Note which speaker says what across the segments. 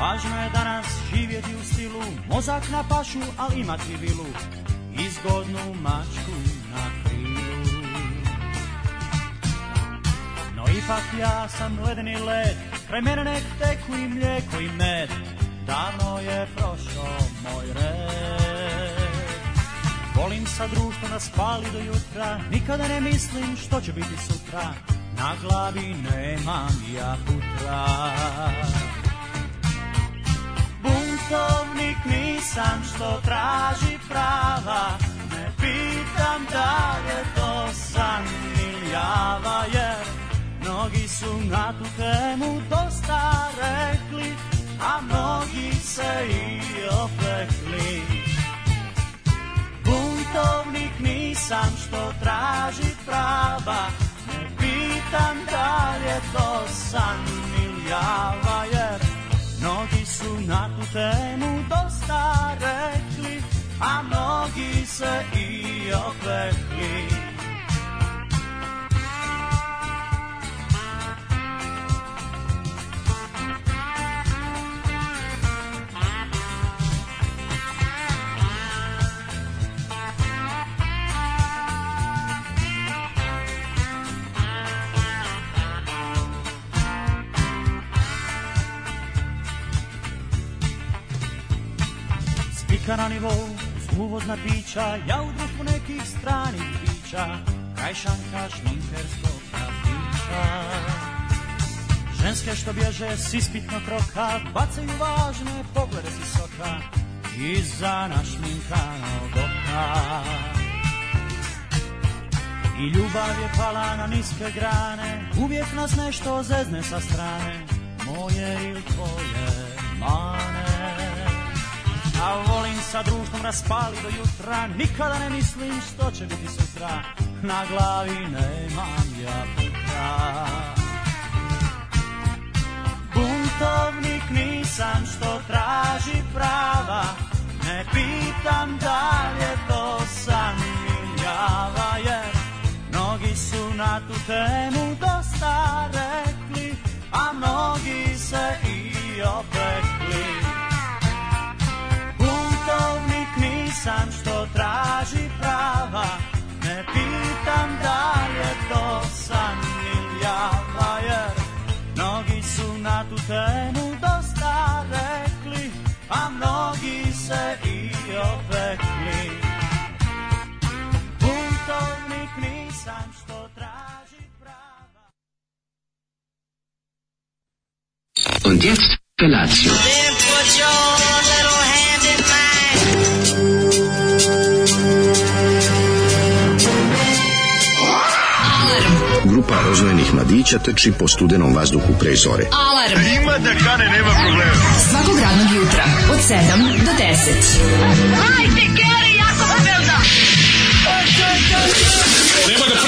Speaker 1: Važno je danas živjeti u stilu, mozak na pašu, ali imati vilu i zgodnu mačku na krilu. No ipak ja sam ledeni led, kraj mene nek teku i mlijeko i med, davno je prošao moj red. Volim sa društvo nas pali do jutra, nikada ne mislim što će biti sutra, na glavi nemam ja putra. Buntovnik nisam što traži prava, ne pitam da li je to san ili java, jer mnogi su na tu temu dosta rekli, a mnogi se i opekli. Buntovnik nisam što traži prava, ne pitam da li je to san ili java, jer Mnogi su na tu temu dosta rekli, a mnogi se i opekli. Spika na nivou, uz uvozna pića, ja u društvu nekih stranih pića, kraj šanka šminkerskog kafića. Ženske što bježe s ispitnog roka, bacaju važne poglede s visoka, iza našminkanog oka. I ljubav je pala na niske grane Uvijek nas nešto zezne sa strane Moje ili tvoje mane A volim sa društvom raspali do jutra Nikada ne mislim što će biti sutra Na glavi nemam ja putra Buntovnik nisam što traži prava Ne pitam da li je to san ili java jer Mnogi su na tu temu dosta rekli, a mnogi se i opekli. Buntovnik nisam što traži prava, ne pitam da li je to san ili java, jer mnogi su na tu temu dosta rekli, a mnogi se i opekli. Buntovnik nisam što traži prava.
Speaker 2: Und jetzt Felatio.
Speaker 3: Then put your little hand in mine.
Speaker 4: Grupa rozvojenih mladića teči po studenom vazduhu pre zore.
Speaker 5: Alarm. A ima da kane, nema problema. Svakog radnog jutra, od 7 do 10. Hajde, Geri, jako se velda.
Speaker 6: da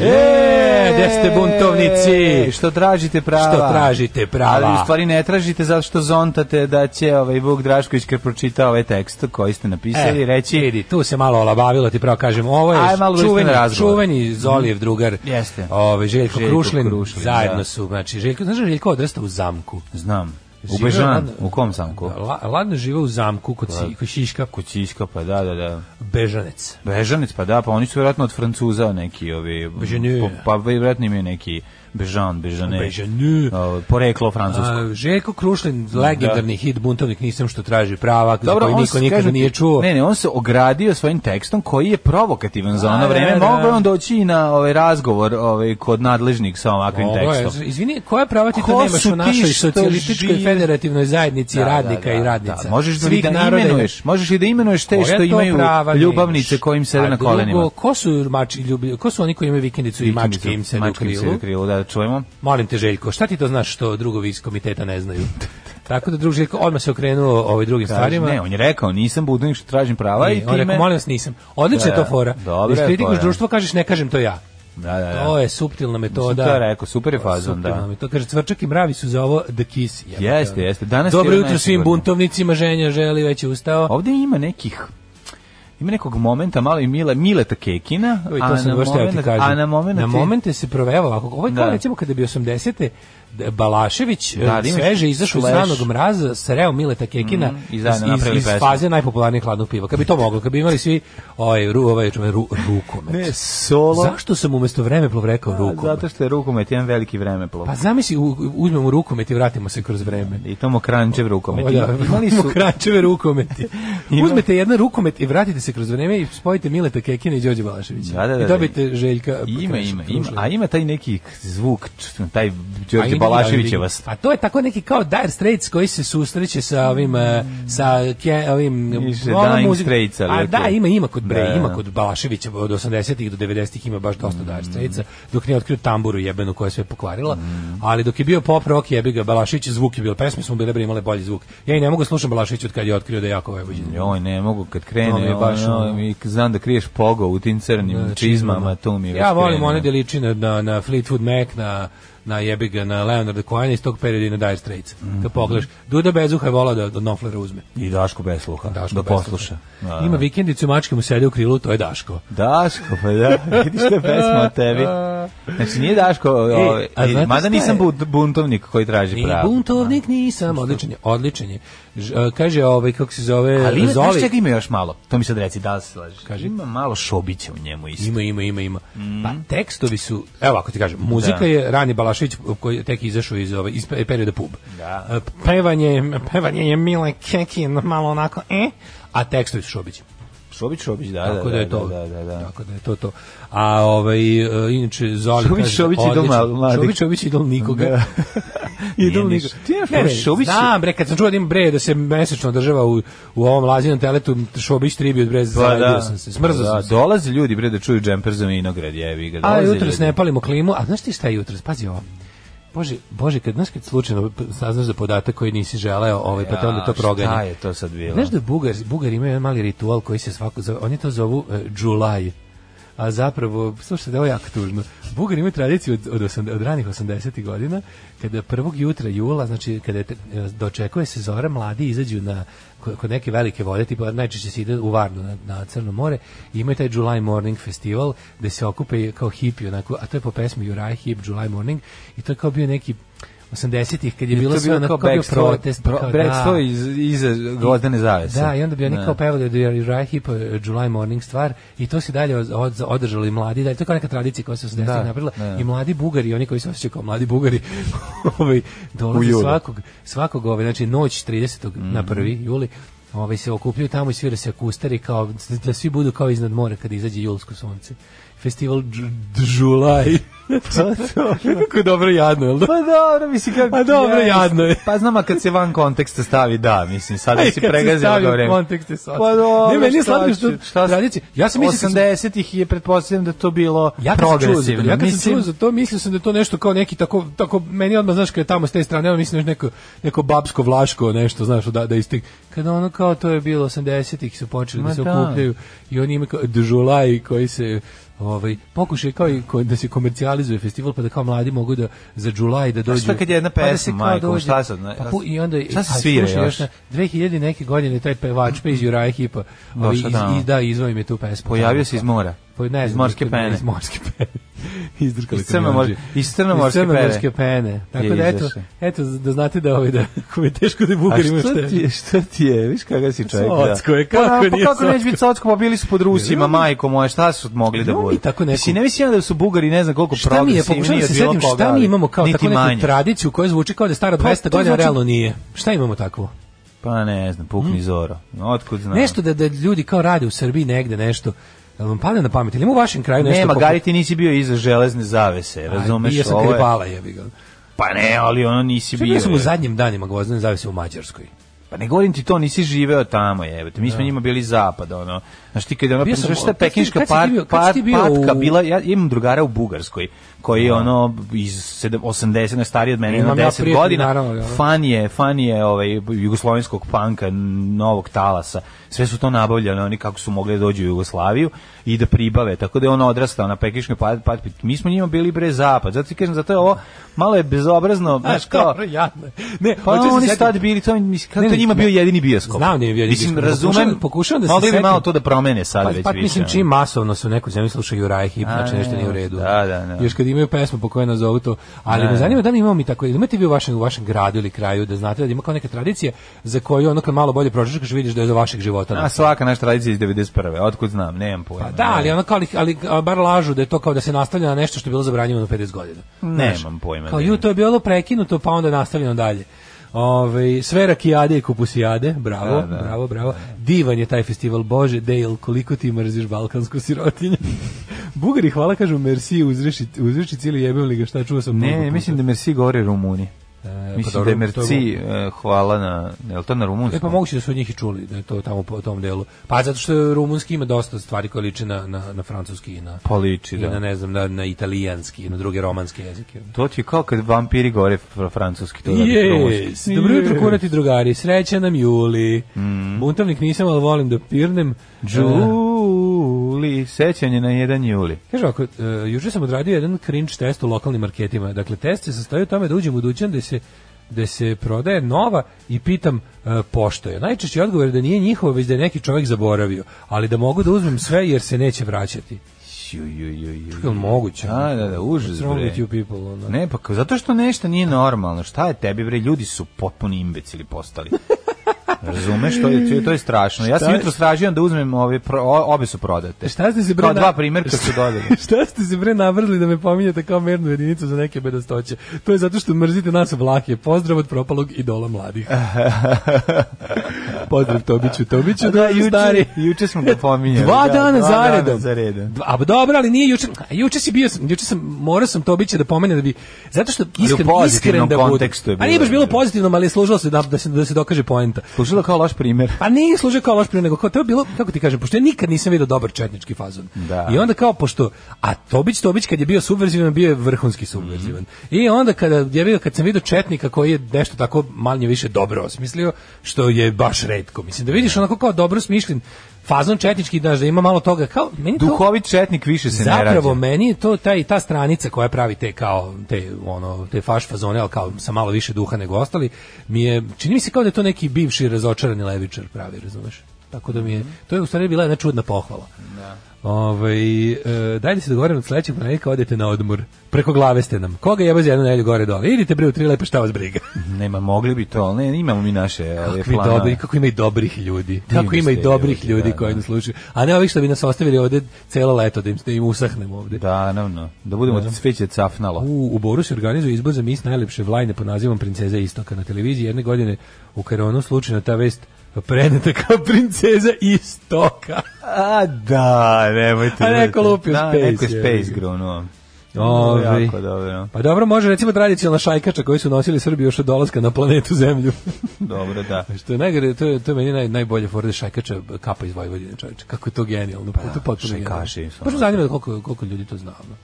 Speaker 7: E, gde ste buntovnici?
Speaker 8: E, Što tražite prava.
Speaker 7: Što tražite prava.
Speaker 8: da. Ali u stvari ne tražite zato što zontate da će ovaj Vuk Drašković kad pročita ovaj tekst koji ste napisali
Speaker 7: E,
Speaker 8: reći
Speaker 7: vidi, tu se malo olabavilo, ti pravo kažem, ovo je
Speaker 8: Aj, malo ulični
Speaker 7: čuveni,
Speaker 8: razgovor.
Speaker 7: čuveni Zolijev drugar,
Speaker 8: Mhm. Jeste.
Speaker 7: ovaj, Željko,
Speaker 8: Željko
Speaker 7: Krušlin,
Speaker 8: Krušlin,
Speaker 7: zajedno
Speaker 8: da.
Speaker 7: su, znači, Željko, znaš da je Željko odrastao u zamku?
Speaker 8: Znam. U
Speaker 7: Živeo
Speaker 8: Bežan,
Speaker 7: ladno-
Speaker 8: u kom Da. samku?
Speaker 7: La, ladno žive u zamku kod, si, kod Šiška, kod
Speaker 8: Kućiška, pa da, da, da.
Speaker 7: Bežanec.
Speaker 8: Bežanec, pa da, pa oni su vjerojatno od Francuza neki, ovi,
Speaker 7: Bežanju.
Speaker 8: po- pa vjerojatno imaju neki Bežan, Bežane.
Speaker 7: Bežanju.
Speaker 8: Ovo, Poreklo francusko.
Speaker 7: A, Željko Krušlin, legendarni hit, buntovnik, nisam što traži prava, za koji
Speaker 8: Da. on
Speaker 7: niko
Speaker 8: se,
Speaker 7: nikada
Speaker 8: kažem ti,
Speaker 7: nije čuo.
Speaker 8: Ne, ne, on se ogradio svojim tekstom koji je provokativan za ono
Speaker 7: A,
Speaker 8: vreme.
Speaker 7: da, da.
Speaker 8: Mogao je on doći i na ovaj razgovor ovaj kod nadležnih sa ovakvim
Speaker 7: Ovo je,
Speaker 8: tekstom.
Speaker 7: izvini, koja prava ti to
Speaker 8: Ko
Speaker 7: nemaš
Speaker 8: su
Speaker 7: u
Speaker 8: ti
Speaker 7: našoj
Speaker 8: što
Speaker 7: socijalističkoj
Speaker 8: žive?
Speaker 7: federativnoj zajednici
Speaker 8: Da, da,
Speaker 7: radnika
Speaker 8: da,
Speaker 7: i radnica?
Speaker 8: Da, možeš da,
Speaker 7: Svih
Speaker 8: da
Speaker 7: naroda i-
Speaker 8: imenuješ, možeš i da imenuješ te
Speaker 7: Koja
Speaker 8: što
Speaker 7: to
Speaker 8: imaju
Speaker 7: prava
Speaker 8: ljubavnice
Speaker 7: nemaš?
Speaker 8: kojim sede
Speaker 7: A
Speaker 8: na
Speaker 7: drugo,
Speaker 8: kolenima.
Speaker 7: Ko su mači ljubi, ko su oni koji imaju vikendicu i mačke im se
Speaker 8: Mačke im sede
Speaker 7: krilu?
Speaker 8: u krilu, da, da čujemo.
Speaker 7: Molim te Željko, šta ti to znaš što drugovi iz komiteta ne znaju? Tako da drug Željko odmah se okrenuo ovaj drugim
Speaker 8: Kaže,
Speaker 7: stvarima.
Speaker 8: ne, on je rekao, nisam budnik što tražim prava i
Speaker 7: Ne, on
Speaker 8: time...
Speaker 7: rekao, molim vas, nisam. Odlična je
Speaker 8: Da,
Speaker 7: to fora.
Speaker 8: dobra
Speaker 7: Da
Speaker 8: je
Speaker 7: iskritikuješ
Speaker 8: fora.
Speaker 7: društvo, kažeš ne kažem to ja.
Speaker 8: Da, da, da.
Speaker 7: To je suptilna metoda.
Speaker 8: to je rekao, super je fazon, da.
Speaker 7: To kaže, cvrčak i mravi su za ovo the kiss. jebote,
Speaker 8: Jeste,
Speaker 7: ono.
Speaker 8: jeste. Danas je
Speaker 7: Dobro
Speaker 8: ono
Speaker 7: jutro svim
Speaker 8: najsigurnije.
Speaker 7: buntovnicima, ženja želi, već je ustao.
Speaker 8: Ovde ima nekih Ima nekog momenta, malo i Mile, Mileta Kekina,
Speaker 7: Evo, i
Speaker 8: a
Speaker 7: to sam
Speaker 8: na
Speaker 7: baš teo ti
Speaker 8: momenat-
Speaker 7: kažem.
Speaker 8: a na momenat
Speaker 7: na
Speaker 8: je-
Speaker 7: momente se proveva ovako. Ovo je kao
Speaker 8: Da.
Speaker 7: recimo kada bi 80. da- Balašević
Speaker 8: Da, da
Speaker 7: da,
Speaker 8: imaš
Speaker 7: sveže izašao iz
Speaker 8: Slash.
Speaker 7: ranog mraza, sreo Mileta Kekina
Speaker 8: Mhm, i
Speaker 7: iz,
Speaker 8: zajedno napravili
Speaker 7: iz, iz
Speaker 8: pesmu.
Speaker 7: faze najpopularnijeg hladnog piva. Kad bi to moglo, kad bi imali svi ovaj, ru, ovaj, čume, ru, rukomet.
Speaker 8: Ne, solo.
Speaker 7: Zašto sam umesto vremeplov rekao rukomet?
Speaker 8: Zato što je rukomet jedan veliki vremeplov.
Speaker 7: Pa zamisli, u- uzmemo rukomet i vratimo se kroz vreme.
Speaker 8: I to mokrančev rukomet.
Speaker 7: Olja,
Speaker 8: Imali su...
Speaker 7: kračeve rukometi. Uzmete jedan rukomet i vratite se kroz vreme i spojite Mileta Kekina i Đorđe Balaševića.
Speaker 8: Da, da, da, da.
Speaker 7: I dobijete Željka.
Speaker 8: Ima,
Speaker 7: Kruš-
Speaker 8: ima, ima.
Speaker 7: Krušlja.
Speaker 8: A ima taj neki zvuk, č- taj
Speaker 7: A
Speaker 8: Đorđe
Speaker 7: ima,
Speaker 8: Balaševićevas.
Speaker 7: A to je tako neki kao Dire Straits koji se susreće sa ovim e, sa ke, ovim
Speaker 8: Više
Speaker 7: onom
Speaker 8: Dying
Speaker 7: muzikom.
Speaker 8: Straits, ali
Speaker 7: A
Speaker 8: je to-
Speaker 7: da, ima ima kod bre,
Speaker 8: Da, da. Mm.
Speaker 7: ima kod Balaševića od 80-ih do 90-ih ima baš dosta Dire Straitsa dok nije otkrio tamburu jebenu koja je sve pokvarila.
Speaker 8: Mm.
Speaker 7: Ali dok je bio pop rock jebi ga Balašević zvuk je bio pesme su mu bile bre imale bolji zvuk. Ja i ne mogu slušam Balaševića od kad je otkrio da je jako vojvođen.
Speaker 8: Joj, ne mogu kad
Speaker 7: To mi
Speaker 8: krene,
Speaker 7: je baš,
Speaker 8: ono,
Speaker 7: ono- Da,
Speaker 8: mi znam da kriješ pogo u tim crnim čizmama, to mi je
Speaker 7: Ja
Speaker 8: već
Speaker 7: volim
Speaker 8: krenulo.
Speaker 7: one da liči na, na, na Fleetwood Mac, na, na jebiga, na Leonarda Cohena iz tog perioda i na Dire Straits.
Speaker 8: Mhm.
Speaker 7: Kad pogledaš, Duda Bezuha je volao da od Noflera uzme.
Speaker 8: I Daško bez sluha,
Speaker 7: Daško
Speaker 8: da
Speaker 7: Bezuha.
Speaker 8: posluša. Da,
Speaker 7: Ima vikendicu, mačke mu sede u krilu, to je Daško.
Speaker 8: Daško, pa da, vidiš što je pesma o tebi. Znači, nije Daško, ovaj,
Speaker 7: E, a znate
Speaker 8: mada
Speaker 7: šta
Speaker 8: nisam
Speaker 7: je?
Speaker 8: bu- buntovnik koji traži
Speaker 7: Ni
Speaker 8: pravo.
Speaker 7: buntovnik nisam, odličan je, odličan je. Ž- a, kaže, ovaj, kako se zove,
Speaker 8: Ali ima, znaš
Speaker 7: Zoli.
Speaker 8: čega ima još malo? To mi sad reci, da li se slažeš? Ima malo šobića u njemu isto.
Speaker 7: Ima, ima, ima, ima.
Speaker 8: Mhm.
Speaker 7: Pa tekstovi su, evo ako ti kažem, muzika
Speaker 8: Da.
Speaker 7: je Rani Balašević koji je tek izašao iz, ovaj, iz pe- perioda pub.
Speaker 8: Da.
Speaker 7: E, Pevanje, pevanje je Mile Kekin, malo onako, eh, a tekstovi su Šobić.
Speaker 8: Šobić, Šobić, da,
Speaker 7: Tako
Speaker 8: da,
Speaker 7: da je to.
Speaker 8: Da, da, da.
Speaker 7: Tako da je to to. A ovaj e, inače Zoli
Speaker 8: Šobić,
Speaker 7: kaže,
Speaker 8: Šobić, idol
Speaker 7: odličan.
Speaker 8: mal- mladih.
Speaker 7: Šobić, Šobić idol nikoga.
Speaker 8: Nije
Speaker 7: idol
Speaker 8: ništa.
Speaker 7: nikoga.
Speaker 8: Ti imaš
Speaker 7: Ne, ne,
Speaker 8: Šobić-
Speaker 7: Znam, bre, kad sam čuo da im bre da se mesečno država u, u ovom lazinom teletu Šobić tribi od bre, zaradio sam se, smrzao
Speaker 8: Pa Da,
Speaker 7: sam se.
Speaker 8: Dolaze ljudi bre da čuju Jumper za vinograd, jevi ga.
Speaker 7: A
Speaker 8: dolaze
Speaker 7: jutros
Speaker 8: ljudi.
Speaker 7: ne palimo klimu, a znaš ti šta je jutros? Pazi ovo. Bože, bože, kad znaš kad slučajno p- saznaš za podatak koji nisi želeo, ovaj pa te onda to
Speaker 8: A,
Speaker 7: proganja.
Speaker 8: Šta je to sad bilo?
Speaker 7: Znaš da Bugar, Bugar imaju jedan mali ritual koji se svako zove, oni to zovu uh, July. A zapravo, slušajte, ovo je jako tužno. Bugari imaju tradiciju od, od, osam- od ranih 80. godina, kada prvog jutra jula, znači kada je te- dočekuje se zora, mladi izađu na ko- kod neke velike vode, tipa najčešće se ide u Varnu na, na Crno more, i imaju taj July Morning Festival, gde se okupe kao hipi, onako, a to je po pesmi Juraj Hip, July Morning, i to je kao bio neki 80-ih, kad je
Speaker 8: To
Speaker 7: bilo sve onako, kao bio
Speaker 8: backstro-
Speaker 7: protest,
Speaker 8: pro-
Speaker 7: kao, da.
Speaker 8: backstro iz, iza gvozdene zavese.
Speaker 7: Da, i onda bi oni
Speaker 8: Ne.
Speaker 7: kao pevali da je Raj Hip July Morning stvar i to se dalje od, od, održali mladi, dalje, to je kao neka tradicija koja se 80-ih
Speaker 8: Da,
Speaker 7: napravila
Speaker 8: da.
Speaker 7: i mladi bugari, oni koji se osjećaju kao mladi bugari, ovaj, dolaze
Speaker 8: julu.
Speaker 7: svakog, svakog ovaj, znači noć 30.
Speaker 8: Mhm.
Speaker 7: na 1. juli, ovaj, se okupljaju tamo i svira se akustari kao, da svi budu kao iznad mora kada izađe julsko sunce. Festival Dž- Džulaj. Kako je dobro jadno, jel da?
Speaker 8: Pa dobro, mislim kako...
Speaker 7: A dobro,
Speaker 8: ja,
Speaker 7: jadno je.
Speaker 8: Pa znam, a kad se van konteksta stavi, da, mislim, sada
Speaker 7: Aj,
Speaker 8: si
Speaker 7: kad
Speaker 8: pregazio
Speaker 7: stavio
Speaker 8: ga vreme.
Speaker 7: kontekst je sad.
Speaker 8: Pa dobro,
Speaker 7: Ne, meni je
Speaker 8: šta
Speaker 7: slatko što
Speaker 8: ću, šta s-
Speaker 7: tradicije. Ja sam mislio kad sam-
Speaker 8: 80-ih je pretpostavljam da to bilo
Speaker 7: Ja kad sam čuo, za
Speaker 8: progresivno.
Speaker 7: to, ja kad sam
Speaker 8: Mislim,
Speaker 7: čuo za to, mislio sam da je to nešto kao neki tako, tako meni odmah, znaš, kada je tamo s te strane, ono mislim još neko, neko babsko vlaško nešto, znaš, da, da istik. Kada ono kao to je bilo 80-ih su počeli
Speaker 8: Ma
Speaker 7: da se
Speaker 8: da.
Speaker 7: okupljaju i oni imaju kao dežulaji koji se ovaj, pokušaj kao i ko- da se komercijalizuje festival, pa da kao mladi mogu da za July da dođu.
Speaker 8: šta kad je jedna
Speaker 7: pa da se
Speaker 8: pesma,
Speaker 7: kao
Speaker 8: majko,
Speaker 7: dođe-
Speaker 8: šta sad, ne?
Speaker 7: Pa pu- i onda,
Speaker 8: Šta se
Speaker 7: a,
Speaker 8: svira
Speaker 7: slušaj,
Speaker 8: još?
Speaker 7: na 2000 neke godine taj pevač pa iz Juraja Hipa
Speaker 8: Došao
Speaker 7: ovaj, iz,
Speaker 8: tamo.
Speaker 7: i, da, izveo im je tu pesmu.
Speaker 8: Pojavio se iz mora.
Speaker 7: Pa ne
Speaker 8: iz
Speaker 7: znam,
Speaker 8: morske
Speaker 7: iz-
Speaker 8: pene.
Speaker 7: Iz morske pene. Izdrkali
Speaker 8: Iz crne
Speaker 7: kamionđe.
Speaker 8: mor- iz crne morske
Speaker 7: crne
Speaker 8: pene.
Speaker 7: morske pene. Tako da eto,
Speaker 8: Izašao.
Speaker 7: eto da znate da ovaj da ako mi je teško da
Speaker 8: A
Speaker 7: bugari imaju
Speaker 8: što ti, je, što ti je, viš kakav si čovjek. da.
Speaker 7: Socko je, kako
Speaker 8: pa,
Speaker 7: nije
Speaker 8: Pa kako neće
Speaker 7: socko?
Speaker 8: biti socko, pa bili su pod Rusima, majko moja, šta su mogli da
Speaker 7: Imamo mi
Speaker 8: budu?
Speaker 7: tako neku-
Speaker 8: Mislim, ne mislim ja da su Bugari, ne znam koliko
Speaker 7: Šta mi je, pokušavam da
Speaker 8: progresivniji
Speaker 7: se
Speaker 8: od bilo
Speaker 7: setim, šta
Speaker 8: koga,
Speaker 7: mi
Speaker 8: ali
Speaker 7: imamo kao
Speaker 8: niti
Speaker 7: tako neku
Speaker 8: manje. Pa,
Speaker 7: tradiciju koja zvuči kao da je stara 200
Speaker 8: to
Speaker 7: godina,
Speaker 8: zvuči-
Speaker 7: realno nije. Šta imamo takvo?
Speaker 8: Pa ne znam, pukni zoro. Otkud znam.
Speaker 7: Hm? Nešto da, da ljudi kao rade u Srbiji negde nešto. Jel vam pada na pamet? Ili ima u vašem kraju nešto?
Speaker 8: Nema,
Speaker 7: poput-
Speaker 8: Gari, ti nisi bio iza železne zavese,
Speaker 7: Aj,
Speaker 8: razumeš?
Speaker 7: bio sam
Speaker 8: ovo je-
Speaker 7: kribala, jebi ga.
Speaker 8: Pa ne, ali ono nisi
Speaker 7: Šta
Speaker 8: bio.
Speaker 7: bio sam u
Speaker 8: je.
Speaker 7: zadnjim danima gvozdene zavise u Mađarskoj.
Speaker 8: Pa ne govorim ti to, nisi živeo tamo, jebote. Mi smo njima bili zapad, ono. Znaš ti kad ono,
Speaker 7: Da. Bio sam-
Speaker 8: znaš šta je
Speaker 7: kad si-
Speaker 8: pekinška
Speaker 7: kad si ti
Speaker 8: par,
Speaker 7: bio- kad si
Speaker 8: par,
Speaker 7: ti bio
Speaker 8: patka
Speaker 7: u- Da.
Speaker 8: bila, ja imam drugara u Bugarskoj, koji je ono iz sedam- 80, ne stariji od mene, ima
Speaker 7: Imam ja
Speaker 8: 10
Speaker 7: prijatelj,
Speaker 8: godina.
Speaker 7: naravno, da. ono.
Speaker 8: Fan je, fan je ovaj, jugoslovenskog panka, novog talasa. Sve su to nabavljali, oni kako su mogli da dođu u Jugoslaviju i da pribave. Tako da je on odrastao na pekinškoj pat, pat, Mi smo njima bili bre zapad. Zato ti kažem, zato je ovo malo je bezobrazno, znaš kao...
Speaker 7: dobro, jadno je. Ne,
Speaker 8: Pa
Speaker 7: hoću da se
Speaker 8: oni
Speaker 7: setim-
Speaker 8: sad bili, to, mislim, kako
Speaker 7: Ne,
Speaker 8: to
Speaker 7: ne,
Speaker 8: njima
Speaker 7: ne.
Speaker 8: bio jedini bioskop.
Speaker 7: Znam da im je bio jedini
Speaker 8: Mislim,
Speaker 7: bioskop.
Speaker 8: razumem,
Speaker 7: Pokušavam- pokušavam da se
Speaker 8: mogli bi
Speaker 7: setim.
Speaker 8: malo to da promene sad
Speaker 7: Pa,
Speaker 8: već
Speaker 7: pa
Speaker 8: više.
Speaker 7: mislim
Speaker 8: ono.
Speaker 7: čim masovno su neku zemlju slušaju Raj Hip,
Speaker 8: A,
Speaker 7: znači nešto nije u redu.
Speaker 8: da, da, da.
Speaker 7: Još kad imaju pesmu po kojoj nazovu to, ali me zanima da li imamo mi tako, ili imate vi u vašem, u vašem gradu ili kraju da znate da ima kao neka tradicija za koju ono kad malo bolje pročeškaš vidiš da je do vašeg života.
Speaker 8: A svaka naša tradicija iz 91. Otkud znam, nemam pojma.
Speaker 7: Pa da, ali ono kao, ali, ali bar lažu da je to kao da se nastavlja na nešto što je bilo zabranjivano 50 godina.
Speaker 8: Nemam
Speaker 7: Znaš,
Speaker 8: pojma,
Speaker 7: Kao
Speaker 8: ne.
Speaker 7: ju, to je bilo prekinuto, pa onda nastavljeno dalje. Ove, sve rakijade i kupusijade, bravo,
Speaker 8: Da, da.
Speaker 7: bravo, bravo. Divan je taj festival, bože, Dale, koliko ti mrziš balkansku sirotinju. Bugari, hvala, kažu, merci, uzreši, uzreši cijeli jebem li ga, šta čuo sam mnogo
Speaker 8: Ne,
Speaker 7: puta.
Speaker 8: mislim da Merci govori Rumuni.
Speaker 7: E, pa
Speaker 8: Mislim
Speaker 7: dobro,
Speaker 8: da je
Speaker 7: to je
Speaker 8: Merci, e, hvala na, je li to na
Speaker 7: E pa
Speaker 8: rumunskom?
Speaker 7: moguće da su od njih i čuli da je to tamo po tom delu. Pa zato što rumunski ima dosta stvari koje liče na, na, na francuski i na,
Speaker 8: Poliči,
Speaker 7: i
Speaker 8: da.
Speaker 7: na ne znam, na, na italijanski i na druge romanske jezike.
Speaker 8: To ti je kao kad vampiri govore fr- francuski. To radi
Speaker 7: Yes.
Speaker 8: rumunski.
Speaker 7: Dobro jutro
Speaker 8: Yes.
Speaker 7: kurati drugari, sreća nam juli. Buntovnik nisam, ali volim da pirnem. Uh,
Speaker 8: Đuli, sećanje na 1. juli.
Speaker 7: Kaže ovako, uh, juče sam odradio jedan cringe test u lokalnim marketima. Dakle, test se sastoji u tome da uđem u dućan da se da se prodaje nova i pitam uh, pošto je. Najčešći odgovor je da nije njihova, već da je neki čovjek zaboravio, ali da mogu da uzmem sve jer se neće vraćati.
Speaker 8: Ju, ju, ju, ju.
Speaker 7: Kako je moguće?
Speaker 8: Da, da, da, užas,
Speaker 7: What's wrong
Speaker 8: bre.
Speaker 7: with you people, ono?
Speaker 8: Ne, pa kao- zato što nešto nije normalno. Šta je tebi bre? Ljudi su potpuno imbecili postali. Razumeš, to je, to je strašno. Ja sam
Speaker 7: Šta-
Speaker 8: jutro stražio da uzmem ove, pro, o- obe su prodate.
Speaker 7: Šta ste se bre
Speaker 8: Kao
Speaker 7: na-
Speaker 8: dva primjerka su dodali.
Speaker 7: Šta ste se bre navrzli da me pominjete kao mernu jedinicu za neke bedastoće? To je zato što mrzite nas vlake. Pozdrav od propalog idola mladih. Pozdrav Tobiću, Tobiću, da,
Speaker 8: juče-
Speaker 7: stari.
Speaker 8: juče smo ga pominjali,
Speaker 7: Dva
Speaker 8: da,
Speaker 7: dana
Speaker 8: dva
Speaker 7: zaredom.
Speaker 8: dana za redom.
Speaker 7: Dva- A dobro, ali nije juče. a Juče si bio, juče sam morao sam Tobića da pomenem da bi zato što
Speaker 8: u
Speaker 7: iskren,
Speaker 8: pozitivnom
Speaker 7: iskren da budem.
Speaker 8: kontekstu je
Speaker 7: A nije
Speaker 8: bilo,
Speaker 7: baš bilo
Speaker 8: da.
Speaker 7: pozitivno, ali je služilo se da, da se da se dokaže poenta.
Speaker 8: Slušala da kao loš primjer.
Speaker 7: Pa nije služio kao loš primjer, nego kao to je bilo, kako ti kažem, pošto ja nikad nisam vidio dobar četnički fazon.
Speaker 8: Da.
Speaker 7: I onda kao, pošto, a Tobić, Tobić kad je bio subverzivan, bio je vrhunski subverzivan. I onda kada, ja vidio, kad sam vidio četnika koji je nešto tako manje više dobro osmislio, što je baš redko. Mislim, da vidiš onako kao dobro smišljen fazon četnički, daš, da ima malo toga, kao, meni to-
Speaker 8: Duhovit četnik više se ne rađa.
Speaker 7: Zapravo meni je to taj ta stranica koja pravi te kao te ono te faš fazone, al kao sa malo više duha nego ostali, mi je čini mi se kao da je to neki bivši razočarani levičar pravi, razumeš? Tako da mi
Speaker 8: Mhm.
Speaker 7: je to je u stvari bila jedna čudna pohvala. Da. Ovaj e, dajde se dogovorimo od sledećeg ponedjeljka odete na odmor. Preko glave ste nam. Koga jeba za jednu nedelju gore dole. Idite bre u tri lepe šta vas briga.
Speaker 8: Nema, mogli bi to, ali ne, imamo mi naše ali,
Speaker 7: Kakvi
Speaker 8: planove.
Speaker 7: dobri, kako ima i dobrih ljudi. Kako ima i
Speaker 8: ste
Speaker 7: dobrih
Speaker 8: ljudi,
Speaker 7: ljudi
Speaker 8: da,
Speaker 7: koji
Speaker 8: da.
Speaker 7: nas slušaju. A ne ovih što bi nas ostavili ovde celo leto da im, da im usahnemo ovde.
Speaker 8: Da, naravno. Da budemo da. cveće cafnalo.
Speaker 7: U, u Boru se organizuje izbor za mis najlepše vlajne pod nazivom Princeza Istoka na televiziji. Jedne godine u Karonu slučajno ta vest preneta kao Princeza Istoka.
Speaker 8: A da, nemojte.
Speaker 7: A neko
Speaker 8: nemojte.
Speaker 7: lupio
Speaker 8: da,
Speaker 7: space,
Speaker 8: Neko je
Speaker 7: je.
Speaker 8: space grunuo.
Speaker 7: Ovi.
Speaker 8: Jako dobro.
Speaker 7: Pa dobro, može recimo tradicionalna šajkača koju su nosili Srbi još od dolaska na planetu Zemlju.
Speaker 8: Dobro, da.
Speaker 7: Što je najgore, to je, to je meni naj, najbolje fora da je šajkača kapa iz Vojvodine, čoveče. Kako je to genijalno. Pa, to je potpuno
Speaker 8: da, šajkaši
Speaker 7: genijalno.
Speaker 8: su
Speaker 7: Baš me
Speaker 8: ono-
Speaker 7: zanima da koliko, koliko ljudi to zna. ono.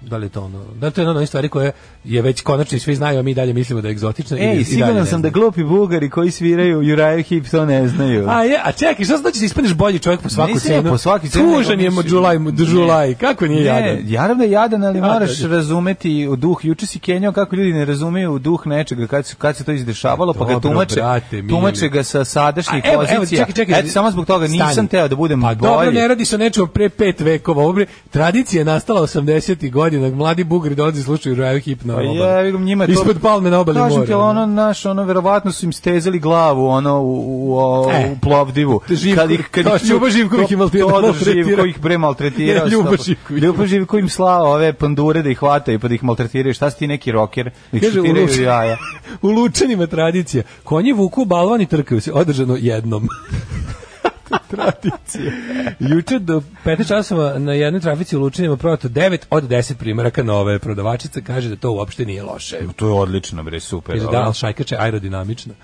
Speaker 7: Da li je to ono, da li to je jedna od onih stvari koje je već konačno svi znaju, a mi dalje mislimo da je egzotično. i- i
Speaker 8: Ej,
Speaker 7: dalje ne
Speaker 8: siguran sam
Speaker 7: znamo.
Speaker 8: da glupi bugari koji sviraju Juraju Hip to ne znaju.
Speaker 7: A Pa je, a čekaj, šta znači da ispadneš bolji čovjek po svaku
Speaker 8: Nisi Pa. ja
Speaker 7: cenu?
Speaker 8: po svaki cenu,
Speaker 7: Tužan
Speaker 8: nego
Speaker 7: je
Speaker 8: mislim-
Speaker 7: Mođulaj, Mođulaj, kako nije
Speaker 8: Ne,
Speaker 7: jadan?
Speaker 8: jaravno je jadan, ali
Speaker 7: A,
Speaker 8: moraš
Speaker 7: da,
Speaker 8: razumeti u duh. Juče si Kenjao kako ljudi ne razumeju duh nečega kad, se- kad se to izdešavalo, pa ga
Speaker 7: Dobro,
Speaker 8: tumače,
Speaker 7: brate, mili.
Speaker 8: tumače ga sa sadašnjih
Speaker 7: A, evo, evo,
Speaker 8: pozicija.
Speaker 7: čekaj, čekaj.
Speaker 8: Eto, samo zbog toga nisam
Speaker 7: Stani.
Speaker 8: teo da budem
Speaker 7: Pa
Speaker 8: bolji.
Speaker 7: dobro, ne radi se o nečemu pre pet vekova. Ovo bre, tradicija je nastala 80-ih godina. Mladi bugri dolaze i slušaju Raju Hip na
Speaker 8: Pa
Speaker 7: obali.
Speaker 8: ja vidim njima je to.
Speaker 7: Ispod palme na obali
Speaker 8: Kažem
Speaker 7: mora.
Speaker 8: ti, ono naš, ono verovatno su im stezali glavu, ono u, u, u,
Speaker 7: E.
Speaker 8: u plovdivu.
Speaker 7: Živko- to Ljubo Živković
Speaker 8: to-
Speaker 7: im maltretira-
Speaker 8: to da
Speaker 7: maltretira.
Speaker 8: Živko ih bre maltretirao.
Speaker 7: Ne, Ljubo
Speaker 8: stopa.
Speaker 7: Živković.
Speaker 8: Ljubo Živko im slao ove pandure da ih hvataju pa da ih maltretiraju. Šta si ti neki roker? Da Ih
Speaker 7: Kaže, u
Speaker 8: šutiraju
Speaker 7: Rusi-
Speaker 8: jaja.
Speaker 7: u Lučanima je tradicija. Konji vuku balvan i trkaju se, održano jednom. tradicija. Juče do 15 časova na jednoj trafici u Lučanima prodato 9 od 10 primjeraka nove. Prodavačica kaže da to uopšte nije loše.
Speaker 8: E, To je odlično, bre, super.
Speaker 7: Kaže,
Speaker 8: ovo.
Speaker 7: da, ali šajkača je aerodinamična.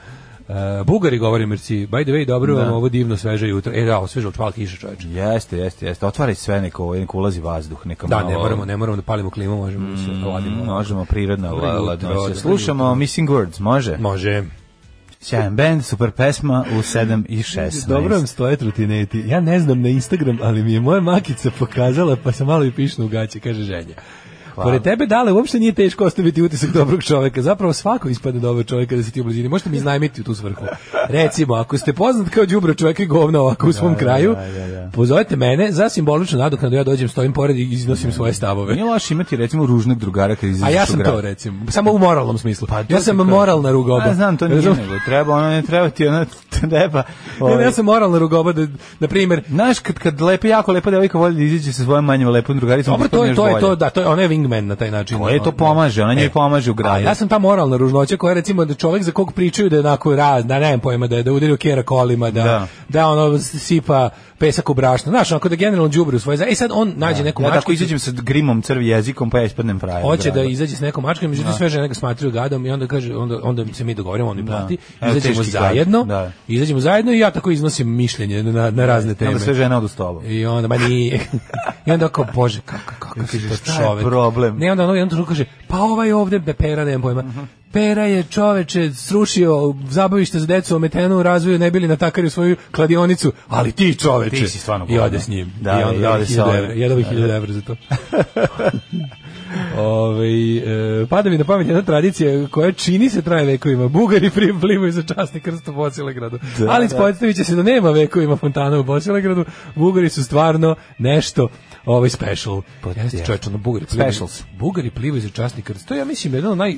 Speaker 7: E, Bugari govore merci, by the way, dobro vam ovo divno sveže jutro. E da, ovo sveže očvala kiša čoveče.
Speaker 8: Jeste, jeste, jeste. Otvaraj sve neko, neko ulazi vazduh, neka
Speaker 7: Da,
Speaker 8: malo-
Speaker 7: ne moramo, ne moramo da palimo klimu, možemo da se
Speaker 8: Mm,
Speaker 7: hladimo.
Speaker 8: Možemo prirodno
Speaker 7: Dobro jutro, dobro
Speaker 8: ladno.
Speaker 7: jutro.
Speaker 8: Slušamo Missing Words, može?
Speaker 7: Može.
Speaker 8: Sjajan band, super pesma u 7 i 16.
Speaker 7: Dobro vam stoje trotineti. Ja ne znam na Instagram, ali mi je moja makica pokazala, pa sam malo i pišno u gaće, kaže ženja.
Speaker 8: Hvala.
Speaker 7: Pored tebe dale uopšte nije teško ostaviti utisak dobrog čoveka. Zapravo svako ispadne dobar čovek kada si da ti u blizini. Možete mi iznajmiti u tu svrhu. Recimo, ako ste poznat kao đubro čovek i govna ovako u svom
Speaker 8: da,
Speaker 7: kraju,
Speaker 8: da, da, da.
Speaker 7: pozovite mene za simboličnu nadoknadu ja dođem, stojim pored i iznosim svoje stavove.
Speaker 8: Nije loše imati recimo ružnog drugara kad izađeš
Speaker 7: A ja
Speaker 8: u
Speaker 7: sam
Speaker 8: grad.
Speaker 7: to recimo, samo u moralnom smislu.
Speaker 8: Pa to
Speaker 7: ja sam
Speaker 8: ti kažem.
Speaker 7: moralna rugoba.
Speaker 8: Ja znam, to nije
Speaker 7: Razum-
Speaker 8: nego treba, ono ne treba ti, ono treba.
Speaker 7: Ne, ne,
Speaker 8: ovaj,
Speaker 7: ja sam moralna rugoba da na primjer
Speaker 8: Znaš, kad, kad lepe, jako lepa devojka voli da izađe sa svojom manjom lepom drugaricom,
Speaker 7: Dobro, to je,
Speaker 8: ispadneš
Speaker 7: to je
Speaker 8: bolje.
Speaker 7: to, da, to je, ona je wingman na taj način. da,
Speaker 8: To da, je, to pomaže, ona njoj pomaže u gradu.
Speaker 7: A ja sam ta moralna ružnoća koja recimo da čovjek za kog pričaju da je onako raz, da nemam pojma da je da je udario kjera kolima, da,
Speaker 8: Da.
Speaker 7: da. ono sipa pesak u brašno. Znaš, onako da generalno đubre u svoje. za- E sad on nađe neku
Speaker 8: Da. ja tako
Speaker 7: mačkicu,
Speaker 8: izađem sa grimom crvi jezikom, pa ja ispadnem frajer. u
Speaker 7: hoće da
Speaker 8: gradu.
Speaker 7: izađe s nekom mačkom, međutim
Speaker 8: Da.
Speaker 7: sve žene ga smatraju gadom i onda kaže onda onda se mi dogovorimo, on mi plati.
Speaker 8: Evo,
Speaker 7: Izađemo
Speaker 8: teški gad,
Speaker 7: zajedno.
Speaker 8: da.
Speaker 7: Izađemo zajedno i ja tako iznosim mišljenje na, na razne teme.
Speaker 8: Onda sve žene odu s tobom.
Speaker 7: I onda, ma nije. I onda kao, bože, kako, kako si to
Speaker 8: šta je
Speaker 7: čovek.
Speaker 8: problem? Mhm.
Speaker 7: Ne, onda ono jednom trenutku kaže, pa ovaj ovde, be, pera, nemam pojma. Pera je čoveče srušio zabavište za decu ometenu u razvoju, ne bili natakario svoju kladionicu, ali ti čoveče.
Speaker 8: Ti si stvarno
Speaker 7: I ode
Speaker 8: govno.
Speaker 7: s njim.
Speaker 8: Da,
Speaker 7: I onda
Speaker 8: i
Speaker 7: dobije
Speaker 8: ode sa
Speaker 7: 1000
Speaker 8: ovim. Da,
Speaker 7: evra. Ja dobih 1000 evra za to. Ove, e, pada mi na pamet jedna tradicija koja čini se traje vekovima. Bugari pri- plimuju za časni krst u Bosilegradu. Ali ispostavit će se da nema vekovima fontana u Bosilegradu. Bugari su stvarno nešto ovaj special. Jeste čovječ, ono, Bugari plimuju-
Speaker 8: Pa Specials. Mm.
Speaker 7: Bugari plimuju za časni krst. To je, ja mislim, jedan od naj...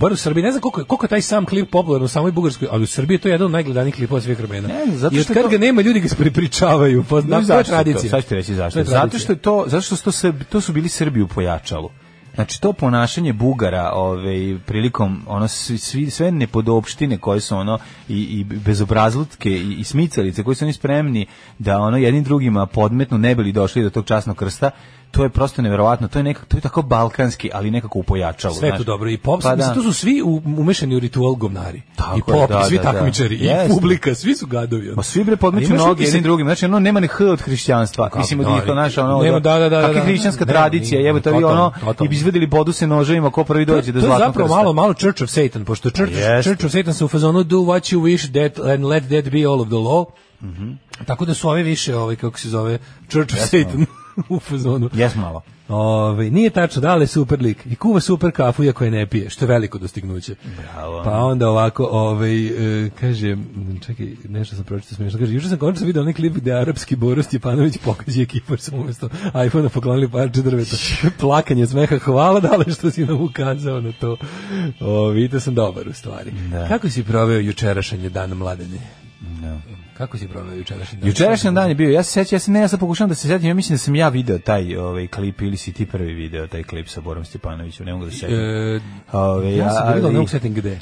Speaker 7: Bar u Srbiji, ne znam koliko, je- koliko je taj sam klip popularan u samoj Bugarskoj, ali u Srbiji je to jedan od najgledanijih klipova svih vremena.
Speaker 8: Ne znam, zato
Speaker 7: I od
Speaker 8: što je
Speaker 7: kad
Speaker 8: to-
Speaker 7: ga nema, ljudi ga se prepričavaju. Pa,
Speaker 8: Znaš
Speaker 7: da, to je
Speaker 8: zašto
Speaker 7: tradicija.
Speaker 8: Sad ću ti reći
Speaker 7: To
Speaker 8: zašto.
Speaker 7: je
Speaker 8: Zato
Speaker 7: tradicija.
Speaker 8: što je to, zato što su to, Srbi- to su bili Srbi u pojačalu. Znači to ponašanje Bugara, ovaj prilikom ono svi, svi- sve nepodopštine koje su ono i, i bezobrazlutke i, i smicalice koji su oni spremni da ono jednim drugima podmetnu ne bili došli do tog časnog krsta, to je prosto neverovatno. To je nekako to je tako balkanski, ali nekako u pojačalu,
Speaker 7: Sve je
Speaker 8: znaš.
Speaker 7: to dobro i pop,
Speaker 8: Pa
Speaker 7: mislim,
Speaker 8: da.
Speaker 7: tu su svi u- umešani u ritual govnari.
Speaker 8: Tako
Speaker 7: I pop,
Speaker 8: je, da,
Speaker 7: i svi
Speaker 8: da, da.
Speaker 7: takmičari, i
Speaker 8: Jeste.
Speaker 7: publika, svi su gadovi. ono.
Speaker 8: Ma svi bre podmeću
Speaker 7: Ali imaš
Speaker 8: noge
Speaker 7: utisak-
Speaker 8: jednim drugim. Znači ono nema ni h od hrišćanstva. Mislim da je
Speaker 7: da,
Speaker 8: to naša ono
Speaker 7: nema, da, da, da,
Speaker 8: kakva je
Speaker 7: da.
Speaker 8: hrišćanska
Speaker 7: Nema,
Speaker 8: tradicija,
Speaker 7: nema,
Speaker 8: jebote vi ono
Speaker 7: totalno, totalno.
Speaker 8: i bi izvedeli bodu se noževima ko prvi dođe do
Speaker 7: to je
Speaker 8: zlatnog
Speaker 7: zapravo
Speaker 8: krsta.
Speaker 7: malo, malo Church of Satan, pošto Church,
Speaker 8: Jeste.
Speaker 7: Church of Satan se u fazonu do what you wish that, and let that be all of the law.
Speaker 8: Mhm.
Speaker 7: Tako da su ove više, ovaj, kako se zove, Church of Satan u fazonu.
Speaker 8: Jes malo.
Speaker 7: Ove, nije tačno, da li je super lik i kuva super kafu iako je ne pije, što je veliko dostignuće.
Speaker 8: Bravo.
Speaker 7: Pa onda ovako, ovaj, e, kaže, m, čekaj, nešto sam pročitao smiješno, kaže, juče sam konačno vidio onaj klip gde arapski Boris Stjepanović pokazuje kipar sam umjesto iPhone-a poklonili parče drveta. Plakanje od smeha, hvala dale što si nam ukazao na to. O, vidite sam dobar u stvari.
Speaker 8: Da.
Speaker 7: Kako si proveo jučerašanje dan mladenje? Kako si proveo jučerašnji dan?
Speaker 8: Jučerašnji dan je bio, ja se sećam, ja se ne, ja sad pokušavam da se setim, ja mislim da sam ja video taj ovaj klip ili si ti prvi video taj klip sa Borom Stepanovićem, ne mogu da se setim.
Speaker 7: E,
Speaker 8: Ovaj,
Speaker 7: ja sam ga vidio,
Speaker 8: ali-
Speaker 7: ne mogu setim gde.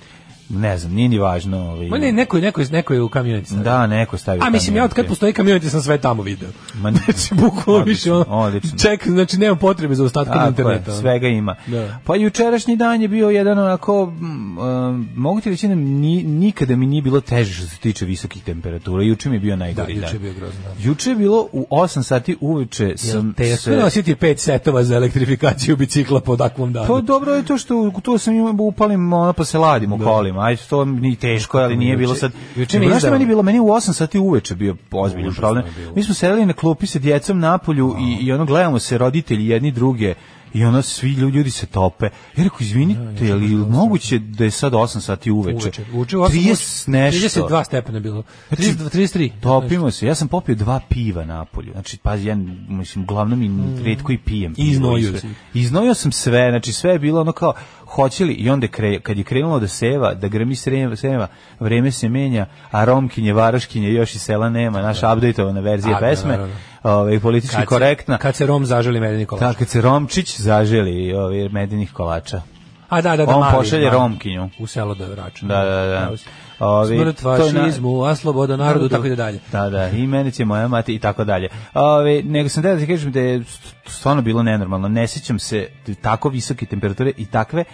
Speaker 8: ne znam, nije ni važno. Ovaj,
Speaker 7: Ma ne, neko je, neko je, neko je u kamionici. stavio.
Speaker 8: Da, neko je stavio.
Speaker 7: A mislim, ja od kad
Speaker 8: kamion.
Speaker 7: postoji community sam sve tamo video.
Speaker 8: Ma,
Speaker 7: Znači, bukvalno više ono,
Speaker 8: odlično.
Speaker 7: ček, znači nemam potrebe za ostatkom
Speaker 8: Tako
Speaker 7: interneta.
Speaker 8: je,
Speaker 7: ono.
Speaker 8: svega ima.
Speaker 7: Da.
Speaker 8: Pa jučerašnji dan je bio jedan onako, mm, um, mogu ti reći da ni- nikada mi nije bilo teže što se tiče visokih temperatura. Juče mi je bio
Speaker 7: Da,
Speaker 8: najgori
Speaker 7: juče je
Speaker 8: dan.
Speaker 7: bio grozno. da.
Speaker 8: Juče je bilo u 8 sati uveče sam
Speaker 7: Teško je nositi pet setova za elektrifikaciju bicikla po takvom danu.
Speaker 8: Pa dobro je to što to sam imao upalim ono pa se ladim u kolima. Ajde to ni teško, ali nije bilo sad.
Speaker 7: Da. juče mi
Speaker 8: Znaš
Speaker 7: je
Speaker 8: šta
Speaker 7: izdao.
Speaker 8: meni bilo meni u 8 sati uveče bio ozbiljan problem. Mi smo sedeli na klupi sa djecom napolju i i ono gledamo se roditelji jedni druge i ono svi ljudi, ljudi se tope. Ja rekao,
Speaker 7: Da,
Speaker 8: izvinite, je li moguće da je sad 8 sati uveče?
Speaker 7: uveče. Uče u osam
Speaker 8: 30 nešto.
Speaker 7: 32 stepena je bilo.
Speaker 8: Znači,
Speaker 7: 32, 33.
Speaker 8: Topimo se. Ja sam popio dva piva napolju. Znači, pazi, ja mislim, uglavnom i retko i pijem. pivo
Speaker 7: Mm. iznojio
Speaker 8: sve.
Speaker 7: si.
Speaker 8: Iznojio sam sve, znači sve je bilo ono kao hoće li i onda je kre, kad je krenulo da seva, da grmi srema, srema, vreme se menja, a romkinje, varoškinje još i sela nema, naša updateovana verzija
Speaker 7: A, da,
Speaker 8: pesme,
Speaker 7: naravno.
Speaker 8: ovaj, politički
Speaker 7: Kad se-
Speaker 8: korektna.
Speaker 7: Kad se Rom zaželi medeni kolač.
Speaker 8: Da, kad se Romčić zaželi ovaj, medenih kolača.
Speaker 7: A da, da, da.
Speaker 8: On
Speaker 7: mali,
Speaker 8: pošalje
Speaker 7: mali.
Speaker 8: Romkinju.
Speaker 7: U selo da je vračan.
Speaker 8: Da, da, da.
Speaker 7: Pravo si.
Speaker 8: Ovi,
Speaker 7: Smrt
Speaker 8: to je na-
Speaker 7: fašizmu, a sloboda narodu, tako i da dalje.
Speaker 8: Da, da, i mene će moja mati i tako dalje. Ove, nego sam teo da ti kažem da je st- stvarno bilo nenormalno. Ne sjećam se tako visoke temperature i takve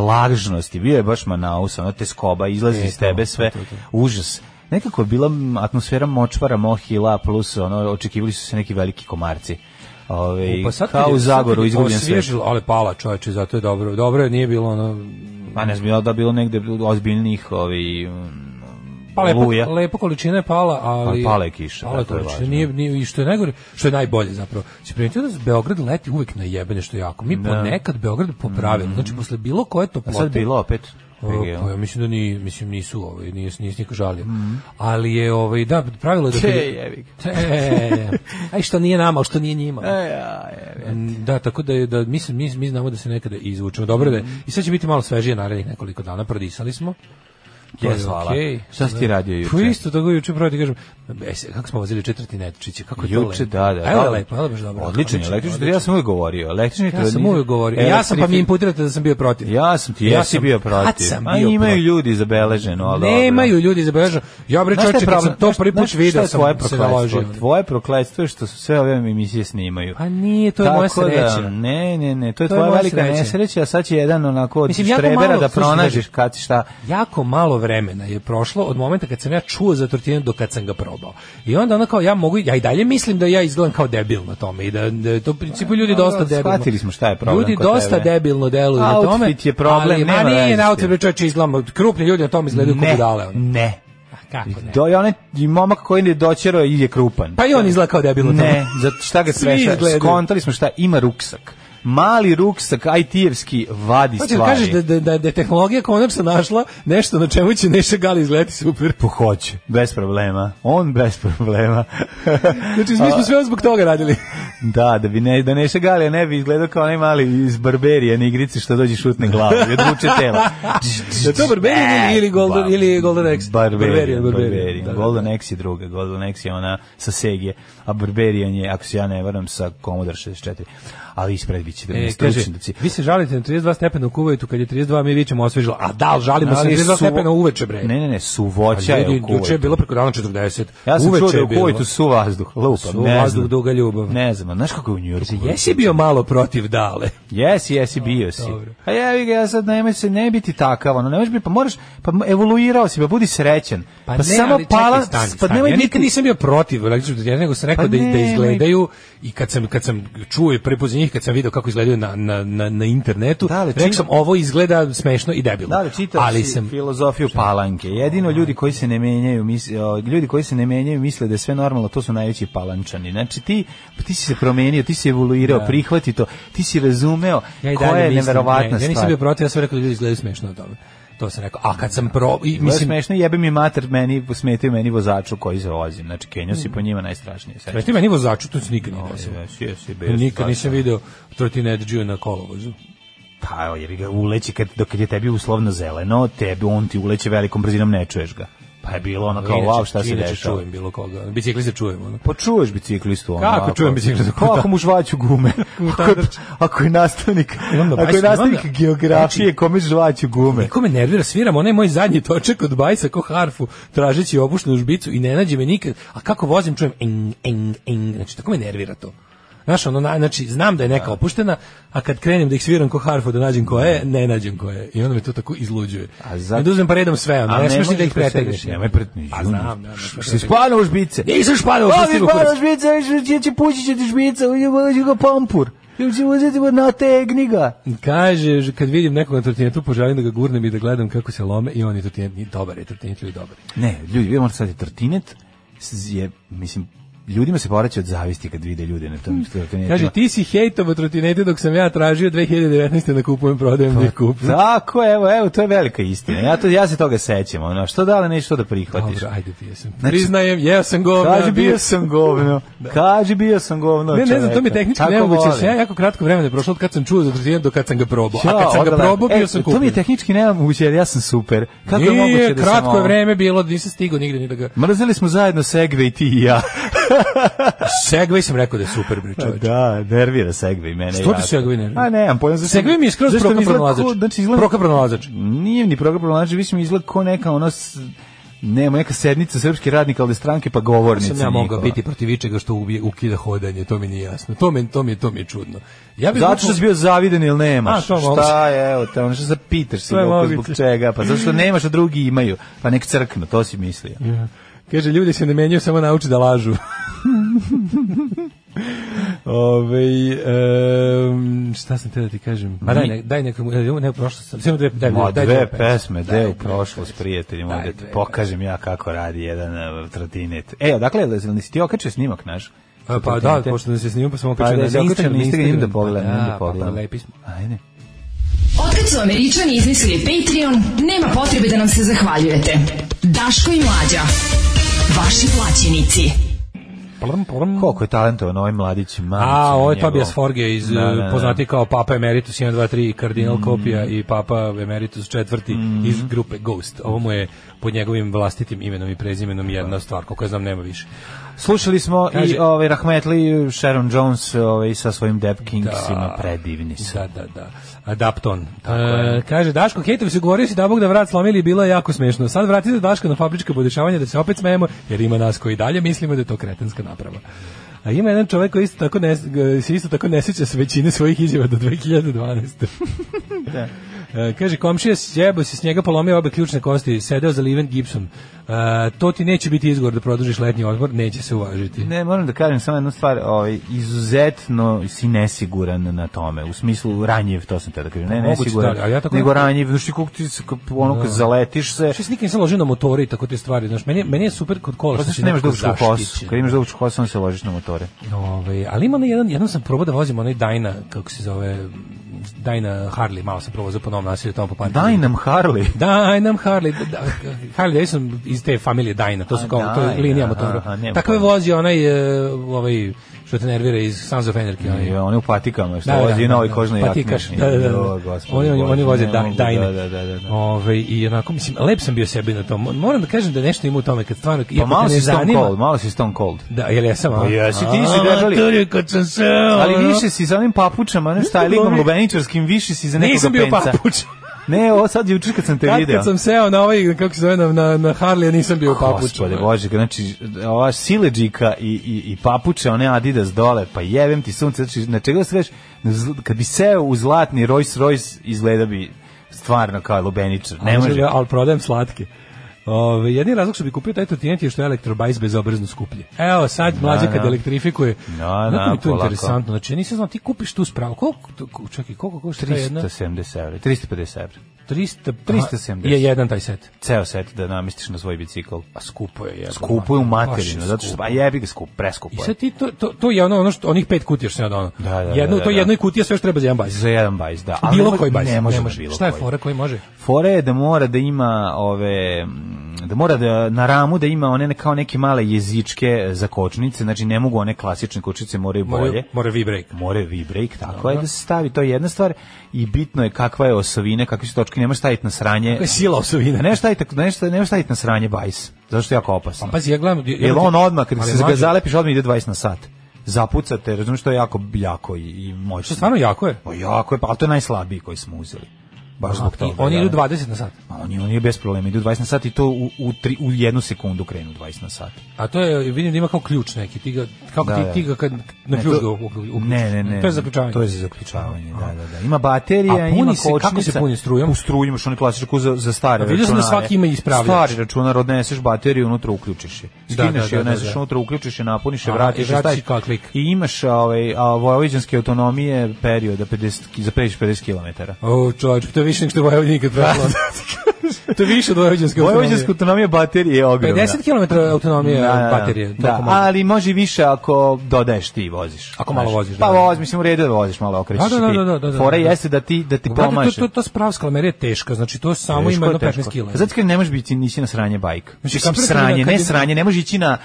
Speaker 8: vlažnosti. Bio je baš Manaus, ono te skoba, izlazi
Speaker 7: E,
Speaker 8: iz tebe sve. Užas. Nekako je bila mm, atmosfera močvara, mohila, plus ono, očekivali su se neki veliki komarci. Ove,
Speaker 7: Pa sad kad
Speaker 8: kao
Speaker 7: je-
Speaker 8: u
Speaker 7: sad kad
Speaker 8: Zagoru,
Speaker 7: je
Speaker 8: izgubljen sve.
Speaker 7: osvježilo, ali pala čoveče, zato je dobro. Dobro je, nije bilo ono
Speaker 8: Pa ne znam, ja da bilo negde ozbiljnih ovi, mm,
Speaker 7: Pa lepo,
Speaker 8: oluja.
Speaker 7: lepo količina je pala, ali...
Speaker 8: Pa pala je kiša,
Speaker 7: Pala je
Speaker 8: tako je
Speaker 7: količina,
Speaker 8: važno.
Speaker 7: nije, nije, i što je najgore, što je najbolje zapravo. Se primetio da Beograd leti uvek na jebene, što je jako. Mi ponekad Beograd popravimo, znači posle bilo koje
Speaker 8: A
Speaker 7: toplote...
Speaker 8: sad bilo opet.
Speaker 7: O,
Speaker 8: PGO.
Speaker 7: Pa ja mislim da ni, mislim nisu ovaj, nije, nije niko žalio.
Speaker 8: Mhm.
Speaker 7: Ali je, ovaj, da, pravilo je e, da...
Speaker 8: Te
Speaker 7: kad-
Speaker 8: jebi
Speaker 7: Te, Aj što nije nama, ali što nije njima.
Speaker 8: E,
Speaker 7: Da, tako da je, da mislim mi, mi znamo da se nekada izvučemo. Dobro da je.
Speaker 8: Mhm.
Speaker 7: I sad će biti malo svežije narednih nekoliko dana, prodisali smo. To
Speaker 8: Jes, hvala. Šta si ti radio juče?
Speaker 7: Pa isto tako juče pravo ti kažem. e, se- kako smo vozili četvrti netočiće, kako je to
Speaker 8: Juče,
Speaker 7: lepo.
Speaker 8: da, da.
Speaker 7: Evo je
Speaker 8: da.
Speaker 7: lepo, evo je baš dobro.
Speaker 8: Odličan je električni, ja sam uvijek govorio. Električni
Speaker 7: Ja sam
Speaker 8: trolejbus-
Speaker 7: uvijek govorio. Ja sam pa mi
Speaker 8: Elektrifi-
Speaker 7: imputirate da sam bio protiv.
Speaker 8: Ja sam ti,
Speaker 7: Ja
Speaker 8: jesi
Speaker 7: sam-
Speaker 8: bio
Speaker 7: kad
Speaker 8: protiv.
Speaker 7: sam
Speaker 8: A
Speaker 7: bio
Speaker 8: imaju
Speaker 7: protiv?
Speaker 8: ljudi zabeleženo, ali dobro. da.
Speaker 7: Nemaju ljudi zabeleženo. Ja bre
Speaker 8: Znaš šta je
Speaker 7: čoveče, kad sam
Speaker 8: problem?
Speaker 7: to
Speaker 8: Znaš-
Speaker 7: prvi put
Speaker 8: znaš šta je
Speaker 7: video
Speaker 8: tvoje
Speaker 7: sam se
Speaker 8: prokletstvo?
Speaker 7: naložio.
Speaker 8: Tvoje prokletstvo je što su sve ove emisije snimaju.
Speaker 7: Pa nije, to je moja
Speaker 8: Tako da,
Speaker 7: sreća.
Speaker 8: ne, ne, ne, to je
Speaker 7: To je
Speaker 8: tvoja
Speaker 7: moja
Speaker 8: velika
Speaker 7: sreća.
Speaker 8: nesreća, a sad će jedan onako od
Speaker 7: Mislim, jako
Speaker 8: štrebera
Speaker 7: malo-
Speaker 8: da
Speaker 7: slušaj,
Speaker 8: pronađeš
Speaker 7: Bože.
Speaker 8: kad šta.
Speaker 7: jako malo vremena je prošlo od momenta kad sam ja čuo za tortinu do kad sam ga probao. I onda ono kao ja mogu, ja i dalje mislim da ja izgledam kao debil na tome i da, da je to u principu ljudi dosta
Speaker 8: dobro,
Speaker 7: debilno.
Speaker 8: shvatili smo šta je problem
Speaker 7: Ljudi
Speaker 8: kod
Speaker 7: dosta
Speaker 8: tebe.
Speaker 7: debilno deluju na tome.
Speaker 8: Outfit je problem,
Speaker 7: ali,
Speaker 8: nema
Speaker 7: ma nije
Speaker 8: veze
Speaker 7: na
Speaker 8: s
Speaker 7: outfit,
Speaker 8: tim.
Speaker 7: čoveče, izgledamo, krupni ljudi na tome izgledaju kao budale. ono.
Speaker 8: ne.
Speaker 7: A kako ne?
Speaker 8: Do, Da, i onaj i momak koji ne doćero i je krupan.
Speaker 7: Pa i on izgleda kao debil na tome.
Speaker 8: Ne, zato šta ga
Speaker 7: Svi
Speaker 8: sveša,
Speaker 7: izgledaju.
Speaker 8: skontali smo šta, ima ruksak. Mali ruksak IT-evski vadi
Speaker 7: Hoćeš da
Speaker 8: stvari.
Speaker 7: kažeš da, da, da, da je tehnologija konačno našla nešto na čemu će Neša Gali izgledati super.
Speaker 8: Pohoće, Pa bez problema. On bez problema.
Speaker 7: Znači, mi smo sve zbog toga radili.
Speaker 8: Da, da bi ne, da Neša Galija ne bi izgledao kao onaj mali iz Barberije na igrici što dođe i šutne glavu i odvuče telo.
Speaker 7: Je Da to Barbarian ili- ili Golden-
Speaker 8: Ba-
Speaker 7: ili Golden Axe?
Speaker 8: Barbarian,
Speaker 7: Barbarian, Barbarian.
Speaker 8: Barbarian.
Speaker 7: Da, da,
Speaker 8: Golden Axe je druga, Golden Axe je ona sa Segije, a Barbarian je, ako se ja ne varam, sa Commodore 64. Ali ispred biće da mi
Speaker 7: E, kaže,
Speaker 8: stručnjaci.
Speaker 7: vi se žalite na 32 stepena u Kuvajtu, kad je 32, mi vićemo osvežilo. A da, ali žalimo se na
Speaker 8: Ali
Speaker 7: 32
Speaker 8: suvo-
Speaker 7: stepena uveče, bre.
Speaker 8: Ne, ne, ne,
Speaker 7: A
Speaker 8: suvoća je
Speaker 7: ljudi,
Speaker 8: u Kuvajtu.
Speaker 7: juče je bilo preko dana 40.
Speaker 8: Ja sam čuo
Speaker 7: Uveče
Speaker 8: da je
Speaker 7: je
Speaker 8: u
Speaker 7: bilo.
Speaker 8: Kuvajtu su vazduh, lupam,
Speaker 7: Suv
Speaker 8: ne znam.
Speaker 7: vazduh, duga ljubav.
Speaker 8: Ne znam, a znaš kako je u Njurku?
Speaker 7: Jesi bio malo protiv dale.
Speaker 8: Jesi, jesi, bio si.
Speaker 7: dobro.
Speaker 8: A ja ga, ja sad nemoj se, ne biti takav, ono, nemoj biti, pa moraš, pa evoluirao si, pa budi srećen.
Speaker 7: ne,
Speaker 8: samo
Speaker 7: ali čekaj,
Speaker 8: pala,
Speaker 7: stani,
Speaker 8: pa
Speaker 7: stani.
Speaker 8: nemoj
Speaker 7: ja nikad
Speaker 8: biti,
Speaker 7: nisam bio protiv električnog detektira, nego sam rekao
Speaker 8: Pa
Speaker 7: da, da
Speaker 8: nemoj.
Speaker 7: izgledaju i kad sam, kad sam čuo i prepozio njih, kad sam video kako izgledaju na, na, na, na internetu,
Speaker 8: Da, ali
Speaker 7: rekao
Speaker 8: čini-
Speaker 7: sam ovo izgleda smešno i debilno.
Speaker 8: da li čitaš
Speaker 7: ali
Speaker 8: si
Speaker 7: sam, Ovaj.
Speaker 8: filozofiju palanke. Jedino ljudi koji se ne menjaju, misle, o, ljudi koji se ne menjaju misle da je sve normalno, to su najveći palančani. Znači ti, ti si se promenio, ti si evoluirao, prihvati to, ti si razumeo
Speaker 7: Da. Ja i
Speaker 8: koja
Speaker 7: dalje
Speaker 8: je
Speaker 7: mislim,
Speaker 8: neverovatna
Speaker 7: ne, Ja nisam
Speaker 8: stvar.
Speaker 7: bio protiv, ja sam rekao da ljudi izgledaju smešno od toga. To sam rekao. A kad sam pro... I,
Speaker 8: Mislim,
Speaker 7: mislim,
Speaker 8: smešno, jebe mi mater, meni, smetaju meni vozaču koji se vozim. Znači, Kenjo si po njima najstrašnije. Sve.
Speaker 7: smešno je meni vozaču, to se nikad nije desilo.
Speaker 8: Jesi, jesi, bio si
Speaker 7: Nikad
Speaker 8: strašan.
Speaker 7: nisam video trotineđiju na kolovozu.
Speaker 8: Pa, evo, jer ga uleći kad, dok je tebi uslovno zeleno, tebi on ti uleće velikom brzinom, ne čuješ ga. Pa je bilo ono kao,
Speaker 7: Inače-
Speaker 8: wow, šta se
Speaker 7: inače
Speaker 8: dešava.
Speaker 7: čujem bilo koga. Bicikli se čujem. Ono.
Speaker 8: Pa čuješ biciklistu ono.
Speaker 7: Kako čujem biciklistu?
Speaker 8: Kako mu žvaću gume? ako, je, ako je nastavnik,
Speaker 7: onda
Speaker 8: ako je
Speaker 7: bajs-
Speaker 8: nastavnik
Speaker 7: onda- Znači,
Speaker 8: geografije, kome žvaću gume?
Speaker 7: Niko me nervira, sviram onaj moj zadnji točak od bajsa ko harfu, tražeći obušnu žbicu i ne nađe me nikad. A kako vozim, čujem eng, eng, eng. Znači, tako me nervira to. Znaš, ono, na- znači, znam da je neka opuštena, a kad krenem da ih sviram ko harfu da nađem ko je, ne nađem ko je. I onda me to tako izluđuje.
Speaker 8: A
Speaker 7: A
Speaker 8: za-
Speaker 7: za... Ne uzmem pa redom sve, ono, ne smiješ ni da ih pretegneš.
Speaker 8: Nemoj pretegneš.
Speaker 7: Pa znam, da, da,
Speaker 8: Si spano u žbice.
Speaker 7: Nisam špadao,
Speaker 8: Pa
Speaker 7: pusti
Speaker 8: mi
Speaker 7: me
Speaker 8: para
Speaker 7: kurac.
Speaker 8: žbice, žbice, će pući će ti žbica, uđe uđe ga pampur. Ili će uzeti ga nategni ga.
Speaker 7: Kaže, že kad vidim nekog na trotinetu, poželim da ga gurnem i da gledam kako se lome i on je trotinet, nije dobar je trotinet ili dobar. je.
Speaker 8: Ne, ljudi, vidimo sad je trotinet, s- je, mislim, ljudima se povraća od zavisti kad vide ljude na tom trotinetu.
Speaker 7: Kaže, ti si hejtovo trotinete dok sam ja tražio 2019. da kupujem, prodajem, ne kupujem.
Speaker 8: Tako, evo, evo, to je velika istina. Ja, to, ja se toga sećam, ono, što da li nešto da prihvatiš?
Speaker 7: Dobro, ajde, bio sam. Priznajem, jeo sam govna.
Speaker 8: Kaže, Znači, bio sam govno. Kaže, bio sam govno.
Speaker 7: Da. Ne, ne znam,
Speaker 8: čoveka.
Speaker 7: to mi je tehnički
Speaker 8: Tako
Speaker 7: nemoguće, jer
Speaker 8: volim.
Speaker 7: sam ja jako kratko vremena je prošlo od kad sam čuo za trotinet do kad sam ga probao. A kad sam ga
Speaker 8: odgledam.
Speaker 7: probao, bio
Speaker 8: E,
Speaker 7: sam
Speaker 8: To mi je
Speaker 7: kupio.
Speaker 8: tehnički nemoguće, jer ja sam super. Kako je moguće
Speaker 7: Nije,
Speaker 8: da sam
Speaker 7: kratko je
Speaker 8: ovo?
Speaker 7: vreme bilo, nisam stigao nigde ni da ga...
Speaker 8: Mrzeli smo zajedno Segve i ti i ja.
Speaker 7: Segway sam rekao da je super, bre, čoveč.
Speaker 8: Pa, da, nervira Segve i mene.
Speaker 7: Što ti
Speaker 8: jako.
Speaker 7: Segway nervira?
Speaker 8: A ne, ja pojam za
Speaker 7: Segway mi je skroz
Speaker 8: Zašto mi izgleda
Speaker 7: prokapronalazač.
Speaker 8: ko- Znači, izgleda...
Speaker 7: Prokapronalazač.
Speaker 8: Nije ni program pronalaži, više mi izgleda ko neka ono... s- Nema neka sednica srpske radnika, ali stranke pa govornica
Speaker 7: sam ja mogao
Speaker 8: njihova.
Speaker 7: biti protiv ičega što ubije, ukida hodanje, to mi nije jasno. To mi, to mi, to mi je čudno. Ja bih
Speaker 8: Zato što si bio zaviden ili nemaš.
Speaker 7: A, to mogu.
Speaker 8: Šta je, evo te, ono što se pitaš si
Speaker 7: To je
Speaker 8: opet zbog
Speaker 7: moguće.
Speaker 8: čega, pa zašto nemaš, a drugi imaju. Pa nek crknu, to si mislio.
Speaker 7: Kaže, ljudi se ne menjaju, samo nauči da lažu. Ove, em, šta sam te da ti kažem?
Speaker 8: Ma
Speaker 7: Ma daj,
Speaker 8: mi-
Speaker 7: ne, daj nekom, ne, ne, prošlo sam. Samo dve, daj,
Speaker 8: Ma,
Speaker 7: daj
Speaker 8: dve
Speaker 7: pesme.
Speaker 8: pesme,
Speaker 7: Daj
Speaker 8: deo u
Speaker 7: dve
Speaker 8: prošlost, prijatelji moji,
Speaker 7: Daj
Speaker 8: da ti
Speaker 7: dve
Speaker 8: pokažem ja kako radi jedan e, trotinet. E, odakle, da nisi ti okačio snimak naš?
Speaker 7: A, pa da,
Speaker 8: Trotinete?
Speaker 7: pošto da se snimam, pa sam
Speaker 8: Pa
Speaker 7: okačio
Speaker 8: da,
Speaker 7: na
Speaker 8: se okačio
Speaker 7: Instagram.
Speaker 8: na Instagram, idem da pogledam,
Speaker 7: Pa
Speaker 8: idem
Speaker 7: da,
Speaker 8: da
Speaker 7: pa
Speaker 8: pogledam.
Speaker 7: lepi smo.
Speaker 8: Ajde.
Speaker 5: Otkad su Američani izmislili Patreon, nema potrebe da nam se zahvaljujete. Daško i Mlađa. Vaši plaćenici.
Speaker 7: Plum, plum.
Speaker 8: Koliko je talentovan ovaj mladić, mamica.
Speaker 7: A, ovo je
Speaker 8: njegova.
Speaker 7: Tobias Forge iz,
Speaker 8: Da, da, Mm. da.
Speaker 7: poznati kao Papa Emeritus 1, 2, 3 i Kardinal Kopija i Papa Emeritus četvrti
Speaker 8: Mm.
Speaker 7: iz grupe Ghost. Ovo mu je pod njegovim vlastitim imenom i prezimenom jedna stvar, koliko ja znam nema više.
Speaker 8: Slušali smo i
Speaker 7: Kaže-
Speaker 8: ovaj Rahmetli Sharon Jones ovaj sa svojim Dep Kingsima predivni su.
Speaker 7: Da, da, da. Adapton. E, kaže, Daško, hejtovi su govorili si da Bog da vrat slomili i bilo je jako smešno. Sad vratite Daška na fabrička podešavanja da se opet smejemo, jer ima nas koji dalje mislimo da je to kretenska naprava. A ima jedan čovjek koji isto tako ne, se isto tako ne sjeća s većine svojih izjava do 2012.
Speaker 8: Da.
Speaker 7: E, kaže, komšija sjebo se s njega polomio obe ključne kosti, sedeo za Liven Gibson. E, to ti neće biti izgovor da produžiš letnji odmor, neće se uvažiti.
Speaker 8: Ne, moram da kažem samo jednu stvar, ovaj izuzetno si nesiguran na tome, u smislu ranjiv, to sam te da kažem, ne,
Speaker 7: Moguće,
Speaker 8: nesiguran,
Speaker 7: da, ali ja tako
Speaker 8: nego
Speaker 7: nekako- Da.
Speaker 8: ranjiv, znači kako ti se, kako ono kad zaletiš se,
Speaker 7: Što se nikad nisam ložio na motore i tako te stvari, znaš, meni, je- meni je super kod kola.
Speaker 8: pa
Speaker 7: što
Speaker 8: znaš
Speaker 7: si
Speaker 8: nemaš
Speaker 7: nekako
Speaker 8: dugačku kosu,
Speaker 7: zaštićen.
Speaker 8: kad imaš da dugačku kosu, onda se ložiš na motore.
Speaker 7: Ovaj, ali ima onaj jedan, jednom sam probao da vozim onaj Dajna, kako se zove, Dajna Harley, malo sam probao za po novom nasilju, tamo po parku.
Speaker 8: Daj nam Harley.
Speaker 7: Dajnam Harley, da, da, Harley Davidson iz te familije Dajna, to su
Speaker 8: A,
Speaker 7: kao, to je
Speaker 8: Dyna,
Speaker 7: linija motora.
Speaker 8: aha, nema
Speaker 7: Takve
Speaker 8: pojma.
Speaker 7: vozi onaj, e, ovaj, što te nervira iz Sons of Anarchy, onaj
Speaker 8: I on je u patikama, što vozi i na ovoj kožnoj jakni.
Speaker 7: Patikaš, da, da, da.
Speaker 8: Jo, gospode
Speaker 7: Oni, oni, oni
Speaker 8: Bože,
Speaker 7: voze
Speaker 8: ne
Speaker 7: da,
Speaker 8: mogu,
Speaker 7: dajne.
Speaker 8: Da, da, da, da. da.
Speaker 7: Ove, I onako, mislim, lep sam bio sebi na tom. Moram da kažem da nešto ima u tome, kad stvarno,
Speaker 8: Pa
Speaker 7: iako
Speaker 8: malo
Speaker 7: te
Speaker 8: si
Speaker 7: ne
Speaker 8: Stone
Speaker 7: zanima.
Speaker 8: Cold, malo si Stone Cold.
Speaker 7: Da, jel jesam, a?
Speaker 8: Pa jesi, ti si
Speaker 7: A,
Speaker 8: držali.
Speaker 7: maturi, kad sam se,
Speaker 8: Ali
Speaker 7: ono.
Speaker 8: više si za onim papučama, ne
Speaker 7: Dobro.
Speaker 8: stajlingom lubeničarskim, više si za nekoga
Speaker 7: Nisam bio
Speaker 8: penca.
Speaker 7: papuč.
Speaker 8: Ne, ovo sad juče kad sam te
Speaker 7: Kad,
Speaker 8: video.
Speaker 7: kad sam seo na ovaj, kako se zove, na, na, na Harley, nisam bio papuč.
Speaker 8: Gospode Bože, znači, ova sileđika i, i, i papuče, one Adidas dole, pa jevem ti sunce, znači, na čega se veš, kad bi seo u zlatni Rolls Royce, izgleda bi stvarno kao lubeničar, ne
Speaker 7: Ali,
Speaker 8: može.
Speaker 7: da, ali prodajem slatke. Ove, jedni razlog što bi kupio taj trotinet je što je elektrobajs bezobrazno skuplje. Evo, sad mlađe kad
Speaker 8: da.
Speaker 7: elektrifikuje.
Speaker 8: Da,
Speaker 7: Znate
Speaker 8: da,
Speaker 7: mi to
Speaker 8: polako.
Speaker 7: interesantno. Znači, ja nisam znao, ti kupiš tu spravu. Koliko, to- ko- čekaj, koliko košta ta jedna?
Speaker 8: 370 evra, 350 evra.
Speaker 7: 300,
Speaker 8: 370.
Speaker 7: Je jedan taj set.
Speaker 8: Ceo set da namestiš na svoj bicikl.
Speaker 7: Pa skupo je. jebote.
Speaker 8: Skupo je da. u
Speaker 7: Baš je
Speaker 8: materinu, zato što,
Speaker 7: skupo.
Speaker 8: a jebi ga skup, preskupo
Speaker 7: I
Speaker 8: je.
Speaker 7: sad ti to, to, to je ono, ono što, onih pet kutija što sam ja donao.
Speaker 8: Da, da, da,
Speaker 7: Jedno,
Speaker 8: da,
Speaker 7: to
Speaker 8: da.
Speaker 7: jednoj kutija sve što treba za jedan bajs.
Speaker 8: Za jedan bajs, da. Ali ne
Speaker 7: Bilo
Speaker 8: mo-
Speaker 7: koji bajs.
Speaker 8: Ne može,
Speaker 7: ne
Speaker 8: na
Speaker 7: može.
Speaker 8: bilo
Speaker 7: Šta je
Speaker 8: koji.
Speaker 7: fora koji može?
Speaker 8: Fora je da mora da ima ove mm, da mora da na ramu da ima one ne- kao neke male jezičke za kočnice, znači ne mogu one klasične kočnice, moraju bolje.
Speaker 7: More, more V-break.
Speaker 8: More V-break, tako je da se stavi, to je jedna stvar i bitno je kakva je osovina, kakvi su točke, ne možeš staviti na sranje.
Speaker 7: Kakva je sila osovine?
Speaker 8: Ne možeš staviti, ne možeš- ne možeš staviti na sranje bajs, zato što je jako opasno.
Speaker 7: Pa Pazi, ja gledam... ja-
Speaker 8: Jel on odmah, kad
Speaker 7: Ali
Speaker 8: se ga
Speaker 7: mlađe,
Speaker 8: zalepiš, odmah ide 20 na sat. Zapucate, razumiješ, to je jako, jako i, i moćno.
Speaker 7: Što stvarno jako je.
Speaker 8: Pa jako je, pa ali to je najslabiji koji smo uzeli. Baš zbog
Speaker 7: I
Speaker 8: toga.
Speaker 7: oni
Speaker 8: da.
Speaker 7: idu 20 na sat.
Speaker 8: Ma oni, oni bez problema idu 20 na sat i to u, u, tri, u jednu sekundu krenu 20 na sat.
Speaker 7: A to je, vidim da ima kao ključ neki. Ti ga, kako
Speaker 8: Da,
Speaker 7: ti,
Speaker 8: da.
Speaker 7: ti ga kad na
Speaker 8: Ne,
Speaker 7: ključ
Speaker 8: to-
Speaker 7: ga uključ.
Speaker 8: Ne, ne, ne.
Speaker 7: To je zaključavanje.
Speaker 8: To je za zaključavanje, da, da, da. Ima baterija,
Speaker 7: A puni
Speaker 8: ima
Speaker 7: se-
Speaker 8: kočnica.
Speaker 7: kako se puni? Strujom?
Speaker 8: U struju imaš onaj klasičku za, za stare
Speaker 7: Da, vidio sam da svaki ima ispravljač.
Speaker 8: Stari računar, odneseš bateriju, unutra uključiš je.
Speaker 7: Da, da,
Speaker 8: Skineš
Speaker 7: da,
Speaker 8: je,
Speaker 7: da,
Speaker 8: odneseš
Speaker 7: da.
Speaker 8: unutra, uključiš je, napuniš je,
Speaker 7: Aha,
Speaker 8: vratiš
Speaker 7: i
Speaker 8: je,
Speaker 7: vratiš
Speaker 8: staviš.
Speaker 7: i kao klik.
Speaker 8: I imaš ovaj, a, vojvođanske autonomije perioda 50, ki- za pređeš 50 km.
Speaker 7: O, čovječ, to je više nego što je Vojvodin nikad
Speaker 8: Da,
Speaker 7: prešla. to je više od Vojvodinske autonomije.
Speaker 8: Vojvođanska autonomija baterije je ogromna.
Speaker 7: 50 km autonomije
Speaker 8: Da, da, da.
Speaker 7: baterije.
Speaker 8: Da,
Speaker 7: Da,
Speaker 8: ali može i više ako dodaješ ti i voziš.
Speaker 7: Ako malo voziš,
Speaker 8: Da,
Speaker 7: da,
Speaker 8: pa
Speaker 7: da.
Speaker 8: voz, mislim u redu je da voziš malo, okrećeš
Speaker 7: Da,
Speaker 8: i
Speaker 7: da,
Speaker 8: ti.
Speaker 7: da, da, da, da,
Speaker 8: Fora
Speaker 7: da.
Speaker 8: jeste da ti da ti
Speaker 7: Brate,
Speaker 8: pomaže.
Speaker 7: To, to, to sprava skalamerija je teška, znači to samo ima jedno 15 kila.
Speaker 8: Zato ti kažem, ne možeš biti nisi na sranje bajk.
Speaker 7: Znači,
Speaker 8: Mislim
Speaker 7: kapiraš kad je-
Speaker 8: sranje,
Speaker 7: kad
Speaker 8: ne
Speaker 7: je-
Speaker 8: sranje, ne možeš ići na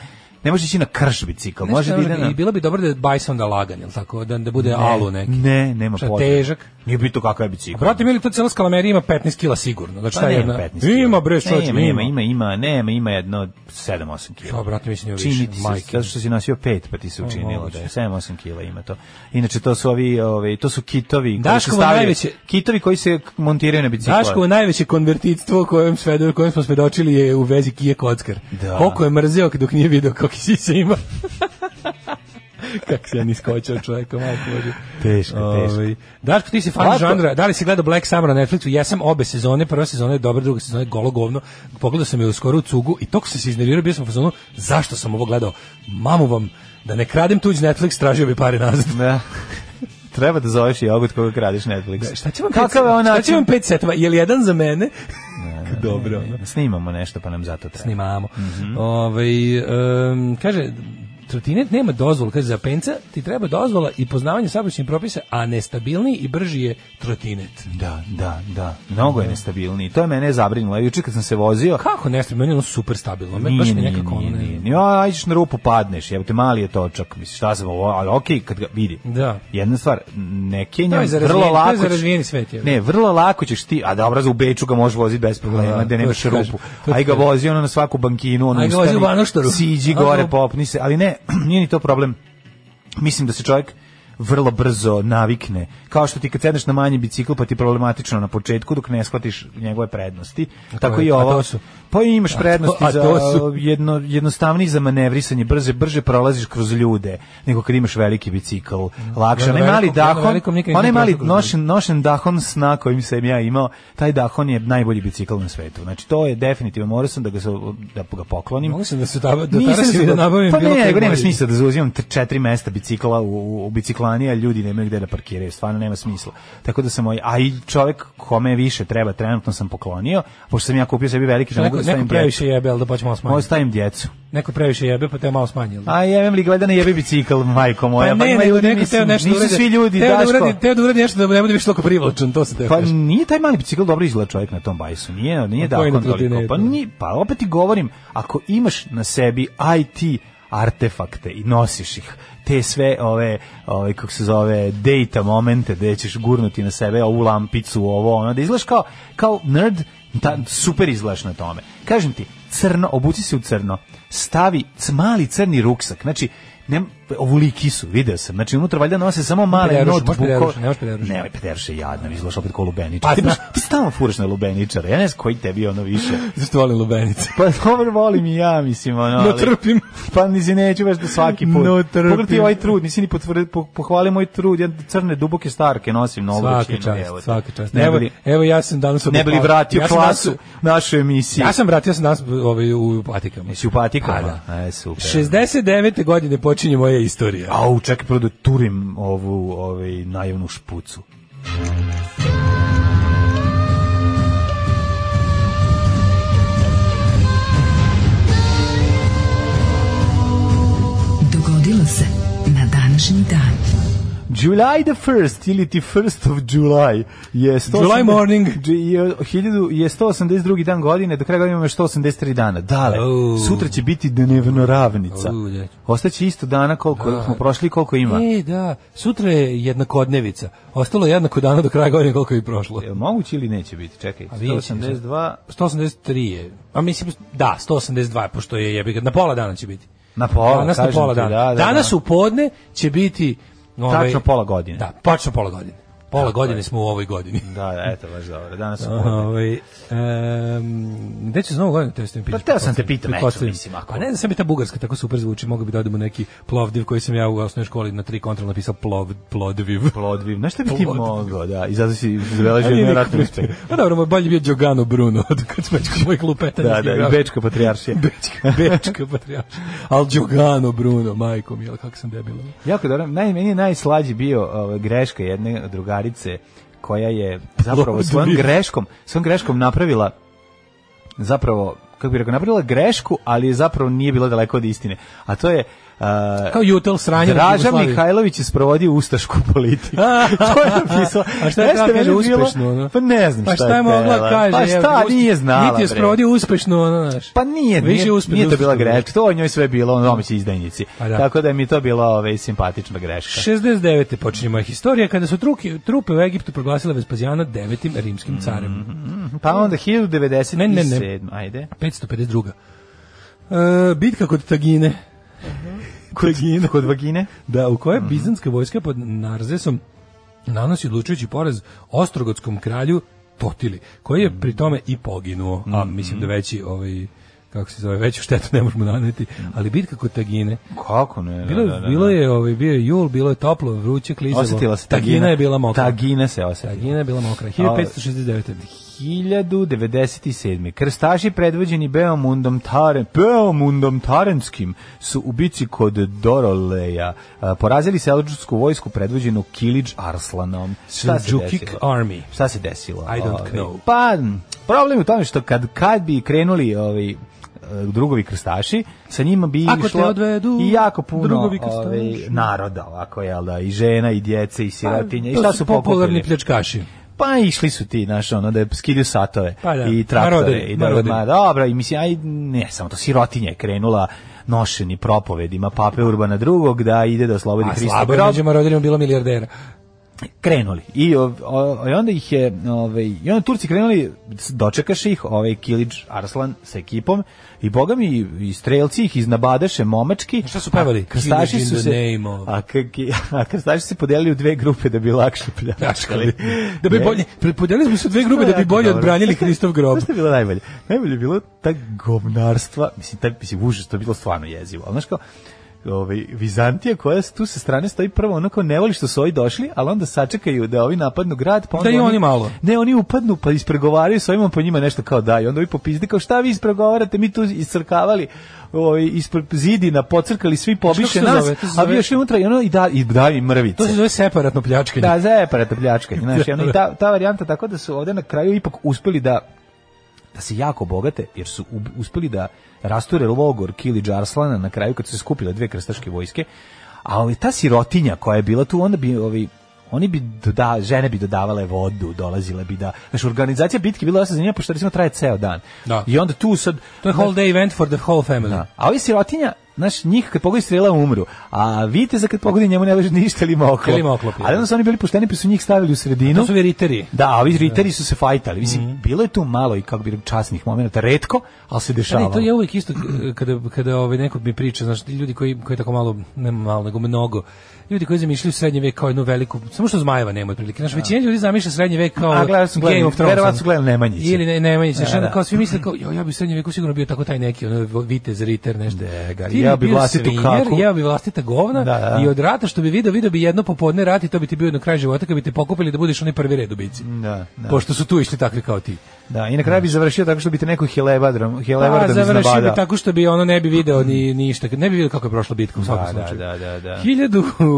Speaker 8: ne možeš ići na krš bicikl.
Speaker 7: Nešto
Speaker 8: Može da
Speaker 7: ne
Speaker 8: ide
Speaker 7: može-
Speaker 8: na
Speaker 7: I bilo bi dobro da je bajs onda lagan, jel tako? Da, da bude alu neki.
Speaker 8: Ne, nema
Speaker 7: Šta,
Speaker 8: potrebe.
Speaker 7: težak?
Speaker 8: Nije bitno kakav je bicikl.
Speaker 7: Brate, mili, to cela skalamerija ima 15 kila sigurno. Znači,
Speaker 8: Pa
Speaker 7: ta
Speaker 8: nema
Speaker 7: jedna...
Speaker 8: 15 kila.
Speaker 7: Ima, bre, čovječ,
Speaker 8: Nema, nema, ima, ima, nema, ima jedno 7-8 kila.
Speaker 7: Ja, brate, mislim, ima
Speaker 8: Čini
Speaker 7: više.
Speaker 8: ti se,
Speaker 7: Majke.
Speaker 8: zato što si nosio pet, pa ti se učinilo
Speaker 7: moguće.
Speaker 8: da je 7-8 kila ima to. Inače, to su ovi, ove, to su kitovi koji
Speaker 7: Daškovo
Speaker 8: se stavljaju,
Speaker 7: najveće-
Speaker 8: kitovi koji se montiraju na bicikle.
Speaker 7: Daško, najveće konvertitstvo kojem, svedo, kojem smo svedočili je u vezi Kije Kockar.
Speaker 8: Da.
Speaker 7: Koliko je mrzeo dok nije video kako si se ima. Kako se ja niskočio čovjeka, majko Božja.
Speaker 8: Teško, teško.
Speaker 7: Ovaj, Daško, ti si fan
Speaker 8: Lako.
Speaker 7: žanra. Da li si gledao Black Summer na Netflixu? Jesam obe sezone. Prva sezona je dobra, druga sezona je golo govno. Pogledao sam je u skoru u cugu i toliko sam se iznervirao, bio sam u fazonu, zašto sam ovo gledao? Mamu vam, da ne kradem tuđ Netflix, tražio bi pare nazad.
Speaker 8: Da. treba da zoveš jogurt koga kradeš Netflix.
Speaker 7: Da, šta će vam
Speaker 8: Kakav je
Speaker 7: pet,
Speaker 8: ona?
Speaker 7: šta će vam pet setova? Je li jedan za mene? Dobro. ono.
Speaker 8: E, Snimamo nešto pa nam zato treba.
Speaker 7: Snimamo.
Speaker 8: Mhm.
Speaker 7: Ovaj, em, kaže, trotinet nema dozvolu, kaže, za penca ti treba dozvola i poznavanje saobraćajnih propisa, a nestabilniji i brži je trotinet.
Speaker 8: Da, da, da. Mnogo je nestabilniji. To je mene zabrinulo. Juče kad sam se vozio,
Speaker 7: Kako nestabilno? Meni je ono super stabilno. Meni
Speaker 8: Nije,
Speaker 7: baš mi
Speaker 8: nije,
Speaker 7: nekako
Speaker 8: nije,
Speaker 7: ono... ne-
Speaker 8: nije, nije. Ja, ajdeš na rupu padneš, jebote mali je točak. Mislim šta sam ovo, ali okej kad ga vidi.
Speaker 7: Da.
Speaker 8: Jedna stvar, ne Kenja,
Speaker 7: To je za
Speaker 8: vrlo
Speaker 7: razvijen- to je
Speaker 8: lako.
Speaker 7: za
Speaker 8: ćeš-
Speaker 7: razvijeni svet, je.
Speaker 8: Ne, vrlo lako ćeš ti, a dobro, za u Beču ga možeš voziti bez problema,
Speaker 7: Da,
Speaker 8: gde nemaš
Speaker 7: to ti kažem,
Speaker 8: rupu.
Speaker 7: to ti
Speaker 8: Aj ga
Speaker 7: kažem.
Speaker 8: vozi ono na svaku bankinu, ono
Speaker 7: Aj ga vozi u Banoštoru.
Speaker 8: Siđi
Speaker 7: A,
Speaker 8: gore,
Speaker 7: dobro.
Speaker 8: popni se, ali ne, nije ni to problem. Mislim da se čovjek vrlo brzo navikne. Kao što ti kad sedneš na manji bicikl pa ti je problematično na početku dok ne shvatiš njegove prednosti. Tako
Speaker 7: koje?
Speaker 8: i
Speaker 7: A
Speaker 8: ovo.
Speaker 7: to su?
Speaker 8: Pa imaš prednosti
Speaker 7: a
Speaker 8: za
Speaker 7: to su?
Speaker 8: jedno, jednostavniji za manevrisanje, brže, brže prolaziš kroz ljude nego kad imaš veliki bicikl, lakše.
Speaker 7: Mhm. Ja na
Speaker 8: Onaj mali
Speaker 7: velikom- ja na
Speaker 8: dahon,
Speaker 7: velikom nikad nisam
Speaker 8: onaj mali
Speaker 7: prolazio kroz
Speaker 8: nošen, nošen dahon sna kojim sam ja imao, taj dahon je najbolji bicikl na svetu. Znači, to je definitivno, morao sam da ga, se- da ga poklonim.
Speaker 7: Mogu sam da se taba, da
Speaker 8: Nisam
Speaker 7: tarasim da
Speaker 8: siguran.
Speaker 7: nabavim
Speaker 8: pa
Speaker 7: bilo
Speaker 8: ne,
Speaker 7: koji
Speaker 8: nego nema
Speaker 7: bolji.
Speaker 8: smisla da zauzimam t- četiri mesta bicikla u, u, u biciklani, a ljudi nemaju gde da parkiraju, stvarno nema smisla. Tako da sam moj, a i čovjek kome više treba, trenutno sam poklonio, pošto sam ja kupio sebi veliki, da mogu
Speaker 7: Neko,
Speaker 8: da
Speaker 7: neko
Speaker 8: stavim djecu.
Speaker 7: previše jebe, ali da počnemo
Speaker 8: Mogu da
Speaker 7: smanjiti.
Speaker 8: stavim djecu.
Speaker 7: Neko previše jebe, pa te malo smanjili.
Speaker 8: A jebem li gleda ne jebe bicikl, majko moja.
Speaker 7: Pa ne,
Speaker 8: ima
Speaker 7: nego
Speaker 8: ljudi,
Speaker 7: neko
Speaker 8: mislim,
Speaker 7: teo nešto da
Speaker 8: Nisu
Speaker 7: uradi.
Speaker 8: svi ljudi,
Speaker 7: teo
Speaker 8: Daško.
Speaker 7: Da uradi, teo da uradi nešto da ne bude više toliko privlačan, to se teo
Speaker 8: Pa
Speaker 7: kaže.
Speaker 8: nije taj mali bicikl dobro izgleda čovjek na tom bajsu. Nije, nije
Speaker 7: Pa koji
Speaker 8: dakon
Speaker 7: na
Speaker 8: toliko. Pa,
Speaker 7: trotinetu?
Speaker 8: ni, pa opet ti govorim, ako imaš na sebi IT artefakte i nosiš ih, te sve ove, ove kako se zove, data momente gde ćeš gurnuti na sebe ovu lampicu, ovo, ono, da izgledaš kao, kao nerd, ta, super izgledaš na tome. Kažem ti, crno, obuci se u crno, stavi c- mali crni ruksak, znači, ne, ovuliki su, video sam, znači unutra valjda nose samo male
Speaker 7: Pederuš, možeš
Speaker 8: notebookove.
Speaker 7: pederuš, ne možeš pederuš.
Speaker 8: Nemoj pederuše jadno, izgledaš opet kao lubeničar.
Speaker 7: Pa
Speaker 8: ti, baš,
Speaker 7: zna.
Speaker 8: ti stalno furaš na lubeničara, ja ne znam koji tebi ono više.
Speaker 7: Zašto volim lubenice?
Speaker 8: Pa dobro volim i ja, mislim, ono, ali...
Speaker 7: No trpim.
Speaker 8: Pa nisi neću baš da svaki put.
Speaker 7: No, trpim.
Speaker 8: Pogledaj ti ovaj trud, nisi ni potvrdi, po, pohvali moj trud, ja crne, duboke starke nosim na ovu
Speaker 7: Svaka
Speaker 8: većinu,
Speaker 7: čast,
Speaker 8: evo te.
Speaker 7: svaka čast.
Speaker 8: Ne
Speaker 7: Evo,
Speaker 8: bi li,
Speaker 7: evo ja sam danas
Speaker 8: ne bi li
Speaker 7: obuhvalio-
Speaker 8: vratio
Speaker 7: ja sam danas-
Speaker 8: klasu našu emisiju.
Speaker 7: Ja sam vratio sam danas ovaj, u patikama.
Speaker 8: Jesi u patikama?
Speaker 7: Pa da.
Speaker 8: E, super.
Speaker 7: 69. godine počinje moja istorija.
Speaker 8: Au, čekaj, prvo da turim ovu ovaj, naivnu špucu.
Speaker 5: Dogodilo se na današnji dan.
Speaker 8: July the 1st ili ti 1st of July je 180
Speaker 7: July morning.
Speaker 8: Dž- je 1000 je 182. dan godine, do kraja godine imamo još 183 dana. Dale,
Speaker 7: Au.
Speaker 8: sutra će biti dnevno ravnica.
Speaker 7: Au, da.
Speaker 8: Ostaće isto dana koliko smo prošli, i koliko ima.
Speaker 7: E, da, sutra je jednakodnevica. Ostalo je jednako dana do kraja godine koliko je i prošlo.
Speaker 8: Jel moguće ili neće biti? Čekaj,
Speaker 7: A vidjet ćemo
Speaker 8: 182
Speaker 7: 183 je. A mislim, da, 182 je, pošto je jebiga. Na pola dana će biti.
Speaker 8: na pola,
Speaker 7: Danas na
Speaker 8: kažem
Speaker 7: pola
Speaker 8: ti,
Speaker 7: dana.
Speaker 8: Da, da,
Speaker 7: Danas
Speaker 8: da.
Speaker 7: u podne će biti... Ovaj,
Speaker 8: Tačno pola godine.
Speaker 7: Da, tačno pola godine. Pola godine smo u ovoj godini.
Speaker 8: Da, da, eto, baš dobro. Danas u podne.
Speaker 7: Ovaj em, gde će za novu godinu te ste mi pitali?
Speaker 8: Pa teo sam te pitam, eto,
Speaker 7: Pretpostavljam.
Speaker 8: mislim, ako-
Speaker 7: A ne, da sam bi ta bugarska tako super zvuči, mogu bi da odemo neki plovdiv koji sam ja u osnovnoj školi na tri kontra napisao plov, plodviv.
Speaker 8: Plodviv. Znaš šta bi ti
Speaker 7: Plodviv.
Speaker 8: mogao, da? I zato si
Speaker 7: A
Speaker 8: zbeležio
Speaker 7: nije
Speaker 8: nevjerojatni
Speaker 7: nikako-
Speaker 8: uspeh.
Speaker 7: Pa dobro, moj bolji bio Đogano Bruno, od kad smo već kod mojih lupeta.
Speaker 8: Da, da, i Bečka patrijaršija.
Speaker 7: Bečka, Bečka patrijarš. Al Đogano Bruno, majko mi, kako sam debilan.
Speaker 8: Jako dobro. Naj, meni je najslađi bio ovaj, greška jedne drugarice koja je zapravo
Speaker 7: Plodviv.
Speaker 8: svojom greškom, svojom greškom napravila zapravo kako bi rekao, napravila grešku, ali je zapravo nije bila daleko od istine. A to je uh,
Speaker 7: Kao Jutel sranje. na
Speaker 8: Draža
Speaker 7: Jugoslaviji.
Speaker 8: Mihajlović je sprovodio ustašku politiku. to je napisala.
Speaker 7: A šta je
Speaker 8: Jeste
Speaker 7: tela kaže
Speaker 8: meni bilo-
Speaker 7: uspešno? Ono?
Speaker 8: Pa ne znam
Speaker 7: Pa šta
Speaker 8: tela.
Speaker 7: je mogla kaže?
Speaker 8: Pa šta,
Speaker 7: jebote,
Speaker 8: nije znala.
Speaker 7: Niti je
Speaker 8: bre.
Speaker 7: sprovodio uspešno, ono, znaš.
Speaker 8: Pa nije,
Speaker 7: Više
Speaker 8: nije,
Speaker 7: uspešno,
Speaker 8: nije to bila
Speaker 7: uspešno.
Speaker 8: greška. To o njoj sve bilo, ono domaći izdajnici.
Speaker 7: Pa da.
Speaker 8: Tako da je mi to bila ovaj, simpatična greška.
Speaker 7: 69. počinje moja historija kada su truke, trupe u Egiptu proglasile Vespazijana devetim rimskim carem.
Speaker 8: Pa onda 1097.
Speaker 7: Ne, ne, ne.
Speaker 8: Ajde.
Speaker 7: 552. E, bitka kod Tagine.
Speaker 8: Kod, kod vagine?
Speaker 7: Da, u kojoj
Speaker 8: Mhm.
Speaker 7: bizanska vojska pod Narzesom nanosi odlučujući poraz
Speaker 8: Mhm.
Speaker 7: ostrogotskom kralju Totili, koji je pri tome i poginuo, a mislim da veći ovaj kako se zove, veću štetu ne možemo naneti, ali bitka kod tagine.
Speaker 8: Kako ne?
Speaker 7: Bilo, je-
Speaker 8: Mhm. da, da, da.
Speaker 7: bilo je, ovaj, bio je jul, bilo je toplo, vruće, klizalo.
Speaker 8: Osetila se
Speaker 7: tagina. je bila mokra.
Speaker 8: Tagina se osetila.
Speaker 7: Tagina je bila mokra. 1569.
Speaker 8: 1097. Krstaši predvođeni Beomundom, Taren, Beomundom Tarenskim su u bici kod Doroleja a, porazili selđučku vojsku predvođenu Kilidž Arslanom. Šta se
Speaker 7: Seljuk
Speaker 8: desilo?
Speaker 7: Army.
Speaker 8: Šta se desilo?
Speaker 7: I don't
Speaker 8: Ovaj,
Speaker 7: know.
Speaker 8: Pa, m, problem je u tome što kad, kad bi krenuli ovaj, e, drugovi krstaši, sa njima bi
Speaker 7: Ako te
Speaker 8: išlo
Speaker 7: odvedu
Speaker 8: i jako puno
Speaker 7: drugovi krstaši. Pa,
Speaker 8: ovaj, naroda, ovako, jel da, i žena, i djece, i sirotinje, i
Speaker 7: To
Speaker 8: šta su
Speaker 7: popularni
Speaker 8: pokupili?
Speaker 7: pljačkaši.
Speaker 8: Pa išli su ti, znaš, ono, da skidaju satove
Speaker 7: Pa da,
Speaker 8: i traktore.
Speaker 7: maroderi,
Speaker 8: i da,
Speaker 7: maroderi.
Speaker 8: ma, dobro, i mislim, aj, ne, samo to sirotinja je krenula nošeni propovedima Pape Urbana drugog da ide da oslobodi
Speaker 7: A
Speaker 8: Hrista
Speaker 7: slabo je
Speaker 8: grob.
Speaker 7: među maroderima bilo milijardera.
Speaker 8: Krenuli. I, o, o- i onda ih je, ovaj, i onda Turci krenuli, s- dočekaše ih, ovaj Kilić Arslan sa ekipom i boga mi i strelci ih iznabadaše momački.
Speaker 7: Šta su pevali?
Speaker 8: A Krstaši
Speaker 7: Killers in
Speaker 8: su
Speaker 7: the
Speaker 8: se,
Speaker 7: name of-
Speaker 8: a, k- ki- a krstaši su se podelili u dve grupe da bi lakše pljačkali.
Speaker 7: Pljačkali. Da bi
Speaker 8: Ne.
Speaker 7: bolje, prepodelili smo se u dve grube
Speaker 8: To je
Speaker 7: da bi
Speaker 8: jako
Speaker 7: bolje
Speaker 8: dobro.
Speaker 7: odbranili Kristov grob.
Speaker 8: Znaš šta je bilo najbolje? Najbolje je bilo ta gomnarstva, mislim, taj, mislim, užas, to je bilo stvarno jezivo, ali znaš kao, ovaj, Vizantija koja s- tu sa strane stoji prvo ono kao ne voli što su ovi došli, ali onda sačekaju da ovi napadnu grad, pa onda
Speaker 7: Da i oni malo.
Speaker 8: Ne, oni upadnu pa ispregovaraju s ovima po njima nešto kao da, i onda ovi popizde kao šta vi ispregovarate, mi tu iscrkavali ovaj, ispred zidina, pocrkali, svi
Speaker 7: Znaš
Speaker 8: pobiše
Speaker 7: kako se
Speaker 8: nas,
Speaker 7: zove? To se
Speaker 8: a vi
Speaker 7: zove-
Speaker 8: još i unutra i ono i da, i da, i mrvice.
Speaker 7: To se zove separatno pljačkanje.
Speaker 8: Da, za eparata pljačkanje. Znaš, i ono, i ta, ta varijanta tako da su ovde na kraju ipak uspeli da da se jako bogate, jer su ub- uspeli da rasture logor Kili Arslana na kraju kad su se skupile dve krstaške vojske, a ovi, ta sirotinja koja je bila tu, onda bi ovi, oni bi doda, žene bi dodavale vodu, dolazile bi da... Znači, organizacija bitke bila dosta zanimljiva, pošto recimo traje ceo dan.
Speaker 7: Da.
Speaker 8: I onda tu sad...
Speaker 7: To je whole day event for the whole family.
Speaker 8: Da. A ovi sirotinja, znaš, njih kad pogodi strela umru, a vidite za kad pogodi njemu ne leže ništa ili ima oklop.
Speaker 7: Ili ima oklop, ja.
Speaker 8: Ali onda su oni bili pošteni pa su njih stavili u sredinu.
Speaker 7: To su veriteri.
Speaker 8: Da, a ovi riteri su se fajtali. Mislim,
Speaker 7: Mhm.
Speaker 8: bilo je tu malo i kako bi rekao, časnih momenata, retko, ali se
Speaker 7: Da,
Speaker 8: dešavalo.
Speaker 7: ne, to je uvijek isto k- kada kada ovaj neko mi priča, znači ljudi koji koji tako malo ne malo nego mnogo ljudi koji zamišljaju srednji vek kao jednu veliku, samo što zmajeva nema otprilike. Znači većina ljudi zamišlja srednji vek kao
Speaker 8: Da. A, gledali su, gledali,
Speaker 7: Game of Thrones.
Speaker 8: verovatno su gledali Nemanjića.
Speaker 7: Ili ne, Nemanjića, znači
Speaker 8: Da,
Speaker 7: onda
Speaker 8: da.
Speaker 7: kao svi misle kao jo, ja bi u srednjem veku sigurno bio tako taj neki ono vitez riter nešto.
Speaker 8: Dega,
Speaker 7: Ti
Speaker 8: jeo bi
Speaker 7: bio
Speaker 8: vlastitu
Speaker 7: svinjer,
Speaker 8: kaku.
Speaker 7: Jeo bi vlastita govna
Speaker 8: Da, da.
Speaker 7: i od rata što bi video, video bi jedno popodne rat i to bi ti bio na kraju života kad bi te pokupili da budeš onaj prvi red u bici.
Speaker 8: Da, da.
Speaker 7: Pošto su tu išli takvi kao ti.
Speaker 8: Da, i na kraju bi završio tako što bi te neko helebardom,
Speaker 7: Pa,
Speaker 8: helebardom
Speaker 7: završio bi
Speaker 8: iznabadao.
Speaker 7: tako što bi ono ne bi video ni ništa, ne bi video kako je prošla bitka u svakom
Speaker 8: Da, da,
Speaker 7: slučaju.
Speaker 8: da, da, da.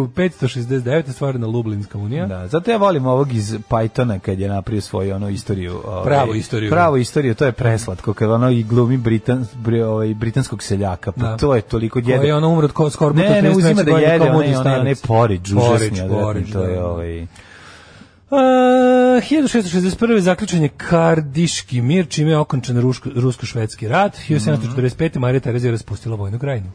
Speaker 7: 1569. je stvarna Lublinska unija.
Speaker 8: Da, zato ja volim ovog iz Pythona kad je napravio svoju ono istoriju. Ovaj,
Speaker 7: Pravu istoriju. da.
Speaker 8: Pravu istoriju, to je preslatko, kad ono i glumi Britan, bri, ovaj, britanskog seljaka, pa
Speaker 7: Da.
Speaker 8: to je toliko
Speaker 7: Koji je
Speaker 8: djede.
Speaker 7: ono umro od ko- skorbuta.
Speaker 8: Ne, ne
Speaker 7: 33.
Speaker 8: uzima da
Speaker 7: godine kao
Speaker 8: jede,
Speaker 7: mladi
Speaker 8: onaj, onaj, onaj
Speaker 7: starac.
Speaker 8: porič, užasni,
Speaker 7: Porridge,
Speaker 8: odvratni,
Speaker 7: porridge,
Speaker 8: to je
Speaker 7: da.
Speaker 8: ovaj...
Speaker 7: Uh, 1661. zaključen je Kardiški mir, čime je okončan ruško- rusko-švedski rat.
Speaker 8: Mhm.
Speaker 7: 1745. Marija Terezija raspustila vojnu krajinu.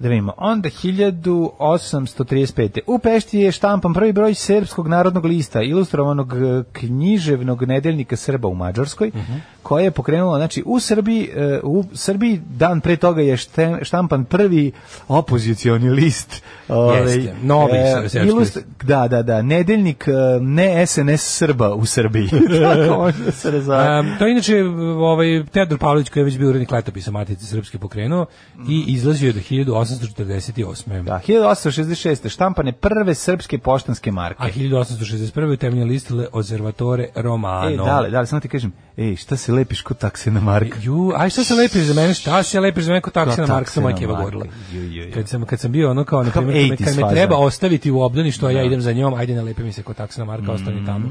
Speaker 8: Da vidimo. Onda 1835. U Pešti je štampan prvi broj srpskog narodnog lista, ilustrovanog e, književnog nedeljnika Srba u Mađarskoj,
Speaker 7: Mhm.
Speaker 8: koje je pokrenulo, znači, u Srbiji, e, u Srbiji dan pre toga je štem- štampan prvi opozicioni list. ovaj,
Speaker 7: novi
Speaker 8: e,
Speaker 7: srpski
Speaker 8: ilust- Da, da, da, nedeljnik e, ne SNS Srba u Srbiji. Tako može da se razvara.
Speaker 7: Um, to je inače ovaj, Teodor Pavlović koji je već bio urednik letopisa Matice Srpske pokrenuo i izlazio je do 1848.
Speaker 8: Mhm. Da, 1866. štampane prve srpske poštanske marke.
Speaker 7: A 1861. utemeljen list Le Observatore Romano.
Speaker 8: E, dale, da. dale, samo ti kažem, ej, šta se lepiš ko takse na Marka?
Speaker 7: Ju, aj šta se lepiš za mene, šta se lepiš za mene kod taksina
Speaker 8: Kao
Speaker 7: Marksa
Speaker 8: taksena
Speaker 7: Majkeva
Speaker 8: Marka,
Speaker 7: govorila.
Speaker 8: ju, ju, ju.
Speaker 7: Kad sam, kad sam bio ono kao, na
Speaker 8: Kao
Speaker 7: primjer, kad me- kad
Speaker 8: 80s
Speaker 7: me
Speaker 8: faza.
Speaker 7: treba ostaviti u obdani što
Speaker 8: Da.
Speaker 7: ja idem za njom, ajde ne lepi mi se kod taksina Marka, ostani tamo.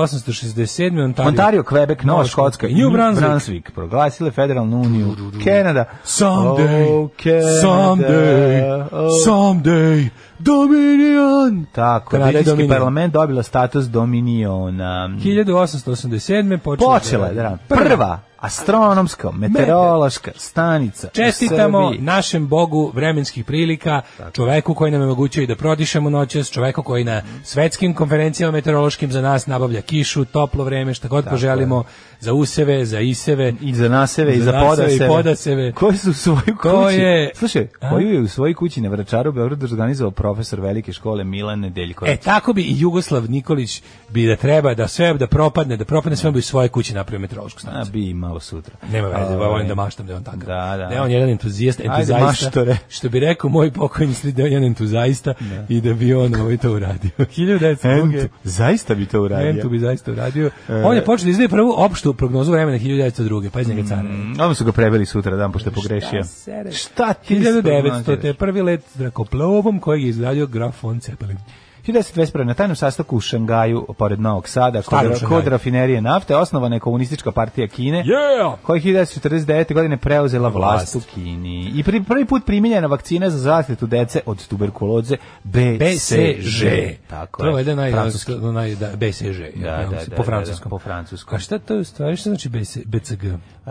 Speaker 7: 1867. Ontario,
Speaker 8: Mhm. Ontario, Quebec, Nova
Speaker 7: Nova
Speaker 8: Škotska
Speaker 7: i New Brunswick.
Speaker 8: proglasile federalnu uniju. Kanada.
Speaker 7: Someday,
Speaker 8: Oh, Canada.
Speaker 7: someday,
Speaker 8: Oh.
Speaker 7: someday, Dominion.
Speaker 8: Tako,
Speaker 7: Kanada je
Speaker 8: britanski
Speaker 7: Dominion.
Speaker 8: parlament dobila status dominiona.
Speaker 7: 1887. počela,
Speaker 8: Počela je, da, prva astronomska, meteorološka stanica u
Speaker 7: Čestitamo
Speaker 8: Srbiji.
Speaker 7: našem Bogu vremenskih prilika, čoveku koji nam omogućuje da prodišemo noćas, čoveku koji na svetskim konferencijama meteorološkim za nas nabavlja kišu, toplo vreme, šta god poželimo, za useve, za iseve. E,
Speaker 8: i za naseve i
Speaker 7: Za
Speaker 8: za
Speaker 7: naseve i
Speaker 8: podaseve.
Speaker 7: podaseve.
Speaker 8: Koji su u svojoj kući?
Speaker 7: Ko je-
Speaker 8: Slušaj,
Speaker 7: A?
Speaker 8: koju je u svojoj kući na Vračaru u Beogradu organizovao profesor velike škole Milan Nedeljković.
Speaker 7: E, tako bi i Jugoslav Nikolić bi da treba da sve da propadne, da propadne, sve bi u svoje kući napravio meteorološku
Speaker 8: A
Speaker 7: stanicu.
Speaker 8: bi imao ponovo sutra.
Speaker 7: Nema veze,
Speaker 8: Ovaj,
Speaker 7: ja volim da maštam da je on takav.
Speaker 8: Da, da.
Speaker 7: Ne, on je jedan entuzijast, entuzaista.
Speaker 8: maštore.
Speaker 7: što bi rekao moj pokojni slid, da je jedan entuzaista i da bi on ovaj to uradio. 1902.
Speaker 8: Entu, zaista bi to uradio.
Speaker 7: Entu bi zaista uradio.
Speaker 8: E.
Speaker 7: On je počeo da izdaje prvu opštu prognozu vremena 1902. Pa iz njega cara.
Speaker 8: Odmah su ga preveli sutra dan, pošto je pogrešio.
Speaker 7: sere?
Speaker 8: Šta ti
Speaker 7: 1900. te
Speaker 8: te...
Speaker 7: prvi let zrakoplovom kojeg je izgradio graf von Zeppelin.
Speaker 8: 1921. na tajnom sastavku u Šangaju, pored Novog Sada, kod,
Speaker 7: Starom Šangaju.
Speaker 8: kod rafinerije nafte, osnovana je komunistička partija Kine,
Speaker 7: Yeah!
Speaker 8: koja je 1949. godine preuzela vlast,
Speaker 7: Vlast.
Speaker 8: u Kini. I pri, prvi put primijenjena vakcina za zaštitu dece od tuberkuloze BCG. Tako
Speaker 7: to je valjda naj,
Speaker 8: Francuski. Eh,
Speaker 7: naj, da, BCG.
Speaker 8: Da, da,
Speaker 7: po
Speaker 8: da, da,
Speaker 7: francuskom.
Speaker 8: da, po francuskom.
Speaker 7: A šta to je u stvari, šta znači BC, BCG?
Speaker 8: Uh,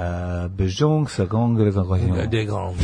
Speaker 8: Bežong sa Gongre, kako je ono?
Speaker 7: Des grands.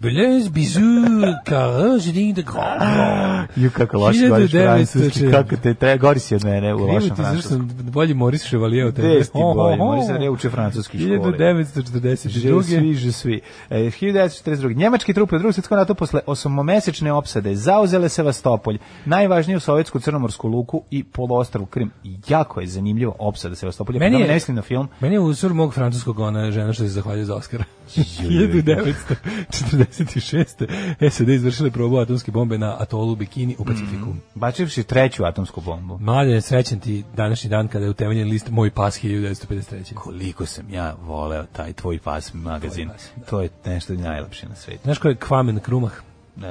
Speaker 7: Belez, bisous, carrage, digne de grands.
Speaker 8: Ju, kako loše govoriš
Speaker 7: 1900
Speaker 8: francuski, kako te treba, gori si od mene u
Speaker 7: Krivo
Speaker 8: lošem
Speaker 7: ti, zašto
Speaker 8: francuskom.
Speaker 7: sam bolji Moris Ševalije od tebe.
Speaker 8: Desti
Speaker 7: Ho, ho,
Speaker 8: bolje,
Speaker 7: ho.
Speaker 8: Moris Ševalije uče francuski škole.
Speaker 7: 1942.
Speaker 8: Svi, že svi. E, 1942. Njemačke trupe u drugom svjetskom ratu posle osmomesečne opsade zauzele Sevastopolj, najvažniju sovjetsku crnomorsku luku i poluostrvu Krim. I Jako je zanimljivo opsada Sevastopolja.
Speaker 7: Meni
Speaker 8: Meni
Speaker 7: je-
Speaker 8: Ne mislim na film.
Speaker 7: Meni je usur mog francuskog ona žena što se zahvaljuje za Oscara. 1946. SAD izvršile probu atomske bombe na atolu Bikini u
Speaker 8: Mhm.
Speaker 7: Pacifiku.
Speaker 8: Bačivši treću atomsku bombu.
Speaker 7: Mladen, srećan ti današnji dan kada je utemeljen list Moj pas 1953.
Speaker 8: Koliko sam ja voleo taj tvoj pas magazin.
Speaker 7: da.
Speaker 8: To je nešto najlepše na svetu.
Speaker 7: Znaš ko je Kwamen Krumah?
Speaker 8: E,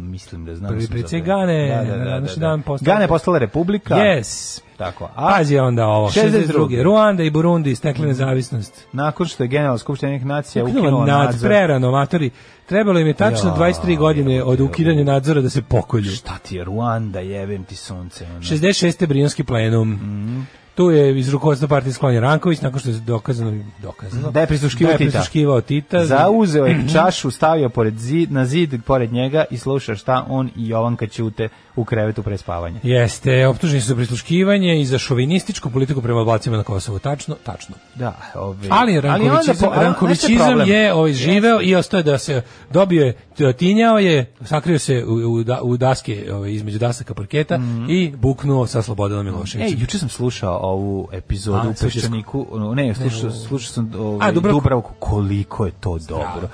Speaker 8: mislim da znam.
Speaker 7: Prvi
Speaker 8: da sam
Speaker 7: predsjednik
Speaker 8: za to.
Speaker 7: Gane,
Speaker 8: Da, da, da,
Speaker 7: na
Speaker 8: da,
Speaker 7: današnji
Speaker 8: da.
Speaker 7: dan postala-
Speaker 8: Gane je postala republika.
Speaker 7: Yes!
Speaker 8: Tako. A Mhm.
Speaker 7: Pazi onda ovo,
Speaker 8: 62..
Speaker 7: 62. Ruanda i Burundi stekli nezavisnost.
Speaker 8: nakon što je Generalna skupština Ujedinjenih nacija
Speaker 7: Ukinula
Speaker 8: ukinula
Speaker 7: nad,
Speaker 8: nadzor.
Speaker 7: prerano, matori. Trebalo im je tačno
Speaker 8: Ja,
Speaker 7: 23 godine od ukidanja nadzora da se pokolju.
Speaker 8: Šta ti je Ruanda, jebem ti sunce. ono.
Speaker 7: 66. Brionski plenum.
Speaker 8: Mhm.
Speaker 7: Tu je iz rukovodstva partije sklonjen Ranković, nakon što je dokazano, dokazano
Speaker 8: Da je prisluškivao
Speaker 7: da je
Speaker 8: Tita.
Speaker 7: prisluškivao Tita.
Speaker 8: Zauzeo je čašu, stavio pored zid, na zid pored njega i sluša šta on i Jovanka ćute u krevetu pre spavanja.
Speaker 7: Jeste, optuženi su za prisluškivanje i za šovinističku politiku prema Albancima na Kosovu. Tačno, tačno.
Speaker 8: Da, ove,
Speaker 7: Ali rankovićizam,
Speaker 8: onda po- a, znaš šta
Speaker 7: rankovićizam
Speaker 8: problem?
Speaker 7: je ovaj, živeo i ostao je da se dobio je, t- tinjao je, sakrio se u, u, da- u daske, ovaj, između dasaka parketa i buknuo sa Slobodanom
Speaker 8: Mhm. Ej,
Speaker 7: Miloševićem.
Speaker 8: juče sam slušao ovu epizodu
Speaker 7: A,
Speaker 8: u
Speaker 7: slušao si-
Speaker 8: Peščaniku, ono, ne, slušao, slušao sam ovaj,
Speaker 7: A, Dubravku.
Speaker 8: Dubravku, koliko je to dobro.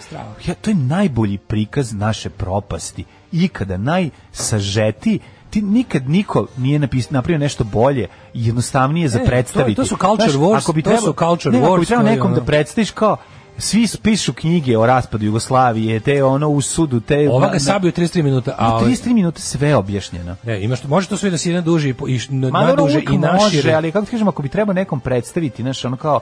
Speaker 8: Ja, to je najbolji prikaz naše propasti, ikada, najsažeti, ti nikad niko nije napis, napravio nešto bolje i jednostavnije za
Speaker 7: Ne,
Speaker 8: predstaviti.
Speaker 7: E, to- to su culture
Speaker 8: Znaš,
Speaker 7: wars,
Speaker 8: ako bi
Speaker 7: to
Speaker 8: trebao-
Speaker 7: su culture
Speaker 8: ne, Ako
Speaker 7: wars
Speaker 8: bi trebao
Speaker 7: koji,
Speaker 8: nekom da
Speaker 7: ono-
Speaker 8: predstaviš kao, svi pišu knjige o raspadu Jugoslavije, te ono u sudu, te...
Speaker 7: Ova
Speaker 8: na-
Speaker 7: ga
Speaker 8: na-
Speaker 7: sabio 33 minuta, a
Speaker 8: Na
Speaker 7: ovaj-
Speaker 8: 33 minuta sve objašnjeno.
Speaker 7: Ne, ima što, može to sve da se ide duže i, po- i š- na,
Speaker 8: Ma dobro,
Speaker 7: naduže
Speaker 8: uvijek
Speaker 7: i
Speaker 8: može,
Speaker 7: našire.
Speaker 8: ali kako ti kažem, ako bi trebao nekom predstaviti, znaš, ono kao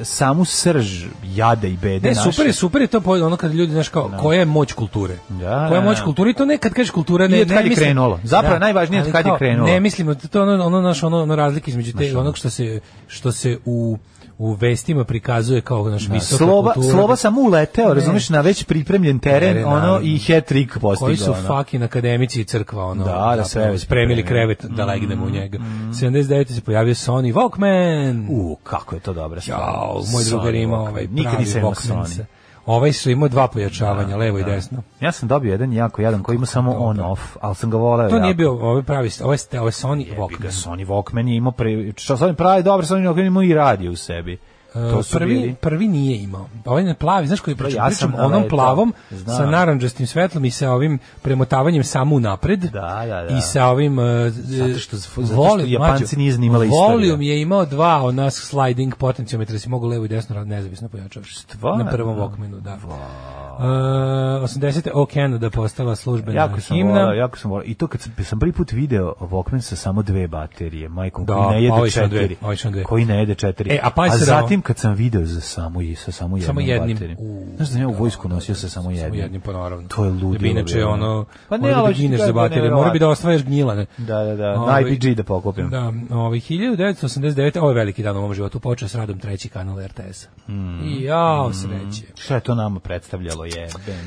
Speaker 8: e, samu srž jada i bede
Speaker 7: Ne,
Speaker 8: naše.
Speaker 7: E, super je, super je to po- ono kad ljudi, znaš kao, koja je moć kulture? koja je
Speaker 8: da,
Speaker 7: moć
Speaker 8: da.
Speaker 7: kulture? I to nekad kažeš kultura, ne,
Speaker 8: I od kad
Speaker 7: ne
Speaker 8: je
Speaker 7: mislim- Da.
Speaker 8: krenulo. Zapravo je najvažnije od
Speaker 7: ali
Speaker 8: kad je
Speaker 7: kao,
Speaker 8: krenulo.
Speaker 7: Ne mislim, to je ono, ono, naš, ono, ono razlike između te, onog što se, što se u, u vestima prikazuje kao naš visoka
Speaker 8: Da, Slova,
Speaker 7: kultura. da
Speaker 8: slova samo uleteo, razumiješ, na već pripremljen teren,
Speaker 7: Teren,
Speaker 8: ono,
Speaker 7: ali-
Speaker 8: i hat-trick postigao.
Speaker 7: koji su
Speaker 8: ono.
Speaker 7: fucking akademici i crkva ono
Speaker 8: Da, da,
Speaker 7: zapravo
Speaker 8: sve je već
Speaker 7: spremili
Speaker 8: pripremljeno. Mm,
Speaker 7: krevet da legnemo u njega 79 se pojavio Sony Walkman
Speaker 8: U, kako je to dobra stvar.
Speaker 7: Jao, Da, moj drugar
Speaker 8: Sony
Speaker 7: ima
Speaker 8: Walkman.
Speaker 7: ovaj
Speaker 8: Nikad
Speaker 7: pravi
Speaker 8: nisam imao
Speaker 7: Walkman
Speaker 8: Sony. Da,
Speaker 7: sa- Ovaj su imao dva pojačavanja, levo i desno.
Speaker 8: Ja sam dobio jedan jako jadan koji ima samo on-off, ali sam ga voleo.
Speaker 7: To
Speaker 8: jako.
Speaker 7: nije bio ovaj pravi, ovo je, ste- ovo je Sony
Speaker 8: Jebi ga,
Speaker 7: Walkman.
Speaker 8: Sony Walkman je imao pre... Što Sony pravi, dobro, Sony Walkman ima i radio u sebi. To
Speaker 7: E,
Speaker 8: su
Speaker 7: prvi,
Speaker 8: bili- Da,
Speaker 7: prvi nije imao. Ovaj je plavi, znaš koji pričam,
Speaker 8: ja
Speaker 7: pričam
Speaker 8: sam,
Speaker 7: onom
Speaker 8: ali to-
Speaker 7: plavom
Speaker 8: znam.
Speaker 7: sa naranđastim svetlom i sa ovim premotavanjem samo unapred.
Speaker 8: Da, da, da.
Speaker 7: I sa ovim e,
Speaker 8: Zato što-
Speaker 7: e,
Speaker 8: zato što Japanci
Speaker 7: mlađo,
Speaker 8: nije zanimala istorija.
Speaker 7: Volium je imao dva od nas sliding potenciometra, si mogao levo i desno rad nezavisno pojačavaš.
Speaker 8: Stvarno?
Speaker 7: Na prvom Walkmanu, da. E, 80. O Canada postala službena
Speaker 8: Jako sam
Speaker 7: himna.
Speaker 8: volao, jako sam volao. I to kad sam, sam prvi put video Walkman sa samo dve baterije, majkom,
Speaker 7: Da,
Speaker 8: koji ne
Speaker 7: a ovi
Speaker 8: jede
Speaker 7: su na dve,
Speaker 8: četiri.
Speaker 7: ovi su na dve.
Speaker 8: Koji ne jede četiri.
Speaker 7: E, a pazi sad ovo.
Speaker 8: zatim kad sam video za samo, i- sa samo jednom
Speaker 7: Samo jednim.
Speaker 8: baterijom.
Speaker 7: U,
Speaker 8: Znaš da sam ja u vojsku nosio sa samo jednim.
Speaker 7: Samo jednim, pa naravno.
Speaker 8: To je ludilo
Speaker 7: Da bi inače
Speaker 8: bilo.
Speaker 7: ono,
Speaker 8: Pa ne,
Speaker 7: mora
Speaker 8: ali
Speaker 7: da gineš
Speaker 8: to je
Speaker 7: za baterije,
Speaker 8: nevjerovatno.
Speaker 7: mora bi da osvajaš gnjilane.
Speaker 8: Da, da, da,
Speaker 7: Ovaj,
Speaker 8: na IPG da pokupim.
Speaker 7: Da, ovaj, 1989. Ovo je veliki dan u mom životu, počeo s radom treći kanal RTS.
Speaker 8: Hmm.
Speaker 7: I jao, sreće.
Speaker 8: Šta je to nama predstavljalo je?
Speaker 7: E,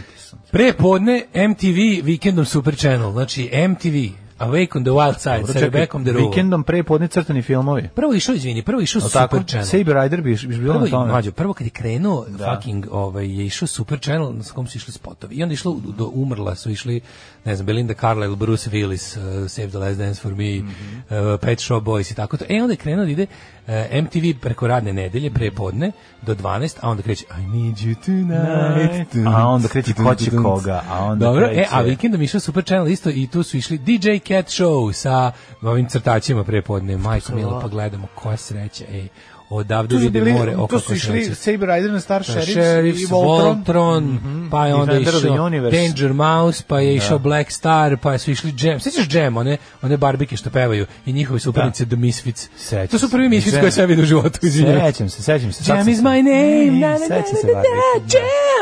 Speaker 7: Prepodne MTV vikendom Super Channel, znači MTV Awake on the Wild Side sa Rebekom de Ruvo.
Speaker 8: Vikendom pre podne crtani filmovi.
Speaker 7: Prvo išao, izvini, prvo išao
Speaker 8: Al'
Speaker 7: Super Channel.
Speaker 8: Saber Rider bi bi bilo
Speaker 7: Prvo,
Speaker 8: na
Speaker 7: je,
Speaker 8: tome. Da.
Speaker 7: mlađo, prvo kad je krenuo fucking, ovaj, je išao Super Channel na kom su išli spotovi. I onda je išlo u- do umrla, su išli, ne znam, Belinda Carlisle, Bruce Willis, uh, Save the Last Dance for Me,
Speaker 8: Mhm.
Speaker 7: uh, Pet Shop Boys i tako to. E, onda je krenuo da ide uh, MTV preko radne nedelje, pre podne, do 12, a onda kreće I need you tonight.
Speaker 8: A onda kreće ko će koga, a onda
Speaker 7: Dobro,
Speaker 8: kreće-
Speaker 7: e, a vikendom je išao Super Channel isto i tu su išli DJ Cat Show sa ovim crtačima pre podne. Majko Milo, pa gledamo koja sreća, ej. Odavde
Speaker 8: Tu su
Speaker 7: vidim
Speaker 8: bili,
Speaker 7: more, oko Da,
Speaker 8: tu su išli Saber Rider na Star Sheriffs,
Speaker 7: Sheriffs,
Speaker 8: i Voltron. Mhm.
Speaker 7: Voltron, pa je
Speaker 8: I Da.
Speaker 7: onda
Speaker 8: Defender of the
Speaker 7: išao
Speaker 8: Universe.
Speaker 7: Danger Mouse, pa je išao Black Star, pa su išli Jam. Sećaš Jam, one, one barbike što pevaju i njihovi suparnici The Misfits.
Speaker 8: Da. Sećam
Speaker 7: to su
Speaker 8: se.
Speaker 7: prvi Misfits
Speaker 8: Jam.
Speaker 7: koje sam vidio u životu, izvinjavam se.
Speaker 8: Sećam se, sećam se. sad
Speaker 7: Jam
Speaker 8: sam-
Speaker 7: is my name.
Speaker 8: Ne,
Speaker 7: Na, na, na, na,
Speaker 8: sećam se
Speaker 7: na,
Speaker 8: Varvike, da.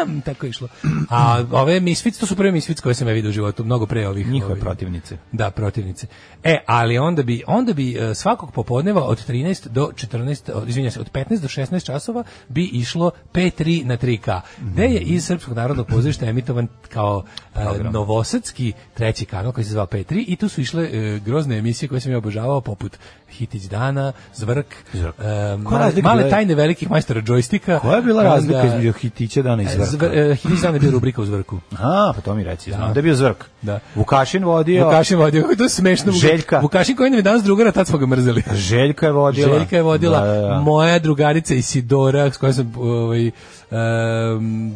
Speaker 7: na, Jam! Tako je išlo. A ove Misfits, to su prve Misfits koje sam ja vidio u životu, mnogo pre ovih.
Speaker 8: Njihove
Speaker 7: ovih-
Speaker 8: protivnice.
Speaker 7: Da, protivnice. E, ali onda bi, onda bi e, svakog popodneva od 13 do 14, o, izvinjam se, od 15 do 16 časova bi išlo P3 na 3K, gde je iz Srpskog narodnog pozorišta emitovan kao e, novosadski treći kanal koji se zvao P3 i tu su išle e, grozne emisije koje sam ja obožavao, poput Hitić dana, Zvrk, e, male,
Speaker 8: razlika bila
Speaker 7: male
Speaker 8: je?
Speaker 7: tajne velikih majstora džojstika.
Speaker 8: Koja je bila
Speaker 7: onda-
Speaker 8: razlika između Hitića dana i Zvrka?
Speaker 7: Zvr- e, Hitić dana je bio rubrika u Zvrku.
Speaker 8: A, pa to mi reci, znam da je bio Zvrk.
Speaker 7: Da.
Speaker 8: Vukašin vodio,
Speaker 7: Vukašin vodio, kako je to smešno. Vuka-
Speaker 8: Željka.
Speaker 7: Vukašin koji nam je danas drugara, tad smo ga mrzeli.
Speaker 8: Željka je vodila.
Speaker 7: Željka je vodila,
Speaker 8: Da, da, da.
Speaker 7: moja drugarica Isidora, s kojom sam ovaj, em,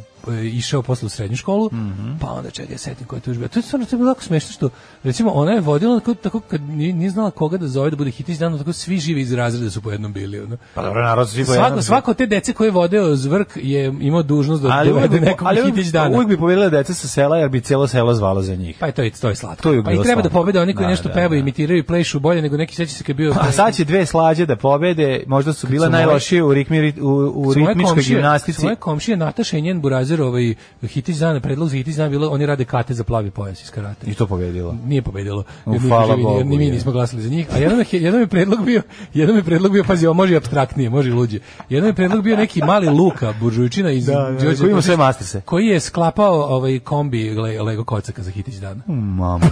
Speaker 7: išao posle u srednju školu,
Speaker 8: Mhm.
Speaker 7: pa onda čega ja setim koja je tužba. To je stvarno to je bilo jako smešno što, recimo, ona je vodila tako, tako kad nije, nije znala koga da zove da bude hitić dan, tako svi živi iz razreda su po jednom bili. Ono.
Speaker 8: Pa dobro, narod svi po jednom-
Speaker 7: Svako, svako od te dece koje je vodeo zvrk je imao dužnost da
Speaker 8: ali
Speaker 7: dovede
Speaker 8: uvijek,
Speaker 7: nekog
Speaker 8: ali uvijek,
Speaker 7: hitić dana.
Speaker 8: uvijek bi pobedila deca sa sela, jer bi cijelo selo zvalo za njih.
Speaker 7: Pa je to, i- to je slatko.
Speaker 8: To je
Speaker 7: pa i
Speaker 8: bilo
Speaker 7: treba da
Speaker 8: slatko.
Speaker 7: pobede oni koji
Speaker 8: Da,
Speaker 7: nešto
Speaker 8: da,
Speaker 7: pevaju,
Speaker 8: da.
Speaker 7: imitiraju i plešu bolje nego neki seća se kad je bio...
Speaker 8: A Pa sad će dve slađe da pobede, možda su bile
Speaker 7: su
Speaker 8: najlošije u, ritmi, u, u
Speaker 7: Su moje
Speaker 8: ritmičkoj
Speaker 7: komšije-
Speaker 8: gimnastici.
Speaker 7: su Moje komšije Nataša i njen burazer, ovaj hitić dana, predlog za hitić dana bilo, oni rade kate za plavi pojas iz karate.
Speaker 8: I to pobedila.
Speaker 7: Nije pobedilo.
Speaker 8: U,
Speaker 7: Jer mi-
Speaker 8: hvala
Speaker 7: jer mi- jer
Speaker 8: Bogu,
Speaker 7: Ni mi
Speaker 8: je.
Speaker 7: nismo glasali za njih. A jedan, je- jedan je predlog bio, jedan je predlog bio, pazi, ovo može i apstraktnije, može i luđe. Jedan je predlog bio neki mali Luka Buržujčina iz
Speaker 8: Da, da,
Speaker 7: Đorđe
Speaker 8: koji ima sve
Speaker 7: Buržujić,
Speaker 8: masterse.
Speaker 7: Koji je sklapao ovaj kombi le- Lego kocaka za hitić dana.
Speaker 8: Mamo, ne.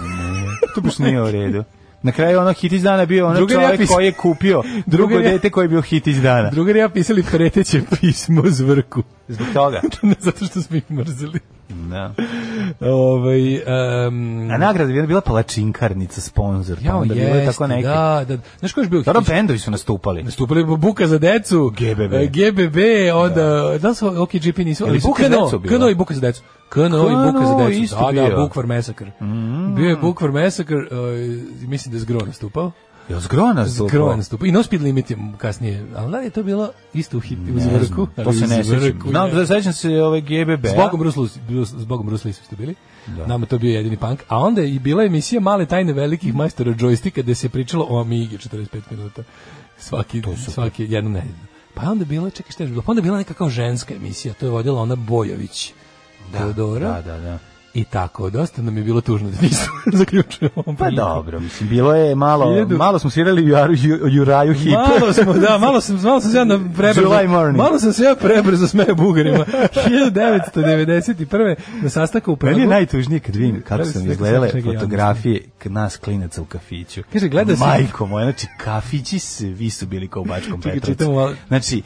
Speaker 8: To baš nije u redu. Na kraju ono hitić dana bio ono
Speaker 7: Drugar ja
Speaker 8: čovjek
Speaker 7: pis-
Speaker 8: koji je kupio drugo
Speaker 7: Drugar ja-
Speaker 8: dete koji je bio hitić dana.
Speaker 7: Drugar i ja pisali preteće pismo zvrku.
Speaker 8: Zbog toga.
Speaker 7: Zato što smo ih mrzili.
Speaker 8: Da.
Speaker 7: Ovaj em,
Speaker 8: A nagrada je bila palačinkarnica, sponsor. Pa
Speaker 7: Jao,
Speaker 8: onda bilo je tako neki.
Speaker 7: Da, da. Znaš ko je još bio?
Speaker 8: Dobro,
Speaker 7: hitić?
Speaker 8: bendovi su nastupali.
Speaker 7: Nastupali bi Buka za decu,
Speaker 8: GBB.
Speaker 7: e, GBB, onda, da, su, ok, GP nisu,
Speaker 8: Je li
Speaker 7: ali su
Speaker 8: Buka za
Speaker 7: KNO,
Speaker 8: decu bila?
Speaker 7: KNO i Buka za decu. KNO i Buka za
Speaker 8: KNO
Speaker 7: decu,
Speaker 8: isto Mm.
Speaker 7: da, da,
Speaker 8: bio.
Speaker 7: Bukvar Massacre. Bio je Bukvar Massacre, e, mislim da je Zgro nastupao.
Speaker 8: Jel zgro nastupao?
Speaker 7: Zgro nastupao. I No Speed Limit je kasnije, ali da li je to bilo isto u hit, u
Speaker 8: Ne
Speaker 7: zvrku?
Speaker 8: znam, To se ne sjećam. Znam, da sećam se ove GBB.
Speaker 7: S Bogom Bruce Lee, Bruce, s Bogom Bruce Lee ste bili.
Speaker 8: Da.
Speaker 7: Nama to bio jedini punk. A onda je i bila emisija Male tajne velikih majstora džojstika gde se pričalo o Amigi 45 minuta. Svaki, svaki jednom nedeljno. Pa onda je bila, čekaj šta je bilo, pa onda je bila neka kao ženska emisija, to je vodila ona Bojović. Teodora.
Speaker 8: Da, da, da.
Speaker 7: I tako, dosta nam je bilo tužno da nisam zaključio ovom
Speaker 8: Pa
Speaker 7: prilikom.
Speaker 8: dobro, mislim, bilo je malo,
Speaker 7: Hiljadu-
Speaker 8: malo smo svirali Juraju, Ju- Juraju hit.
Speaker 7: Malo smo, da, malo sam, malo sam se ja na prebrzo,
Speaker 8: July morning.
Speaker 7: malo sam se ja prebrzo smeo bugarima. 1991. na sastanku u Pragu.
Speaker 8: Meni je najtužnije kad vidim kako
Speaker 7: Pravi
Speaker 8: sam
Speaker 7: se neka
Speaker 8: izgledale
Speaker 7: sačega
Speaker 8: fotografije k- nas klinaca u kafiću.
Speaker 7: Kaže, gleda se-
Speaker 8: Majko moja, znači, kafići svi su bili kao u Bačkom
Speaker 7: Čekaj,
Speaker 8: Petrovcu.
Speaker 7: čitam malo.
Speaker 8: Znači,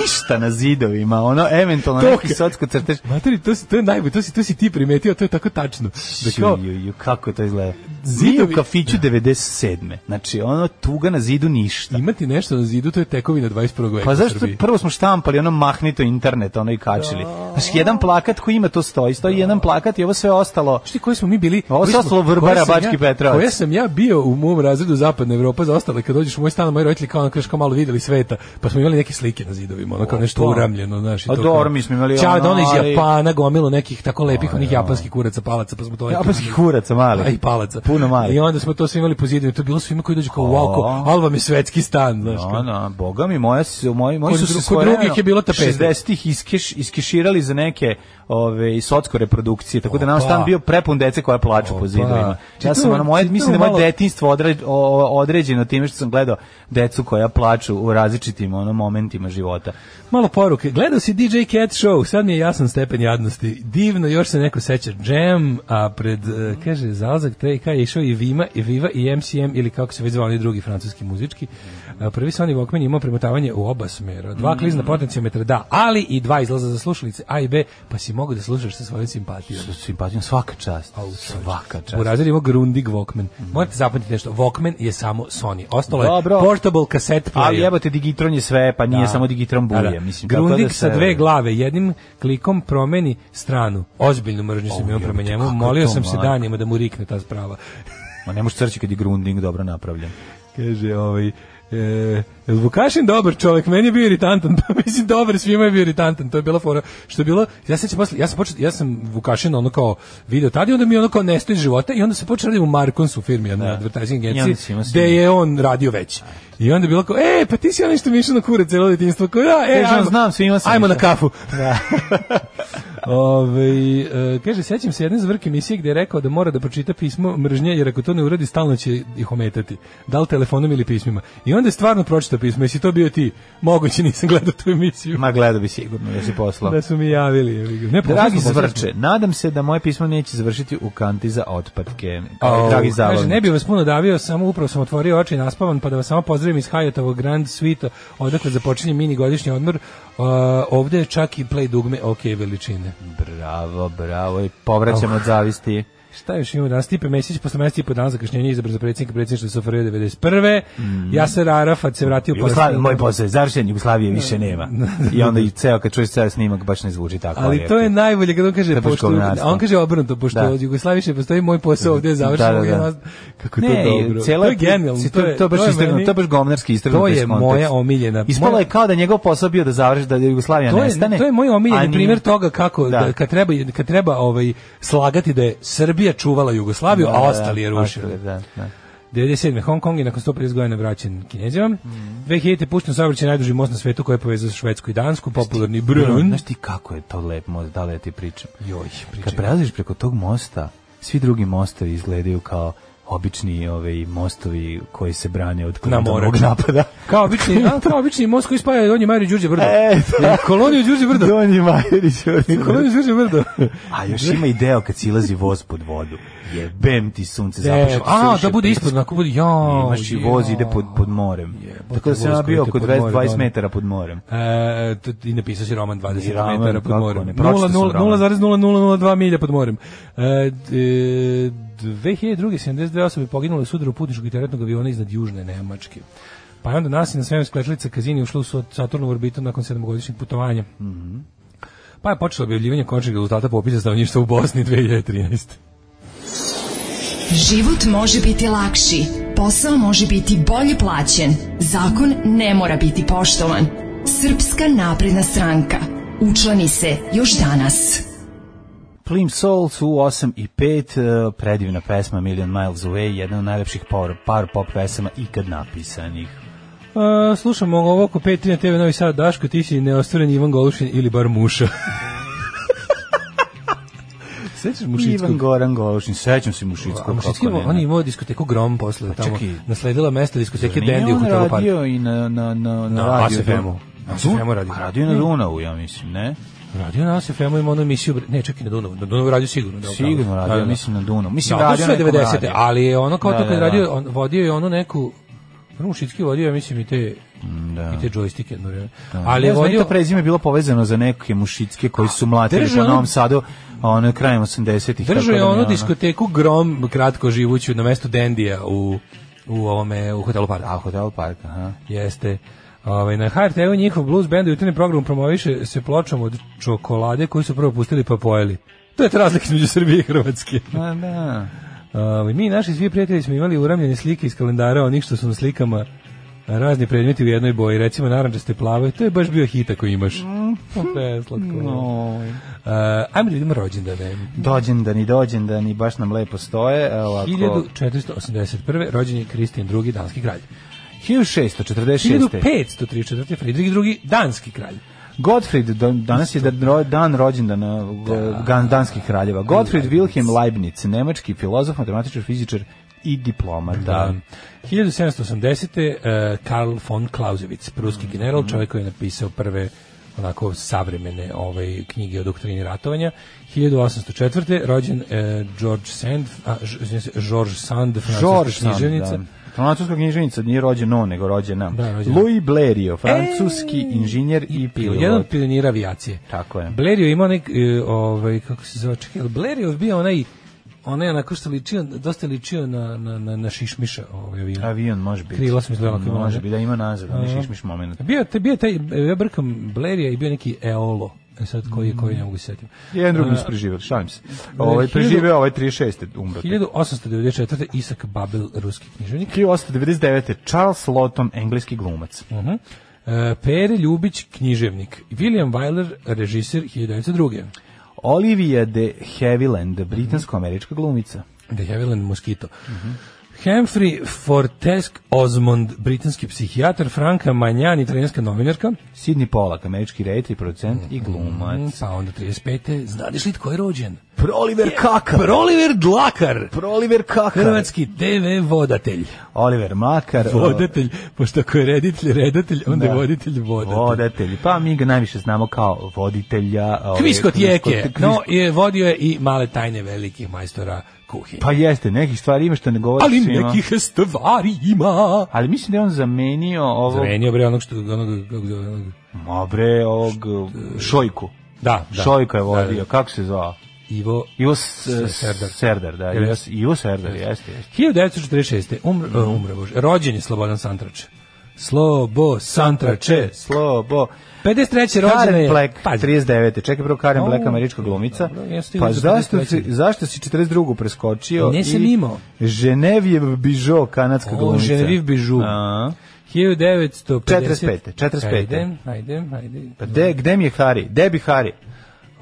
Speaker 8: ništa na zidovima, ono, eventualno
Speaker 7: To
Speaker 8: neki
Speaker 7: ka-
Speaker 8: socko crtež.
Speaker 7: Materi, to si, to je najbolje, to si, to si ti primetio, to je tako tačno. Da kao,
Speaker 8: Ju, ju, ju, kako to izgleda. Zid
Speaker 7: Zidovi- Da.
Speaker 8: u kafiću 97. Znači, ono, tuga na zidu ništa.
Speaker 7: imati nešto na zidu, to je tekovina 21. veka
Speaker 8: Pa
Speaker 7: u
Speaker 8: zašto
Speaker 7: Srbiji.
Speaker 8: prvo smo štampali ono mahnito internet, ono i kačili.
Speaker 7: Da.
Speaker 8: Znači, jedan plakat koji ima to stoji, stoji jedan plakat i ovo sve ostalo.
Speaker 7: Znaš ti koji smo mi bili?
Speaker 8: Ovo
Speaker 7: koji
Speaker 8: se
Speaker 7: smo-
Speaker 8: ostalo Vrbara,
Speaker 7: koje sam
Speaker 8: Bački
Speaker 7: ja-
Speaker 8: Petrovac.
Speaker 7: Koje sam ja bio u mom razredu Zapadna Evropa za ostale, kad dođeš u moj stan, moji roditelji kao, ono, kažeš, kao malo videli sveta, pa smo imali neke slike na zidovima, ono kao nešto
Speaker 8: Opa.
Speaker 7: uramljeno, znaš. i
Speaker 8: pa. A
Speaker 7: to
Speaker 8: dobro,
Speaker 7: kao-
Speaker 8: mi smo imali
Speaker 7: Čao,
Speaker 8: ono,
Speaker 7: da ono iz
Speaker 8: ali-
Speaker 7: Japana gomilo nekih tako lepih, onih japanskih kuraca, palaca, pa smo to...
Speaker 8: Japanskih kuraca mali.
Speaker 7: A i palaca.
Speaker 8: Puno mali.
Speaker 7: I onda smo to svi imali po zidovima, to je bilo svima koji dođu kao, wow, kao, ali vam je svetski stan, znaš. kao.
Speaker 8: No, no, boga mi, moja, su- moji, moji
Speaker 7: Kod
Speaker 8: su se
Speaker 7: dru- kod drugih je bilo tapete.
Speaker 8: 60-ih iskeš, iskeširali za neke ove i socsko reprodukcije tako da nam
Speaker 7: Opa.
Speaker 8: stan bio prepun dece koja plaču
Speaker 7: Opa.
Speaker 8: po zidovima ja
Speaker 9: Čitavo-
Speaker 8: sam ono moje
Speaker 9: čitavo
Speaker 8: mislim da je moje
Speaker 9: malo-
Speaker 8: detinjstvo odre- o- određeno time što sam gledao decu koja plaču u različitim ono momentima života
Speaker 7: Malo poruke. Gledao si DJ Cat Show, sad mi je jasan stepen jadnosti. Divno, još se neko seća Jam, a pred, e, kaže, zalazak TK je išao i Vima, i Viva, i MCM, ili kako se već zvao oni drugi francuski muzički. A, prvi Sony Walkman je imao premotavanje u oba smera.
Speaker 8: Mm.
Speaker 7: Dva klizna potenciometra, da, ali i dva izlaza za slušalice A i B, pa si mogu da slušaš sa svojom simpatijom.
Speaker 8: Sa simpatijom svaka čast svaka
Speaker 7: U
Speaker 8: čast
Speaker 7: razredu ima Grundig Walkman. Morate zapamtiti nešto, Walkman je samo Sony. Ostalo je
Speaker 8: Mm. Dobro.
Speaker 7: portable kaset player.
Speaker 8: ali jebote digitron je sve pa nije
Speaker 7: Da.
Speaker 8: samo digitron bulje
Speaker 7: Da, da.
Speaker 8: mislim tako
Speaker 7: Grundig
Speaker 8: da
Speaker 7: sa
Speaker 8: se-
Speaker 7: dve glave, jednim klikom promeni stranu. Ozbiljnu mržnju sam imao prema
Speaker 8: jebote,
Speaker 7: njemu.
Speaker 8: kako je
Speaker 7: Molio
Speaker 8: to
Speaker 7: sam se
Speaker 8: mlad.
Speaker 7: danima da mu rikne ta sprava.
Speaker 8: Ma ne možeš crći kad je Grunding dobro napravljen.
Speaker 7: Kaže, ovaj, e, jel Vukašin dobar čovjek, meni je bio iritantan, pa mislim dobar, svima je bio iritantan, to je bila fora, što je bilo, ja sam se posle, ja sam počeo, ja sam Vukašin ono kao video tada i onda mi je ono kao nestoji iz života i onda se počeo raditi u Markonsu firmi, jednoj advertising
Speaker 8: Da. I onda si
Speaker 7: agenciji,
Speaker 8: imao svi-
Speaker 7: gde je on radio već. I onda je bilo kao, e, pa ti si onaj što mi je išao na kurac celo detinjstvo, kao ja, e,
Speaker 8: Kaže, on,
Speaker 7: ajmo,
Speaker 8: znam, svima sam
Speaker 7: ajmo na
Speaker 8: išao.
Speaker 7: kafu.
Speaker 8: Da.
Speaker 7: Ove, e, kaže, sećam se jedne zvrke emisije gde je rekao da mora da pročita pismo mržnje, jer ako to ne uradi, stalno će ih ometati. Da li telefonom ili pismima. I onda je stvarno pročitao pismo. Jesi to bio ti? Moguće nisam gledao tu emisiju.
Speaker 8: Ma gledao bi sigurno da si poslao.
Speaker 7: Da su mi javili. jebi ga. Ne,
Speaker 8: Dragi
Speaker 7: poslušno, poslušno.
Speaker 8: zvrče, nadam se da moje pismo neće završiti u kanti za otpadke.
Speaker 7: Au,
Speaker 8: Dragi
Speaker 7: kaže, ne
Speaker 8: zavodnik.
Speaker 7: bi vas puno davio, samo upravo sam otvorio oči i naspavan, pa da vas samo pozdravim iz Hajatovog Grand Suite, odakle započinje mini godišnji odmor. Uh, ovde je čak i play dugme ok veličine.
Speaker 8: Bravo, bravo. I povraćam od zavisti.
Speaker 7: Šta još imamo danas? Stipe Mesić posle mesec i po dana zakašnjenja izabran za predsjednika predsjedništva Sofarija 91. Jasar Arafat se vratio u
Speaker 8: Jugoslavija, Mm. moj posao je završen, Jugoslavije više nema. I onda i ceo, kad čuješ ceo snimak, baš ne zvuči tako.
Speaker 7: Ali to je
Speaker 8: jeftino.
Speaker 7: najbolje kad on
Speaker 8: To
Speaker 7: kaže
Speaker 8: je baš
Speaker 7: pošto
Speaker 8: govnarstvo.
Speaker 7: a on kaže obrnuto pošto
Speaker 8: Da.
Speaker 7: od Jugoslavije više postoji moj posao ovdje je završen.
Speaker 8: Da, da,
Speaker 7: ovdje je
Speaker 8: da.
Speaker 7: nas- Kako je
Speaker 8: ne,
Speaker 7: to dobro.
Speaker 8: Celo,
Speaker 7: to je genijalno.
Speaker 8: To, je- to, je baš
Speaker 7: meni-
Speaker 8: istrgnuto, to je baš gomnarski istrgnuto
Speaker 7: To
Speaker 8: iz
Speaker 7: je
Speaker 8: konteksta.
Speaker 7: moja omiljena.
Speaker 8: Ispalo
Speaker 7: moja-
Speaker 8: je kao da je njegov posao bio da završi, da Jugoslavija
Speaker 7: to
Speaker 8: nestane.
Speaker 7: je, to je moj
Speaker 8: a
Speaker 7: omiljeni
Speaker 8: nije.
Speaker 7: primjer toga kako
Speaker 8: Da.
Speaker 7: da. kad treba kad treba ovaj slagati da je Srbija čuvala Jugoslaviju,
Speaker 8: Da,
Speaker 7: a
Speaker 8: da,
Speaker 7: ostali je
Speaker 8: da,
Speaker 7: rušili.
Speaker 8: ostali, Da, da.
Speaker 7: 97. Hong Kong je nakon 150 godina vraćen Kinezima. 2000. pušten saobraćaj najduži most na svetu koji je povezao Švedsku i Dansku, popularni Brun.
Speaker 8: Znaš ti kako je to lepo, možda da li ja ti pričam.
Speaker 7: Joj,
Speaker 8: Kad
Speaker 7: pričaj.
Speaker 8: prelaziš preko tog mosta, svi drugi mostovi izgledaju kao obični ovaj mostovi koji se brane od
Speaker 7: morač.
Speaker 8: kontinentalnog napada.
Speaker 7: Kao obični, a, kao obični most koji spaja Donji Majer i Đurđe Brdo.
Speaker 8: E, da.
Speaker 7: Koloniju Đurđe Brdo.
Speaker 8: Donji Majerić.
Speaker 7: Koloniju Đurđe Brdo.
Speaker 8: A još ima i deo kad silazi voz pod vodu. Jebem ti sunce zapušati.
Speaker 7: Evo, A, da bude ispod, onako bude, jao.
Speaker 8: Imaš i
Speaker 7: jao.
Speaker 8: voz ide pod, pod morem.
Speaker 7: Jebote,
Speaker 8: Tako da sam
Speaker 7: voz
Speaker 8: ja
Speaker 7: koji
Speaker 8: bio
Speaker 7: ide
Speaker 8: oko
Speaker 7: pod
Speaker 8: 20,
Speaker 7: more,
Speaker 8: 20
Speaker 7: da.
Speaker 8: metara pod morem.
Speaker 7: E, to ti napisao si roman 20
Speaker 8: I roman,
Speaker 7: metara pod
Speaker 8: kako
Speaker 7: morem.
Speaker 8: ne, pročitao sam roman.
Speaker 7: 0,0002 milja pod morem. E, d- e, 2002. 72 osobe poginule u sudaru putničkog i teretnog aviona iznad Južne Nemačke. Pa je onda nasilna svemirska letelica Kazini ušla u Saturnovu orbitu nakon sedmogodišnjeg putovanja.
Speaker 8: Mhm.
Speaker 7: Pa je počelo objavljivanje končnih rezultata popisa stanovništva u Bosni 2013.
Speaker 5: Život može biti lakši, posao može biti bolje plaćen, zakon ne mora biti poštovan. Srpska napredna stranka. Učlani se još danas.
Speaker 8: Plim Soul su 8 i 5, eh, predivna pesma Million Miles Away, jedna od najlepših power, par pop pesama ikad napisanih.
Speaker 7: E, slušamo ovo oko 5 na TV Novi Sad Daško, ti si neostvaren Ivan Golušin ili bar Muša. Sećaš Mušickog?
Speaker 8: Ivan Goran Golušin, sećam se Mušickog.
Speaker 7: A Mušicki,
Speaker 8: kako ne.
Speaker 7: on je Pa, imao diskoteku Grom posle, tamo
Speaker 8: čekaj.
Speaker 7: nasledila mesto diskoteke
Speaker 8: Nije
Speaker 7: Dendi u
Speaker 8: on
Speaker 7: hotelu Park.
Speaker 8: radio i na, na, na, na
Speaker 7: Na
Speaker 8: radio.
Speaker 7: ASFM-u.
Speaker 8: Na
Speaker 7: ASFM-u
Speaker 8: Dunavu?
Speaker 7: radio.
Speaker 8: A Radio je na Dunavu, ja mislim, ne?
Speaker 7: Radio na ASFM-u ima onu emisiju, bre- ne čekaj na Dunavu, na Dunavu radio sigurno. Da,
Speaker 8: Sigurno radio,
Speaker 7: Da, da.
Speaker 8: mislim na Dunavu. Mislim,
Speaker 7: da, to su
Speaker 8: radio
Speaker 7: sve
Speaker 8: na nekom
Speaker 7: 90-te,
Speaker 8: radiju.
Speaker 7: ali je ono kao
Speaker 8: Da,
Speaker 7: to kad
Speaker 8: da,
Speaker 7: radio,
Speaker 8: da.
Speaker 7: on vodio je onu neku, Mušicki vodio, ja mislim i te,
Speaker 8: Da.
Speaker 7: i te joystike jedno vreme.
Speaker 8: Ali
Speaker 7: Ali je
Speaker 8: vodio...
Speaker 7: vodio,
Speaker 8: to prezime bilo povezano za neke mušicke koji su mlatili
Speaker 7: Držao
Speaker 8: po
Speaker 7: je on-
Speaker 8: Novom Sadu, a ono krajem 80-ih. tako
Speaker 7: Držao
Speaker 8: da
Speaker 7: je
Speaker 8: mi
Speaker 7: onu diskoteku Grom kratko živuću na mestu Dendija u u ovome u hotelu Park.
Speaker 8: A, hotel park, aha.
Speaker 7: Jeste. Ovaj na HRT-u njihov blues band u jutarnjem programu promoviše se pločom od čokolade koju su prvo pustili pa pojeli. To je ta razlika između Srbije i Hrvatske.
Speaker 8: Pa da.
Speaker 7: Ovaj, mi i naši svi prijatelji smo imali uramljene slike iz kalendara onih što su na slikama razni predmeti u jednoj boji, recimo narančaste plave, to je baš bio hit ako imaš. Preslatko.
Speaker 8: Oj.
Speaker 7: Uh, ajmo da vidimo rođendane.
Speaker 8: Dođendan i dođendan i baš nam lepo stoje. Evo, ako...
Speaker 7: 1481. rođen je Kristijan II. danski kralj.
Speaker 8: 1646.
Speaker 7: 1534. Fridrik II. danski kralj.
Speaker 8: Gottfried, da- danas je da- dan rođendana da. danskih kraljeva. Gottfried Wilhelm Leibniz, nemački filozof, matematičar, fizičar i diplomat.
Speaker 7: Da. 1780. eh, Karl von Clausewitz, pruski
Speaker 8: Mhm.
Speaker 7: general, čovjek koji je napisao prve onako savremene ovaj knjige o doktrini ratovanja. 1804. rođen eh, George Sand, a, ž- izvinjam se, George Sand,
Speaker 8: George
Speaker 7: francuska
Speaker 8: Sand,
Speaker 7: književnica.
Speaker 8: da. Francuska književnica nije rođen on, nego rođena.
Speaker 7: Da, rođena.
Speaker 8: Louis Blériot, francuski inženjer i pilot.
Speaker 7: Jedan od pionira avijacije.
Speaker 8: Tako je.
Speaker 7: Blerio ima onaj, eh, ovaj, kako se zove, čekaj, Blerio bio onaj, onaj onako što ličio, dosta ličio na, na, na, na šišmiša ovaj avion.
Speaker 8: Avion može biti.
Speaker 7: Krila su izgledala kao
Speaker 8: Može
Speaker 7: one.
Speaker 8: biti, da ima nazad, ali
Speaker 7: Aha.
Speaker 8: šišmiš moment.
Speaker 7: Pa Bio je taj, bio je taj, ja brkam Blerija i bio neki Eolo. E sad koji je, koji ne mogu se setiti.
Speaker 8: Jedan drugi nisu preživjeli, šalim se.
Speaker 7: da,
Speaker 8: Ovaj, preživeo ovaj 36. umro.
Speaker 7: 1894. Isak Babel, ruski književnik.
Speaker 8: 1899. Charles Lawton, engleski glumac.
Speaker 7: Mhm. E, Pere Ljubić, književnik. William Wyler, režisir 1902.
Speaker 8: Olivia de Havilland, britansko-američka glumica.
Speaker 7: The Havilland Mosquito. Humphrey Fortesk Osmond, britanski psihijatar, Franka Manjani, italijanska novinarka.
Speaker 8: Sidney Pollack, američki reditelj, producent i glumac.
Speaker 7: Pa onda 35. Znadiš li tko je rođen?
Speaker 8: Proliver Kakar.
Speaker 7: Proliver Dlakar,
Speaker 8: Proliver Kakar.
Speaker 7: hrvatski TV vodatelj.
Speaker 8: Oliver Makar.
Speaker 7: Vodatelj, pošto ako je reditelj, redatelj, onda
Speaker 8: Da.
Speaker 7: je voditelj, vodatelj.
Speaker 8: Vodatelj. Pa mi ga najviše znamo kao voditelja. ovaj,
Speaker 7: Kviskot jeke,
Speaker 8: kviskot-
Speaker 7: no, je, vodio je i male tajne velikih majstora kuhinje.
Speaker 8: Pa jeste, nekih stvari ima što ne govoriš
Speaker 7: Ali
Speaker 8: svima.
Speaker 7: nekih stvari ima.
Speaker 8: Ali mislim da je on zamenio ovog...
Speaker 7: Zrenio bre onog što, onog, kako zove, onog,
Speaker 8: Ma bre, ovog... Šojku.
Speaker 7: da, da.
Speaker 8: Šojka je vodio.
Speaker 7: Da, da.
Speaker 8: Kako se zvao?
Speaker 7: Ivo
Speaker 8: Ivo S-
Speaker 7: Serdar.
Speaker 8: Serdar, da.
Speaker 7: Jel
Speaker 8: Ivo-
Speaker 7: jeste?
Speaker 8: Ivo Serdar, jeste. jeste.
Speaker 7: 1946. Umr, e, umre, bože. Rođen je Slobodan Santrač. Slobo Santrače.
Speaker 8: Slobo.
Speaker 7: 53. rođena
Speaker 8: Karen
Speaker 7: je.
Speaker 8: Black,
Speaker 7: Pazi.
Speaker 8: 39. Čekaj prvo Karen
Speaker 7: O,
Speaker 8: Black, američka glumica.
Speaker 7: dobro, ja stigao
Speaker 8: Pa
Speaker 7: do
Speaker 8: zašto si,
Speaker 7: 43..
Speaker 8: zašto si 42. preskočio?
Speaker 7: Nisam
Speaker 8: i
Speaker 7: imao.
Speaker 8: Genevieve Bijo, kanadska
Speaker 7: O,
Speaker 8: glumica.
Speaker 7: Genevieve Bijou.
Speaker 8: A.
Speaker 7: 1950.
Speaker 8: 45., 45..
Speaker 7: Ajde, ajde, ajde.
Speaker 8: Pa de, gde mi je Hari? Debi Hari.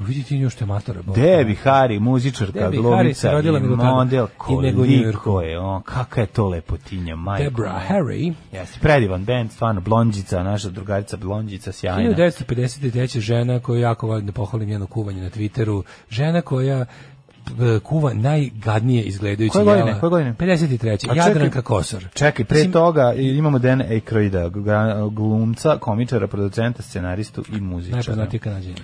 Speaker 7: Vidi ti nju što je matora. Bog.
Speaker 8: Debi Hari, muzičarka,
Speaker 7: Debbie Harry
Speaker 8: glumica
Speaker 7: se rodila
Speaker 8: i
Speaker 7: nego tada.
Speaker 8: model.
Speaker 7: I nego u
Speaker 8: Koliko
Speaker 7: Njujorku.
Speaker 8: je on, kakva je to lepotinja, majko.
Speaker 7: Debra Harry.
Speaker 8: Jeste, predivan band, stvarno, blondjica, naša drugarica blondjica, sjajna.
Speaker 7: 1953. žena koju jako volim da pohvalim njeno kuvanje na Twitteru. Žena koja p- kuva najgadnije izgledajući
Speaker 8: Koje godine?
Speaker 7: jela.
Speaker 8: Koje godine?
Speaker 7: 53.
Speaker 8: A Pa čekaj-
Speaker 7: Jadranka Kosor.
Speaker 8: Čekaj, pre toga imamo Dan Aykroyda, gra- glumca, komičara, producenta, scenaristu i muzičara.
Speaker 7: Najpoznatiji kanadjan.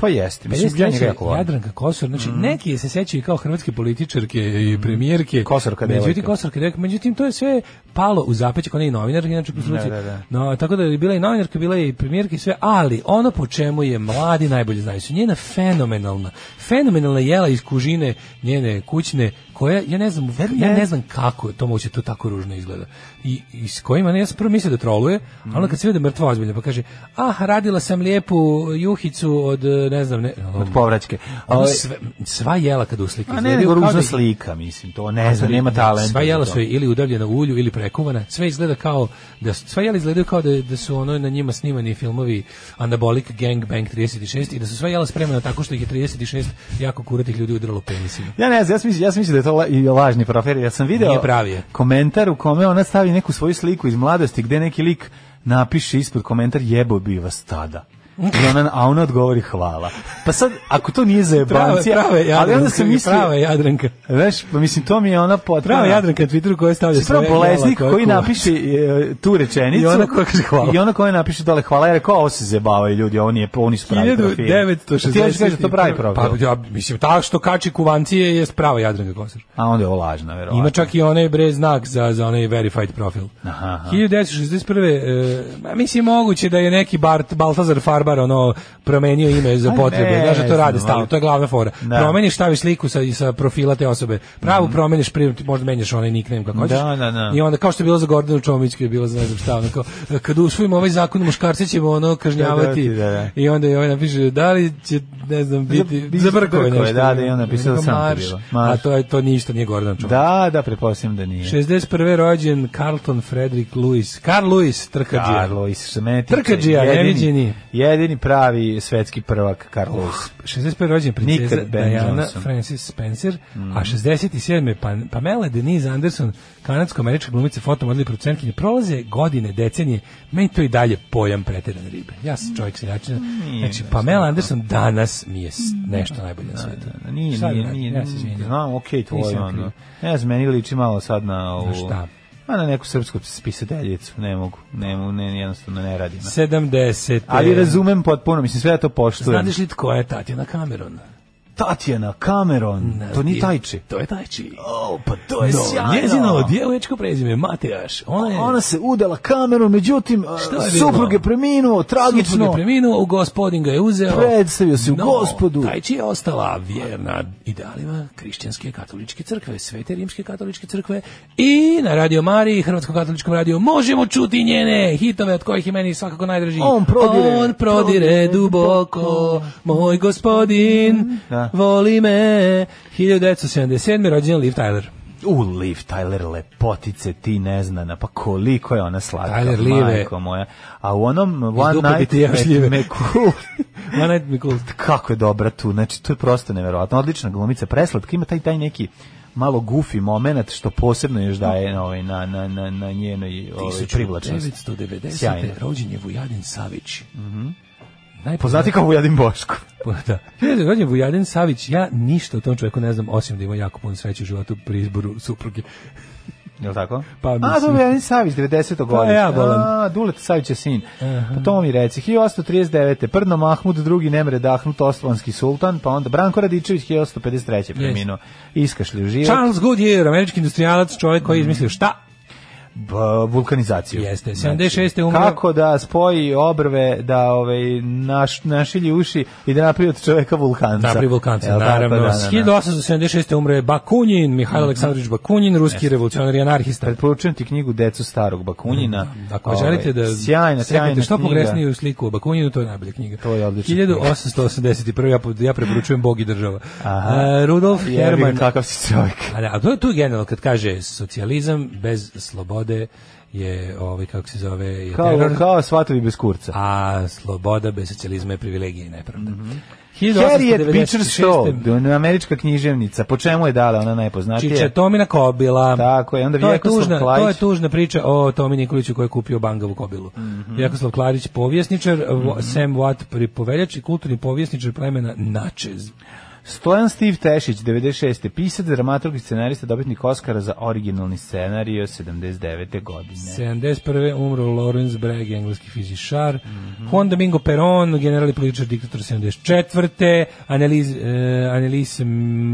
Speaker 8: Pa jeste, mislim, ja njega
Speaker 7: 53.
Speaker 8: jako volim. Mm-hmm.
Speaker 7: Jadranka Kosor, znači neki je se sećaju kao hrvatske političarke i premijerke.
Speaker 8: Kosorka
Speaker 7: Međutim,
Speaker 8: devojka.
Speaker 7: Kosorka devojka, međutim, to je sve palo u zapećak, ona je i novinarka, inače po struci.
Speaker 8: da, da.
Speaker 7: No, tako da je bila i novinarka, bila je i premijerka i sve, ali ono po čemu je mladi najbolje znaju su njena fenomenalna, fenomenalna jela iz kužine njene kućne, koja, ja ne znam, ja ne znam kako je to moguće, da to tako ružno izgleda. I, i s kojima, ne, ja sam prvo mislio da troluje, a onda kad se vidi da je mrtva ozbiljna, pa kaže, ah, radila sam lijepu juhicu od, eh, ne znam, ne,
Speaker 8: Od povraćke.
Speaker 7: ono
Speaker 8: Ali-
Speaker 7: sve, sva jela kad uslika
Speaker 8: A ne, nego
Speaker 7: da
Speaker 8: ružna slika, mislim, to ne znam, Pa nema talenta.
Speaker 7: Sva
Speaker 8: za
Speaker 7: jela
Speaker 8: to.
Speaker 7: su ili udavljena u ulju ili prekuvana. Sve izgleda kao da su- sva jela izgledaju kao da, da su ono na njima snimani filmovi Anabolic Gang Bang 36 i da su sva jela spremana tako što ih je 36 jako kuratih ljudi udralo penisima.
Speaker 8: Ja ne znam, ja sam mislio, ja sam mislio da je to la, i lažni profer, ja sam video
Speaker 7: Nije pravi je.
Speaker 8: komentar u kome ona stavi neku svoju sliku iz mladosti gde neki lik napiše ispod komentar jebo bi vas tada. I ona, a ona odgovori hvala. Pa sad, ako to nije za
Speaker 7: Prava,
Speaker 8: jebancija,
Speaker 7: prava je Jadranka,
Speaker 8: ali onda sam
Speaker 7: prava
Speaker 8: mislio,
Speaker 7: je Jadranka.
Speaker 8: Znaš, pa mislim, to mi je ona potpuno...
Speaker 7: Prava je Jadranka na Twitteru koja stavlja
Speaker 8: Prvo
Speaker 7: svoje
Speaker 8: bolesnik
Speaker 7: jela
Speaker 8: koji
Speaker 7: kuva.
Speaker 8: napiše e, tu rečenicu
Speaker 7: I ona koja kaže hvala.
Speaker 8: i ona koja napiše dole hvala jer rekao ovo se zebavaju ljudi ovo nije oni su pravi profil
Speaker 7: 1960.
Speaker 8: A ti još kažeš da to pravi
Speaker 7: Pa,
Speaker 8: profil
Speaker 7: ja, mislim, ta što kači kuvancije je prava Jadranka Kosar.
Speaker 8: a onda je ovo lažna verovatno
Speaker 7: Ima čak i onaj bre znak za, za onaj verified profil.
Speaker 8: Aha, aha.
Speaker 7: 1961. E, ma mislim moguće da je neki Bart, Baltazar Farbar ono promenio ime za
Speaker 8: Pa
Speaker 7: potrebe.
Speaker 8: ne
Speaker 7: Znaš da to rade
Speaker 8: znam,
Speaker 7: stalno,
Speaker 8: ali-
Speaker 7: to je glavna fora.
Speaker 8: Da. Mhm.
Speaker 7: Promeniš, staviš sliku sa, i sa profila te osobe. Pravu promeniš, pri, možda menjaš onaj nickname kako hoćeš.
Speaker 8: Da, da, da.
Speaker 7: I onda kao što je bilo za Gordanu Čomić, koji je bilo za ne znam šta, ono kao, e, kad usvojimo ovaj zakon, muškarce ćemo ono kažnjavati.
Speaker 8: Da, da, da.
Speaker 7: I onda je ovaj napiše, da li će, ne znam, biti,
Speaker 8: biti
Speaker 7: za brkove
Speaker 8: brkove,
Speaker 7: nešto.
Speaker 8: da, da, i onda napisao
Speaker 7: Neko
Speaker 8: sam to
Speaker 7: marš,
Speaker 8: bilo.
Speaker 7: A
Speaker 8: Marš.
Speaker 7: to je to ništa nije Gordana Čomić.
Speaker 8: da da pretpostavljam da nije
Speaker 7: 61. rođen Carlton Frederick Lewis. Carl Lewis, trkađija.
Speaker 8: Karlo i Smeti
Speaker 7: Trkađija, neviđeni.
Speaker 8: jedini, jedini pravi svetski prvak Carlos.
Speaker 7: 65. rođen princeza
Speaker 8: Nikad Ben
Speaker 7: Diana
Speaker 8: Johnson. Mm.
Speaker 7: Francis Spencer, a 67. Pa, Pamela Denise Anderson, kanadsko-američka glumica, fotomodel i producentkinja, prolaze godine, decenije, meni to i dalje pojam pretedan ribe. Ja sam čovjek
Speaker 8: Mm,
Speaker 7: seljačina. Znači, Pamela Anderson danas mi je s-
Speaker 8: da,
Speaker 7: nešto najbolje na svijetu.
Speaker 8: Nije,
Speaker 7: Šta da
Speaker 8: nije,
Speaker 7: radim?
Speaker 8: nije.
Speaker 7: Ja se izvinjam.
Speaker 8: Znam, okej, tvoj
Speaker 7: Nisam kriv.
Speaker 8: ono. Ne znam, meni liči malo sad na ovu...
Speaker 7: Na šta?
Speaker 8: Ma na neku srpsku spisateljicu, ne mogu, ne, mogu, ne, jednostavno ne radim.
Speaker 7: 70.
Speaker 8: Ali razumem potpuno, mislim sve ja to poštujem.
Speaker 7: Znadeš li tko je Tatjana Cameron?
Speaker 8: Tatjana Cameron,
Speaker 7: Ne,
Speaker 8: to ni
Speaker 7: ti-
Speaker 8: tajči.
Speaker 7: To je Tajči.
Speaker 8: O, pa to je sjajno.
Speaker 7: Da, Njezino djevoječko prezime je Matejaš. Ona je...
Speaker 8: Ona se udala Cameron, međutim,
Speaker 7: je bilo?
Speaker 8: suprug je preminuo,
Speaker 7: Suprug je
Speaker 8: tragično.
Speaker 7: preminuo, u gospodin ga je uzeo.
Speaker 8: Predstavio se u gospodu.
Speaker 7: Taj je ostala vjerna idealima hrišćanske katoličke crkve, svete rimske katoličke crkve i na Radio Mariji, Hrvatskom katoličkom radiju, možemo čuti njene hitove od kojih je meni svakako najdraži.
Speaker 8: On prodire.
Speaker 7: On prodire
Speaker 8: Prodire
Speaker 7: duboko, moj gospodin,
Speaker 8: Da.
Speaker 7: voli me. 1977. rođen Liv Tyler.
Speaker 8: U, Liv Tyler, lepotice, ti neznana, pa koliko je ona slatka,
Speaker 7: Tyler Liv je-
Speaker 8: majko moja. A u onom One
Speaker 7: dupe bi
Speaker 8: Night
Speaker 7: ti još ljive.
Speaker 8: at McCool,
Speaker 7: One Night McCool.
Speaker 8: kako je dobra tu, znači to je prosto neverovatno, odlična glumica, preslatka, ima taj, taj neki malo gufi moment što posebno još daje
Speaker 7: Da.
Speaker 8: na, ovaj, na, na, na, na njenoj ovaj, privlačnosti.
Speaker 7: 1990.
Speaker 8: Sjajno. Mhm.
Speaker 7: rođen je Vujadin Savić. Mm
Speaker 8: Poznati kao Vujadin Boško.
Speaker 7: Da. Hiljadu rođen je Vujadin Savić, ja ništa o tom čovjeku ne znam, osim da ima jako puno sreće u životu pri izboru supruge.
Speaker 8: Jel tako?
Speaker 7: Pa,
Speaker 8: A,
Speaker 7: mislim.
Speaker 8: dobro, Vujadin Savić, 90.
Speaker 7: Pa,
Speaker 8: godišnje.
Speaker 7: ja volim.
Speaker 8: A, Dulet Savić je sin. Pa to mi reci. 1839. Prdno Mahmud, drugi Nemre Dahnut, Osmanski sultan, pa onda Branko Radičević, 1853. preminuo. Iskašlju život.
Speaker 7: Charles Goodyear, američki industrijalac, čovjek koji je
Speaker 8: Mhm.
Speaker 7: izmislio šta?
Speaker 8: b- vulkanizaciju.
Speaker 7: Jeste,
Speaker 8: Znači,
Speaker 7: 76. umro.
Speaker 8: Kako da spoji obrve, da ovaj, naš, našilji uši i da napravi od čoveka vulkanca.
Speaker 7: Da, pri Vulkanca,
Speaker 8: Jel tako?
Speaker 7: naravno.
Speaker 8: Da, Mhm. da, da.
Speaker 7: 1876. umro je Bakunin, Mihajlo Aleksandrović Bakunin, ruski revolucionar i anarhista.
Speaker 8: Preporučujem ti knjigu Decu starog Bakunjina.
Speaker 7: Ako
Speaker 8: Ovaj,
Speaker 7: želite da
Speaker 8: sjajna, sjajna
Speaker 7: sretnete što
Speaker 8: knjiga.
Speaker 7: pogresniju sliku o Bakunjinu, to je najbolja knjiga.
Speaker 8: To je odlična
Speaker 7: 1881. Ja, po- ja preporučujem Bog i država. Uh, Rudolf
Speaker 8: Jebi ga,
Speaker 7: Herman.
Speaker 8: kakav si čovjek.
Speaker 7: A, da, a to je tu generalno kad kaže socijalizam bez slobode je ovaj kako se zove je
Speaker 8: Kao,
Speaker 7: teror,
Speaker 8: kao svatovi bez kurca.
Speaker 7: a sloboda bez socijalizma je privilegija i nepravda. Mm
Speaker 8: Mhm. Harriet Beecher Stowe, američka književnica. Po čemu je dala ona najpoznatija?
Speaker 7: Čiče Tomina Kobila.
Speaker 8: Tako je, onda
Speaker 7: to je,
Speaker 8: Vjekoslav
Speaker 7: tužna,
Speaker 8: Klajić.
Speaker 7: to je tužna priča o Tomi Nikoliću koji je kupio Bangavu Kobilu. Vjekoslav Klarić, povjesničar, Vo- Sam Watt, pripovedač i kulturni povjesničar plemena Načez.
Speaker 8: Stojan Stiv Tešić, 96. Pisac, dramaturg i scenarista, dobitnik Oscara za originalni scenario 79. godine.
Speaker 7: 71. umro Lawrence Bragg, engleski fizičar. Juan Domingo Perón, general i političar diktator 74. Annelies, eh, Annelies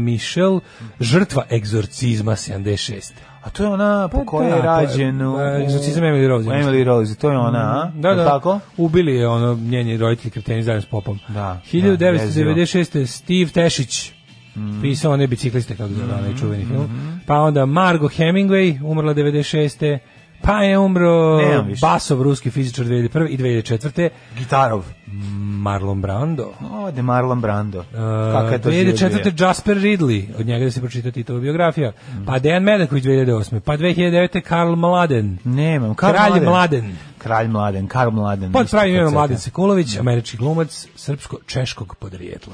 Speaker 7: Michel, žrtva egzorcizma 76.
Speaker 8: A to je ona po
Speaker 7: Pa
Speaker 8: kojoj
Speaker 7: da,
Speaker 8: je
Speaker 7: to je,
Speaker 8: rađen u...
Speaker 7: e, egzorcizam Emily Rose, ja mislim.
Speaker 8: Emily Rose, to je ona, a?
Speaker 7: Da,
Speaker 8: Je li
Speaker 7: da.
Speaker 8: Tako?
Speaker 7: Ubili je ono njeni roditelji kreteni zajedno s popom.
Speaker 8: Da,
Speaker 7: 1996. Steve Tešić
Speaker 8: Mhm.
Speaker 7: pisao one bicikliste kako se zove onaj čuveni film. Pa onda Margo Hemingway umrla 96. Pa je umro
Speaker 8: Nemam više.
Speaker 7: Basov, ruski fizičar 2001. i 2004.
Speaker 8: Gitarov.
Speaker 7: Marlon Brando.
Speaker 8: Ode Marlon Brando.
Speaker 7: E,
Speaker 8: Uh, Kaka je to
Speaker 7: 2004. Jasper Ridley, od njega da se pročita Titova biografija.
Speaker 8: Mhm.
Speaker 7: Pa Dejan Medaković 2008. Pa 2009. Karl Mladen.
Speaker 8: Nemam. Karl
Speaker 7: Kralj Mladen.
Speaker 8: Kralj Mladen, Karl Mladen.
Speaker 7: Pod
Speaker 8: isto
Speaker 7: pravim imenom
Speaker 8: podsjetio.
Speaker 7: Mladen Sekulović, američki glumac srpsko-češkog podrijetla.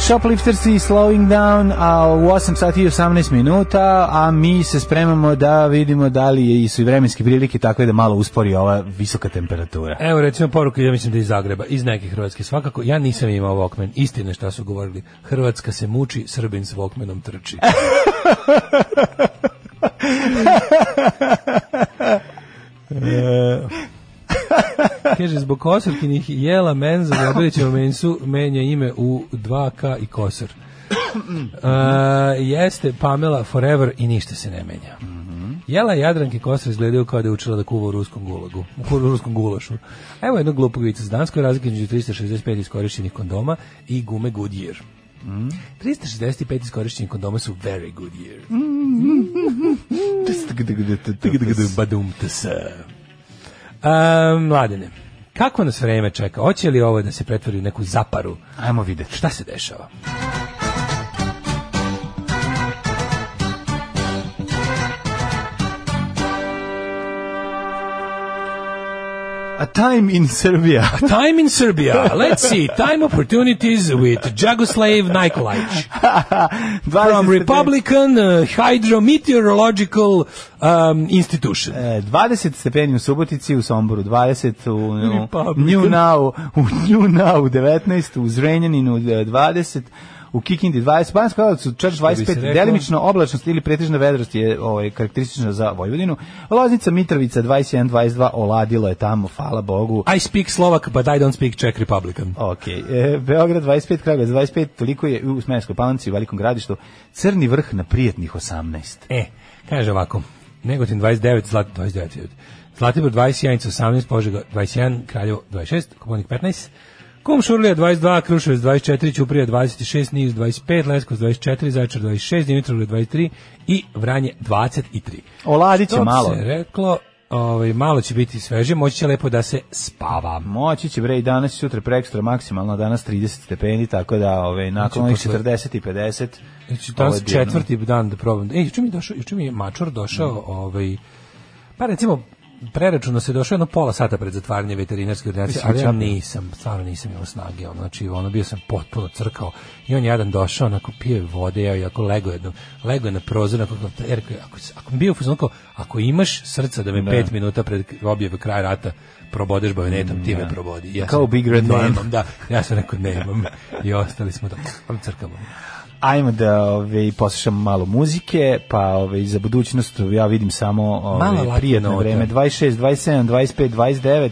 Speaker 8: Shoplifters i Slowing Down a u 8 sati i 18 minuta, a mi se spremamo da vidimo da li je i su i vremenske prilike takve da malo uspori ova visoka temperatura.
Speaker 7: Evo recimo poruka, ja mislim da je iz Zagreba, iz neke Hrvatske svakako. Ja nisam imao Walkman, istina je šta su govorili. Hrvatska se muči, Srbin s Walkmanom trči. E, Kaže, zbog Kosovkinih jela menza u Obilićevom mensu menja ime u 2K i Kosor. E, jeste Pamela Forever i ništa se ne menja. Jela Jadranke Kosor izgledaju kao da je učila da kuva u ruskom gulagu, u kur- u ruskom gulašu. Evo jednog glupog vica s Danskoj razlike između 365 iskorišćenih kondoma i gume Goodyear. 365 iskorišćenih kondoma su very good year. Badum tsa. A, mladene, Kako nas vreme čeka? Hoće li ovo da se pretvori u neku zaparu?
Speaker 8: Ajmo vidjeti.
Speaker 7: Šta se dešava?
Speaker 8: A time in Serbia.
Speaker 7: Pa, Time in Serbia. Let's see. Time opportunities with Jagoslav Nikolic.
Speaker 8: 20
Speaker 7: From Republican uh, Hydrometeorological um, Institution.
Speaker 8: E, 20 stepeni u Subotici, u Somboru 20, u, u
Speaker 7: Republican.
Speaker 8: New Now, u New Now 19, u Zrenjaninu e, 20, u Kikindi 20, Banjska Kralovica u Črč
Speaker 7: bi se
Speaker 8: 25,
Speaker 7: reklo?
Speaker 8: delimično oblačnost ili pretežna vedrost je ovaj, karakteristična za Vojvodinu, Loznica Mitrovica 21, 22, oladilo je tamo, hvala Bogu.
Speaker 7: I speak Slovak, but I don't speak Czech Republican.
Speaker 8: Ok, e, Beograd 25, Kragovac 25, toliko je u Smenskoj palanci, u Velikom gradištu, Crni vrh na prijetnih 18.
Speaker 7: E, kaže ovako. Negotin 29, Zlat, 29. ljudi. Zlatibor 21, Ica 18, Požega 21, Kraljevo 26, Koponik 15, Kumšurlija 22, Kruševac 24, Ćuprija 26, Niš 25, Leskovac 24, Zaječar 26, Dimitrovgrad 23 i Vranje 23.
Speaker 8: Oladit će
Speaker 7: To
Speaker 8: malo.
Speaker 7: se reklo, ovaj, malo će biti sveže, moći će lepo da se spava.
Speaker 8: Moći će bre i danas i sutra prekstra maksimalno danas 30 stepeni, tako da ove, nakon
Speaker 7: Znači,
Speaker 8: onih
Speaker 7: posle-
Speaker 8: 40 i 50.
Speaker 7: Znači,
Speaker 8: ovo
Speaker 7: danas
Speaker 8: je divno. Mm.
Speaker 7: četvrti dan da probam. E, juče mi je došao, juče mi je mačor došao, ovaj pa recimo preračuno se došao jedno pola sata pred zatvaranje veterinarske ordinacije,
Speaker 8: Mislim,
Speaker 7: ali ja
Speaker 8: čapno.
Speaker 7: nisam, stvarno nisam imao snage, ono, znači, ono, bio sam potpuno crkao i on jedan došao, onako, pije vode, ja, jako lego jedno, lego je na prozor, onako, kao, e, rekao je, ako, ako mi bio u fazonu, kao, ako imaš srca da me pet minuta pred objave kraja rata probodeš bajonetom, ti me probodi. Ja
Speaker 8: Da. Kao
Speaker 7: sam-
Speaker 8: Big Red One.
Speaker 7: Nemam, da, ja sam rekao, nemam. I ostali smo tako, crkamo.
Speaker 8: Ajmo da ove, poslušamo malo muzike, pa ove, za budućnost ja vidim samo
Speaker 7: Malo
Speaker 8: ove,
Speaker 7: lako
Speaker 8: prijatno
Speaker 7: nota.
Speaker 8: vreme, 26, 27, 25, 29,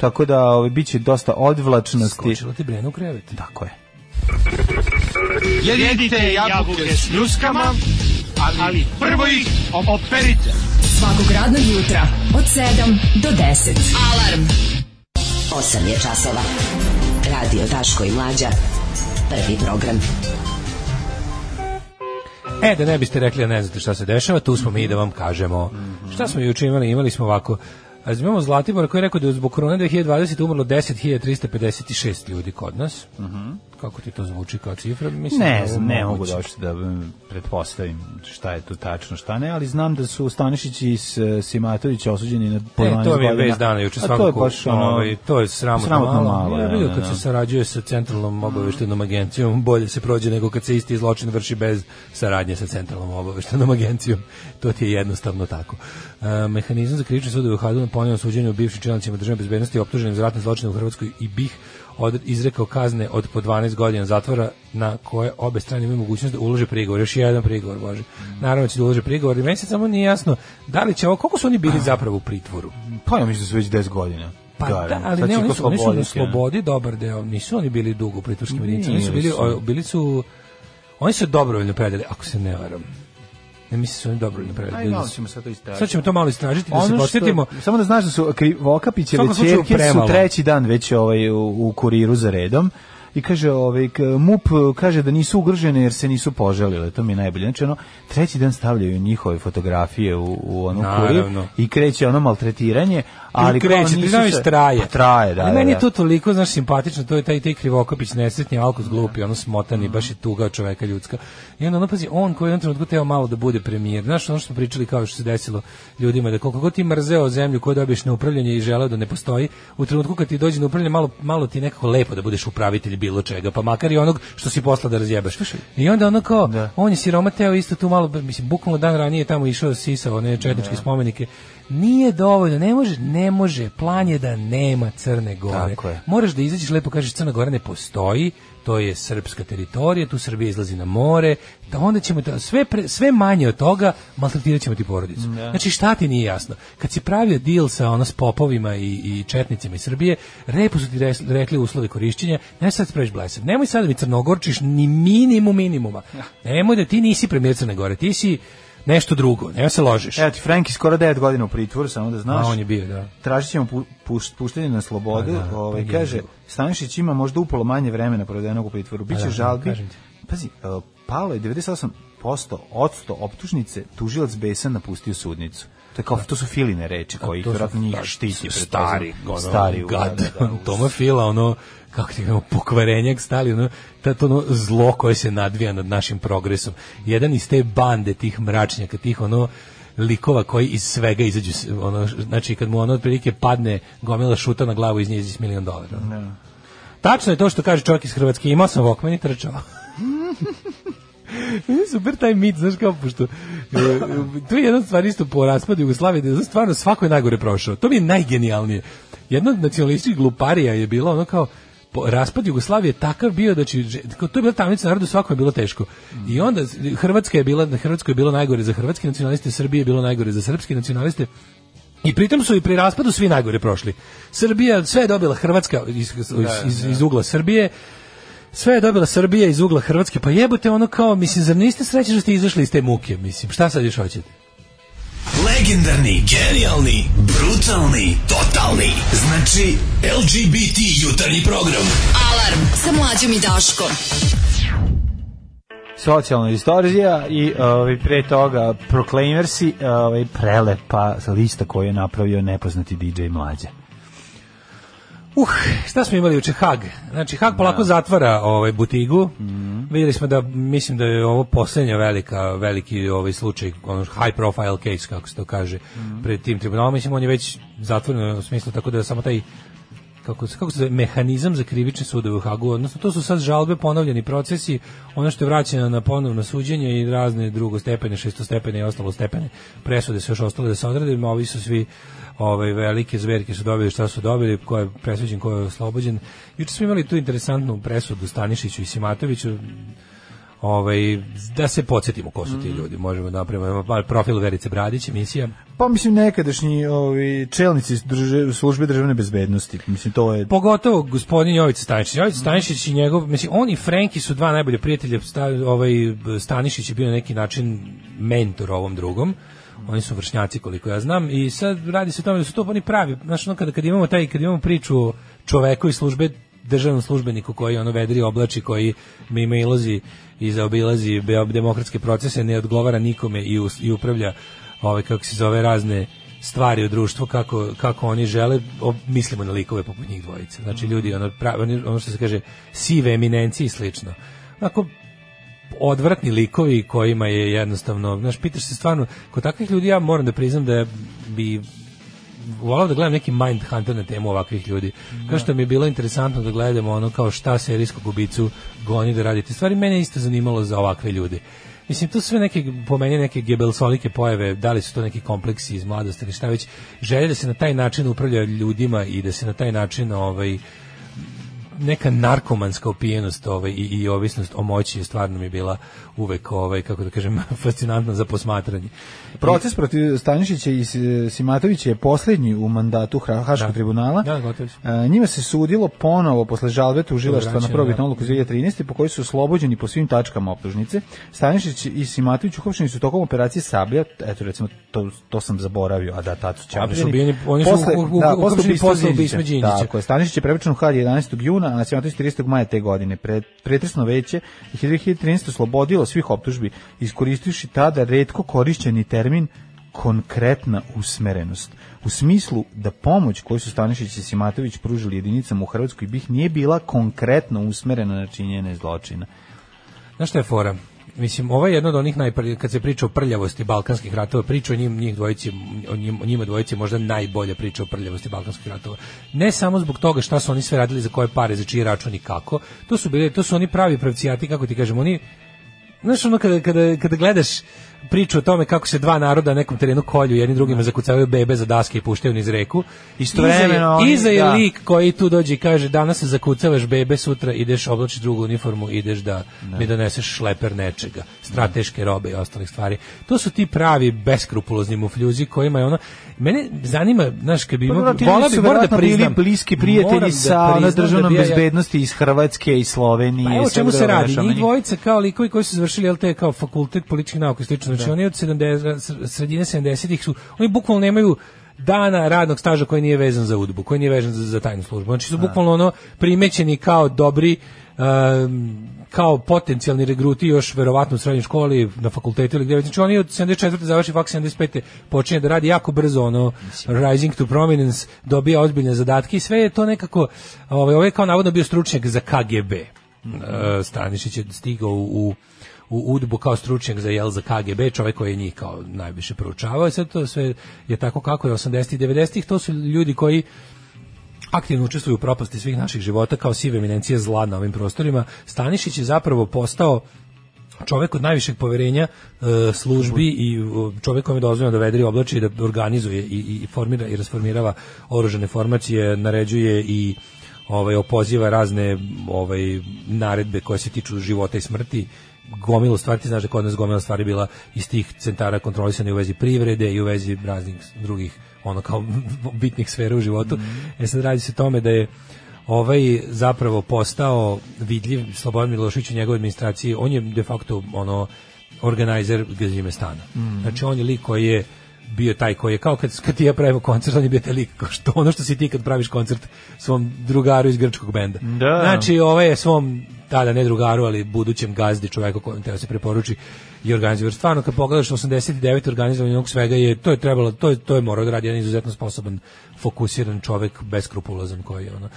Speaker 8: tako da ove, bit će dosta odvlačnosti.
Speaker 7: Skočila ti Brena u krevet.
Speaker 8: Tako je.
Speaker 5: Svakog radnog jutra od 7 do 10.
Speaker 10: Alarm. 8 je časova. Radio Daško i Mlađa. Prvi program.
Speaker 7: E, da ne biste rekli, a ne znate šta se dešava, tu smo mi da vam kažemo.
Speaker 8: Mhm.
Speaker 7: Šta smo juče imali? Imali smo ovako, a imamo Zlatibor koji je rekao da je zbog korona 2020 umrlo 10.356 ljudi kod nas. Kako ti to zvuči kao cifra? Mislim, da je
Speaker 8: Mhm. Ne
Speaker 7: ovo
Speaker 8: znam, ne
Speaker 7: moguće.
Speaker 8: mogu da uopšte da mm, pretpostavim šta je tu tačno, šta ne, ali znam da su Stanišić i S- Simatović osuđeni na po
Speaker 7: E,
Speaker 8: 12
Speaker 7: to mi je
Speaker 8: godina.
Speaker 7: vez dana juče
Speaker 8: A
Speaker 7: svakako.
Speaker 8: To je baš ono,
Speaker 7: ovaj, to je sramotno,
Speaker 8: sramotno malo,
Speaker 7: Ja
Speaker 8: evo,
Speaker 7: vidio
Speaker 8: da,
Speaker 7: kad
Speaker 8: da.
Speaker 7: se sarađuje sa centralnom obaveštenom agencijom, bolje se prođe nego kad se isti zločin vrši bez saradnje sa centralnom obaveštenom agencijom. To ti je jednostavno tako. E, mehanizam za krivični sud je u Hadu na ponovnom suđenju bivšim čelnicima državne bezbednosti optuženim za ratne zločine u Hrvatskoj i BiH od, izrekao kazne od po 12 godina zatvora na koje obe strane imaju mogućnost da ulože prigovor. Još jedan prigovor, Bože. Naravno će da ulože prigovor i meni sad samo nije jasno da li će ovo, koliko su oni bili zapravo u pritvoru?
Speaker 8: Pa ja mislim da su već 10 godina.
Speaker 7: Pa da, ali
Speaker 8: Sad
Speaker 7: ne,
Speaker 8: će
Speaker 7: oni
Speaker 8: ko
Speaker 7: su, oni su na
Speaker 8: sloboditi, ne?
Speaker 7: slobodi dobar deo, nisu oni bili dugo u pritvorskim jedinicama, oni su
Speaker 8: Nije
Speaker 7: bili,
Speaker 8: su.
Speaker 7: o, bili su, oni su dobrovoljno predali, ako se ne varam. Ne mislim da su oni dobrovoljno predali.
Speaker 8: Ajde,
Speaker 7: Bili
Speaker 8: malo
Speaker 7: su-
Speaker 8: ćemo sad to istražiti.
Speaker 7: Sad ćemo to malo istražiti, da se
Speaker 8: Ono što-
Speaker 7: podsjetimo.
Speaker 8: Samo da znaš da su kri- Vokapićeve
Speaker 7: U svakom slučaju
Speaker 8: čerke su
Speaker 7: premalo.
Speaker 8: treći dan već ovaj, u, u kuriru za redom. I kaže, ovaj, k- MUP kaže da nisu ugrožene jer se nisu požalile, to mi je najbolje. Znači, ono, treći dan stavljaju njihove fotografije u, u onu kurir
Speaker 7: Naravno.
Speaker 8: i kreće ono maltretiranje, ali
Speaker 7: ali
Speaker 8: kao
Speaker 7: kreće, ti
Speaker 8: nisu
Speaker 7: znaš
Speaker 8: se-
Speaker 7: traje.
Speaker 8: Pa traje, da,
Speaker 7: Ali
Speaker 8: da,
Speaker 7: meni je
Speaker 8: da.
Speaker 7: to toliko, znaš, simpatično, to je taj, taj Krivokapić, nesretni, alkos glupi, ono smotani, baš je tuga od čoveka ljudska. I onda, ono, pazi, on koji je u jednom trenutku teo malo da bude premijer, znaš, ono što smo pričali kao što se desilo ljudima, da koliko god ti mrzeo zemlju koju dobiješ na upravljanje i želeo da ne postoji, u trenutku kad ti dođe na upravljanje, malo, malo ti je nekako lepo da budeš upravitelj bilo čega, pa makar i onog što si posla da razjebaš. I onda ono kao,
Speaker 8: Da.
Speaker 7: on je siroma teo isto tu malo, mislim, bukvalno dan ranije je tamo išao sisao one četničke
Speaker 8: Da.
Speaker 7: spomenike. Nije dovoljno, ne može, ne može, plan je da nema Crne Gore.
Speaker 8: Tako je.
Speaker 7: Moraš da izađeš lepo, kažeš Crna Gora ne postoji, to je srpska teritorija, tu Srbija izlazi na more, da onda ćemo da sve, pre- sve manje od toga maltretirat ćemo ti porodicu. Znači šta ti nije jasno? Kad si pravio deal sa ono s popovima i, i četnicima iz Srbije, repu su ti res- rekli uslove korišćenja, ne sad spraviš blesav. Nemoj sad da mi crnogorčiš ni minimum minimuma. Nemoj da ti nisi premijer Crne Gore, ti si nešto drugo, nemoj se ložiš.
Speaker 8: Evo ti, Franki, skoro 9 godina u pritvoru, samo da znaš.
Speaker 7: A on je bio, da.
Speaker 8: tražit ćemo pu, puš- puštanje na slobodu.
Speaker 7: Pa da,
Speaker 8: ovaj,
Speaker 7: pa je
Speaker 8: kaže,
Speaker 7: jezivo.
Speaker 8: Stanišić ima možda upolo manje vremena provedenog u pritvoru. Biće
Speaker 7: da,
Speaker 8: žalbi.
Speaker 7: kažem ti.
Speaker 8: Pazi, e, palo je 98% odsto optužnice, tužilac Besan napustio sudnicu. To, je kao, to su filine reči koji ih
Speaker 7: To su-
Speaker 8: vjerojatno njih
Speaker 7: da,
Speaker 8: štiti.
Speaker 7: Stari,
Speaker 8: pretpostavljam.
Speaker 7: ono,
Speaker 8: stari,
Speaker 7: gad,
Speaker 8: da, da, da,
Speaker 7: Toma Fila, ono, kako ti kažemo, pokvarenjak stali, ono, ta, to ono zlo koje se nadvija nad našim progresom. Jedan iz te bande tih mračnjaka, tih ono, likova koji iz svega izađu, s- ono, š- znači kad mu ono otprilike padne gomila šuta na glavu iz nje iz milion dolara.
Speaker 8: Da.
Speaker 7: Tačno je to što kaže čovjek iz Hrvatske, imao sam Walkman i trčao. Meni je super taj mit, znaš kao, pošto e, tu je jedna stvar isto po raspadu Jugoslavije, da je stvarno svako je najgore prošao. To mi je najgenijalnije. Jedna od nacionalističkih gluparija je bila ono kao, po, raspad Jugoslavije je takav bio da će, že- kao, to je bila tamnica narodu, svakome je bilo teško. I onda Hrvatska je bila, na Hrvatskoj je bilo najgore za hrvatske nacionaliste, Srbije je bilo najgore za srpske nacionaliste, i pritom su i pri raspadu svi najgore prošli. Srbija, sve je dobila Hrvatska iz, iz, iz, iz ugla Srbije, sve je dobila Srbija iz ugla Hrvatske, pa jebote ono kao, mislim, zar niste srećni što ste izašli iz te muke, mislim, šta sad još hoćete?
Speaker 6: Legendarni, genijalni, brutalni, totalni. Znači, LGBT jutarnji program.
Speaker 5: Alarm sa mlađom i Daškom.
Speaker 8: socijalna distorzija i ovaj pre toga Proclaimersi, ovaj prelepa lista koju je napravio nepoznati DJ mlađe.
Speaker 7: Uh, šta smo imali juče Hag? Znači Hag polako zatvara ovaj butigu. Vidjeli smo da mislim da je ovo posljednja velika veliki ovaj slučaj, ono high profile case kako se to kaže pred tim tribunalom. Mislim on je već zatvoren u smislu tako da samo taj kako se kako se zove, mehanizam za krivične sudove u Hagu, odnosno to su sad žalbe, ponovljeni procesi, ono što je vraćeno na ponovno suđenje i razne drugostepene, šestostepene i ostalo stepene presude su još ostale da se odrade, no ovi su svi ovaj velike zverke su dobili šta su dobili, ko je presuđen, ko je oslobođen. Juče smo imali tu interesantnu presudu Stanišiću i Simatoviću, ovaj, da se podsjetimo ko su ti ljudi, možemo da napravimo mal profil Verice Bradić, emisija.
Speaker 8: Pa mislim nekadašnji ovi čelnici drže, službe državne bezbednosti, mislim to je
Speaker 7: Pogotovo gospodin Jovica Stanišić. Jovica Stanišić i njegov, mislim, on i Frenki su dva najbolje prijatelja. Sta- ovaj, Stanišić je bio na neki način mentor ovom drugom. Oni su vršnjaci koliko ja znam i sad radi se o tome da su to oni pravi. Znaš, ono, kada, kad imamo taj, kad imamo priču o čoveku iz službe, državnom službeniku koji ono vedri oblači, koji mimo ilozi i zaobilazi beo- demokratske procese, ne odgovara nikome i, us- i upravlja ovaj, kako se zove razne stvari u društvu kako, kako oni žele, o- mislimo na likove poput njih dvojice. Znači ljudi, ono, pravi, oni- ono što se kaže, sive eminencije i slično. Onako, odvratni likovi kojima je jednostavno, znaš, pitaš se stvarno, kod takvih ljudi ja moram da priznam da bi volao da gledam neki mind hunter na temu ovakvih ljudi. Kao što mi je bilo interesantno da gledamo ono kao šta serijskog gubicu goni da radite. Stvari mene je isto zanimalo za ovakve ljude. Mislim, to su sve neke, po meni, neke gebelsolike pojave, da li su to neki kompleksi iz mladosti ili šta već, želje da se na taj način upravlja ljudima i da se na taj način ovaj, neka narkomanska opijenost ovaj, i, i ovisnost o moći je stvarno mi bila uvek, ovaj, kako da kažem, fascinantna za posmatranje.
Speaker 8: proces protiv Stanišića i S- Simatovića je posljednji u mandatu Hra- Haškog
Speaker 7: Da.
Speaker 8: tribunala.
Speaker 7: Da, gotovi su.
Speaker 8: E, njima se sudilo ponovo posle žalbe tužilaštva na
Speaker 7: Vraćanje,
Speaker 8: probitnu
Speaker 7: da.
Speaker 8: odluku iz 2013. po kojoj su oslobođeni po svim tačkama optužnice. Stanišić i Simatović uhapšeni su tokom operacije Sablja, eto recimo to, to sam zaboravio, a da tad su
Speaker 7: Oni su
Speaker 8: čapljeni.
Speaker 7: ubijeni- oni su u- u-
Speaker 8: da,
Speaker 7: uhapšeni
Speaker 8: ubistva
Speaker 7: posle
Speaker 8: Đinđića.
Speaker 7: ubistva Đinđića.
Speaker 8: Tako je, Stanišić je prebačen u Hag 11. juna, a Simatović 30. maja te godine. Pre, pretresno veće je 2013. slobodilo svih optužbi, iskoristivši tada redko korišćeni termin konkretna usmerenost. U smislu da pomoć koju su Stanišić i Simatović pružili jedinicama u Hrvatskoj bih nije bila konkretno usmerena na činjenje zločina.
Speaker 7: Pa, Znaš šta je fora? Mislim, ovo je jedno od onih najprlj, kad se priča o prljavosti balkanskih ratova, priča o njim, njih dvojici, o njim- o njima dvojici je možda najbolja priča o prljavosti balkanskih ratova. Ne samo zbog toga šta su oni sve radili, za koje pare, za čiji račun i kako. To su, bili, to su oni pravi pravcijati, kako ti kažem, oni Znaš ono kada, kada, kada gledaš priču o tome kako se dva naroda na nekom terenu kolju, jedni
Speaker 8: Da.
Speaker 7: drugima zakucavaju bebe za daske i puštaju niz reku.
Speaker 8: Istovremeno
Speaker 7: Iza je-
Speaker 8: oni-
Speaker 7: Iza je
Speaker 8: da.
Speaker 7: lik koji tu dođe i kaže danas se zakucavaš bebe, sutra ideš oblačiš drugu uniformu, ideš da mi doneseš šleper nečega, strateške robe i ostalih stvari. To su ti pravi beskrupulozni mufljuzi kojima je ono... Mene zanima, znaš, kad bi
Speaker 8: Pa
Speaker 7: imao...
Speaker 8: dobro, ti ljudi
Speaker 7: volao
Speaker 8: su
Speaker 7: bi, moram da
Speaker 8: verovatno bili
Speaker 7: priznam,
Speaker 8: bliski
Speaker 7: moram
Speaker 8: prijatelji sa
Speaker 7: da
Speaker 8: ono
Speaker 7: priznam da
Speaker 8: državnom
Speaker 7: bi ja- ja-
Speaker 8: bezbednosti iz Hrvatske, iz Slovenije.
Speaker 7: pa evo o čemu
Speaker 8: svega
Speaker 7: se
Speaker 8: druga,
Speaker 7: radi?
Speaker 8: znaš, ono,
Speaker 7: Njih
Speaker 8: njih-
Speaker 7: dvojica kao likovi koji su završili LT kao fakultet političkih nauka i slično. Znači oni od 70, sredine 70-ih su, oni bukvalno nemaju dana radnog staža koji nije vezan za udbu, koji nije vezan za, za tajnu službu. Znači su bukvalno ono primećeni kao dobri um, kao potencijalni regruti još verovatno u srednjoj školi, na fakultetu ili gdje već. Znači oni od 74. završi fak 75. počinje da radi jako brzo ono Rising to Prominence, dobija ozbiljne zadatke i sve je to nekako ovaj, ovaj je kao navodno bio stručnjak za KGB. E, Stanišić je stigao u, u u Udbu kao stručnjak za jel za KGB, čovjek koji je njih kao najviše proučavao i sve to sve je tako kako je 80 i 90-ih, to su ljudi koji aktivno učestvuju u propasti svih naših života kao sive eminencije zla na ovim prostorima. Stanišić je zapravo postao čovjek od najvišeg poverenja e, službi i e, čovjek kojem je dozvoljeno da vedri oblači i da organizuje i, i, i formira i rasformirava oružane formacije, naređuje i ovaj opoziva razne ovaj naredbe koje se tiču života i smrti gomilu stvari, ti znaš da kod nas gomila stvari bila iz tih centara kontrolisane u vezi privrede i u vezi raznih drugih ono kao bitnih sfera u životu. E sad radi se o tome da je ovaj zapravo postao vidljiv Slobodan Milošević u njegovoj administraciji, on je de facto ono organizer Gazime stana. Znači on je lik koji je bio taj koji je kao kad, kad ti ja pravimo koncert, on je bio taj lik kao što ono što si ti kad praviš koncert svom drugaru iz grčkog benda.
Speaker 8: Da.
Speaker 7: Znači ovaj je svom tada ne drugaru, ali budućem gazdi čoveku kojem treba da se preporuči i organizuje. Stvarno kad pogledaš 89 organizovanje onog svega je to je trebalo to je to je morao da radi jedan izuzetno sposoban, fokusiran čovjek beskrupulozan koji je ono.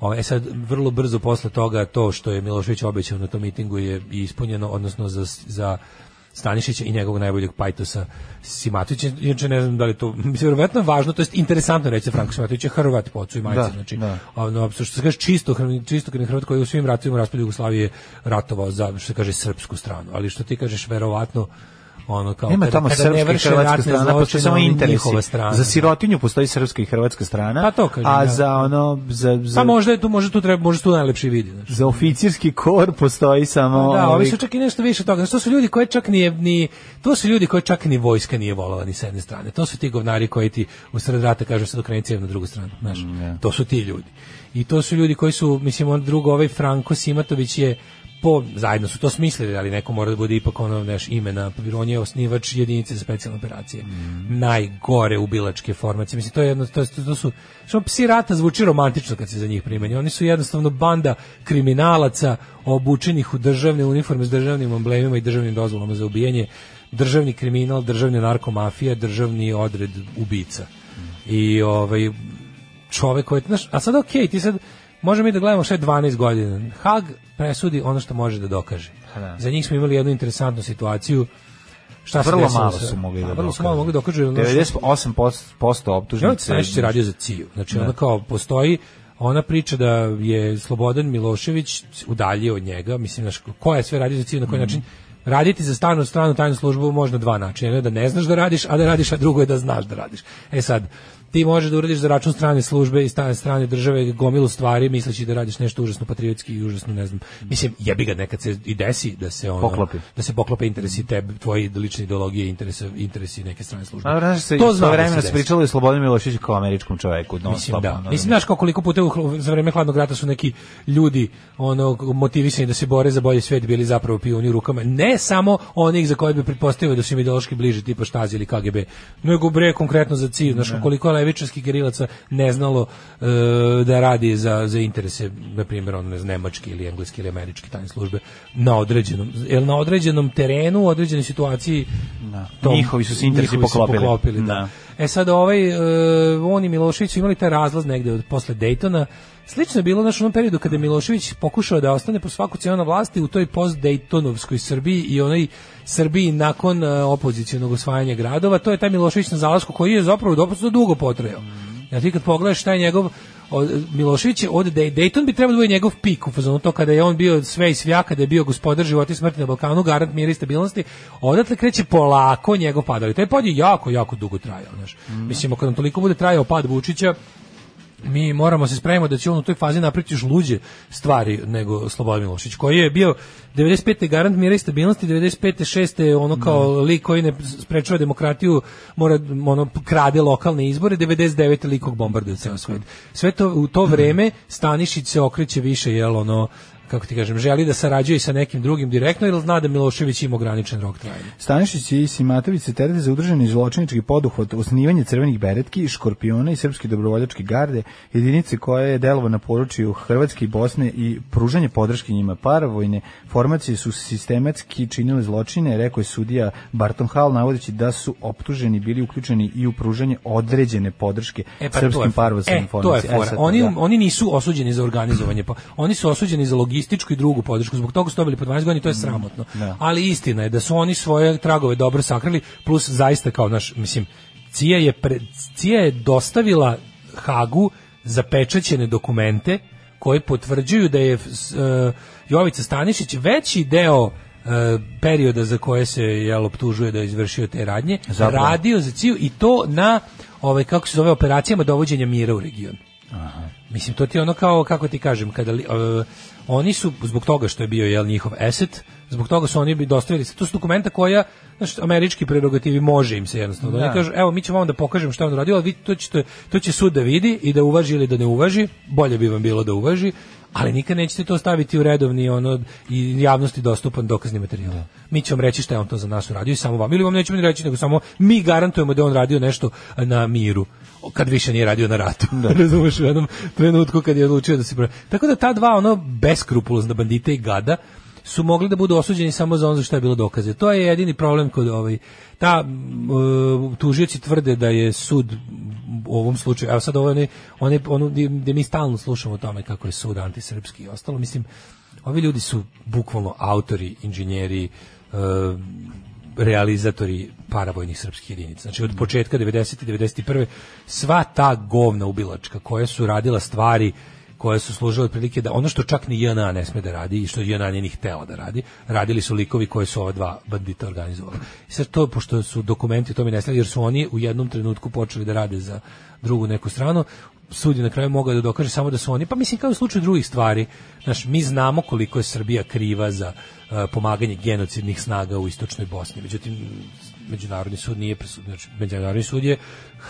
Speaker 7: O, e sad, vrlo brzo posle toga to što je Milošević obećao na tom mitingu je i ispunjeno, odnosno za, za Stanišića i njegovog najboljeg pajtosa Simatovića. Inače ne znam da li to mislim verovatno je važno, to jest interesantno reći za Franka Simatovića Hrvat po ocu i majci,
Speaker 8: Da,
Speaker 7: znači.
Speaker 8: da.
Speaker 7: Ono što se kaže čisto Hrvat, čisto krvni Hrvat koji je u svim ratovima u raspadu Jugoslavije ratovao za što se kaže srpsku stranu, ali što ti kažeš verovatno ono kao
Speaker 8: Nema
Speaker 7: kada-
Speaker 8: tamo
Speaker 7: kada ne
Speaker 8: srpska i
Speaker 7: vrše
Speaker 8: hrvatska
Speaker 7: ratne
Speaker 8: strana, postoje
Speaker 7: zločine,
Speaker 8: samo
Speaker 7: oni
Speaker 8: interesi.
Speaker 7: njihova strana.
Speaker 8: Za sirotinju postoji srpska i hrvatska strana,
Speaker 7: Pa to kažem,
Speaker 8: a
Speaker 7: da.
Speaker 8: za ono, za, za,
Speaker 7: Pa možda je tu, možda tu treba, možda tu najlepši vidi, znači.
Speaker 8: za oficirski kor postoji samo...
Speaker 7: Da,
Speaker 8: ovi-
Speaker 7: ovi su čak i nešto više od toga. Znači, to su ljudi koji čak nije, ni, to su ljudi koji čak ni vojska nije volela ni s jedne strane. To su ti govnari koji ti u sred rata kažu sad okreni cijev na drugu stranu. Znaš, To su ti ljudi. I to su ljudi koji su, mislim, on drugo, ovaj Franko Simatović je po, zajedno su to smislili, ali neko mora da bude ipak ono naš imena, on je osnivač jedinice za specijalne operacije. Najgore ubilačke formacije. Mislim, to je jedno, to, je- to su, što psi rata zvuči romantično kad se za njih primeni. Oni su jednostavno banda kriminalaca obučenih u državne uniforme s državnim emblemima i državnim dozvolama za ubijanje, državni kriminal, državna narkomafija, državni odred ubica. I ovaj, čovek koji, znaš, a sad okej, ti sad, možemo mi da gledamo šta je 12 godina. Hag presudi ono što može da dokaže. Za njih smo imali jednu interesantnu situaciju. Šta se
Speaker 8: Vrlo
Speaker 7: desilo
Speaker 8: malo
Speaker 7: sa-
Speaker 8: su mogli da
Speaker 7: a,
Speaker 8: dokažu.
Speaker 7: Vrlo su malo mogli da dokažu. jer ono što-
Speaker 8: 98%
Speaker 7: Željko
Speaker 8: optužnice... Da.
Speaker 7: Stanišić je radio za Ciju. Znači, ona kao postoji ona priča da je Slobodan Milošević udaljio od njega, mislim, znaš, ko je sve radio za Ciju, na koji
Speaker 8: Mhm.
Speaker 7: način raditi za stanu stranu tajnu službu može na dva načina. Jedno je da ne znaš da radiš, a da radiš, a drugo je da znaš da radiš. E sad, ti možeš da uradiš za račun strane službe i strane, strane države gomilu stvari misleći da radiš nešto užasno patriotski i užasno ne znam. Mislim, jebi ga nekad se i desi da se ono,
Speaker 8: Poklopi.
Speaker 7: da se poklope interesi tebe, tvoje lične ideologije, interese, interesi neke strane službe.
Speaker 8: A, znaš, se,
Speaker 7: To
Speaker 8: to
Speaker 7: znam da
Speaker 8: vremena
Speaker 7: se
Speaker 8: se
Speaker 7: desi.
Speaker 8: pričalo i Slobodan Milošević kao američkom čoveku. Non
Speaker 7: Mislim da. Mislim znaš kao koliko puta u hla- za vrijeme hladnog rata su neki ljudi ono motivisani da se bore za bolji svijet bili zapravo pijuni u rukama ne samo onih za koje bi pretpostavio da su im ideološki bliži tipa Štazi ili KGB nego bre konkretno za cilj znaš koliko je levičarskih gerilaca ne znalo e, da radi za, za interese na primjer on ne znam nemački ili engleski ili američki tajne službe na određenom jel na određenom terenu u određenoj situaciji tom-
Speaker 8: Njihovi su se interesi
Speaker 7: njihovi su
Speaker 8: poklopili.
Speaker 7: da.
Speaker 8: Da.
Speaker 7: E sad ovaj, e, on i Milošević su imali taj razlaz negde od, posle Daytona. Slično je bilo znaš, u onom periodu kada je Milošević pokušao da ostane po svaku cijenu na vlasti u toj post-Daytonovskoj Srbiji i onoj Srbiji nakon e, opozicionog osvajanja gradova. To je taj Milošević na zalasku koji je zapravo dopustu dugo potrajao. Ja ti kad pogledaš šta je njegov od- Milošević je od Dej- Dayton bi trebao da bude njegov pik u fazonu to kada je on bio sve i svja, kada je bio gospodar života i smrti na Balkanu, garant mira i stabilnosti, odatle kreće polako njegov pad, ali taj pad je jako, jako dugo trajao, znaš. Mislim, ako nam toliko bude trajao pad Vučića, mi moramo se spremiti da će on u toj fazi napraviti još luđe stvari nego Slobodan Milošić, koji je bio 95. garant mira i stabilnosti, 95. 6. ono kao lik koji ne sprečava demokratiju, mora ono krade lokalne izbore, 99. Mhm. likog bombarduje ceo svet. Sve to u to vreme Stanišić se okreće više jel ono kako ti kažem, želi da sarađuje i sa nekim drugim direktno ili zna da Milošević ima ograničen rok trajanja.
Speaker 8: Stanišić i Simatović se terete za udruženi zločinički poduhvat, osnivanje crvenih beretki, škorpiona i srpske dobrovoljačke garde, jedinice koja je delova na području Hrvatske i Bosne i pružanje podrške njima paravojne formacije su sistematski činile zločine, rekao je sudija Barton Hall, navodeći da su optuženi bili uključeni i u pružanje određene podrške
Speaker 7: E, pa to je-
Speaker 8: srpskim paravojnim
Speaker 7: e, to je
Speaker 8: formacijama.
Speaker 7: fora.
Speaker 8: sad,
Speaker 7: Oni,
Speaker 8: da.
Speaker 7: oni nisu osuđeni za organizovanje, pa, oni su osuđeni za logističku i drugu podršku, zbog toga su dobili po 12 godina i to je sramotno. Ali istina je da su oni svoje tragove dobro sakrili, plus zaista kao naš, mislim, Cija je, pre, Cija je dostavila Hagu zapečaćene dokumente koji potvrđuju da je s- e, Jovica Stanišić veći deo e, perioda za koje se jel optužuje da je izvršio te radnje
Speaker 8: Zapravo.
Speaker 7: radio za Ciju i to na ovaj kako se zove operacijama dovođenja mira u region. Mislim to ti je ono kao kako ti kažem kada li- e, oni su zbog toga što je bio jel njihov asset, zbog toga su oni bi dostavili to su dokumenta koja znaš, američki prerogativi može im se jednostavno. Oni kažu evo mi ćemo vam da pokažemo šta je on radio, ali vi to ćete to će sud da vidi i da uvaži ili da ne uvaži, bolje bi vam bilo da uvaži, ali nikad nećete to staviti u redovni ono i javnosti dostupan dokazni materijal. Mi ćemo reći šta je on to za nas uradio i samo vam ili vam nećemo ni reći nego samo mi garantujemo da je on radio nešto na miru kad više nije radio na ratu. Razumeš u jednom trenutku kad je odlučio da se bra- Tako da ta dva ono beskrupulozna bandita i gada su mogli da budu osuđeni samo za ono za što je bilo dokaze. To je jedini problem kod ovaj ta mm, e, tužioci tvrde da je sud u ovom slučaju, evo sad ovo je onaj- onaj- ono gdje, gdje mi stalno slušamo o tome kako je sud antisrpski i ostalo, mislim, ovi ljudi su bukvalno autori, inženjeri, e, realizatori paravojnih srpskih jedinica. Znači od početka 90. i 91. sva ta govna ubilačka koja su radila stvari koje su služile otprilike da ono što čak ni JNA ne sme da radi i što JNA nije ni htela da radi, radili su likovi koje su ova dva bandita organizovali. I sad to, pošto su dokumenti o tome nestali, jer su oni u jednom trenutku počeli da rade za drugu neku stranu, sud je na kraju mogao da dokaže samo da su oni, pa mislim kao i u slučaju drugih stvari, znaš, mi znamo koliko je Srbija kriva za e, pomaganje genocidnih snaga u istočnoj Bosni, međutim, međunarodni sud nije presud, znači, međunarodni sud je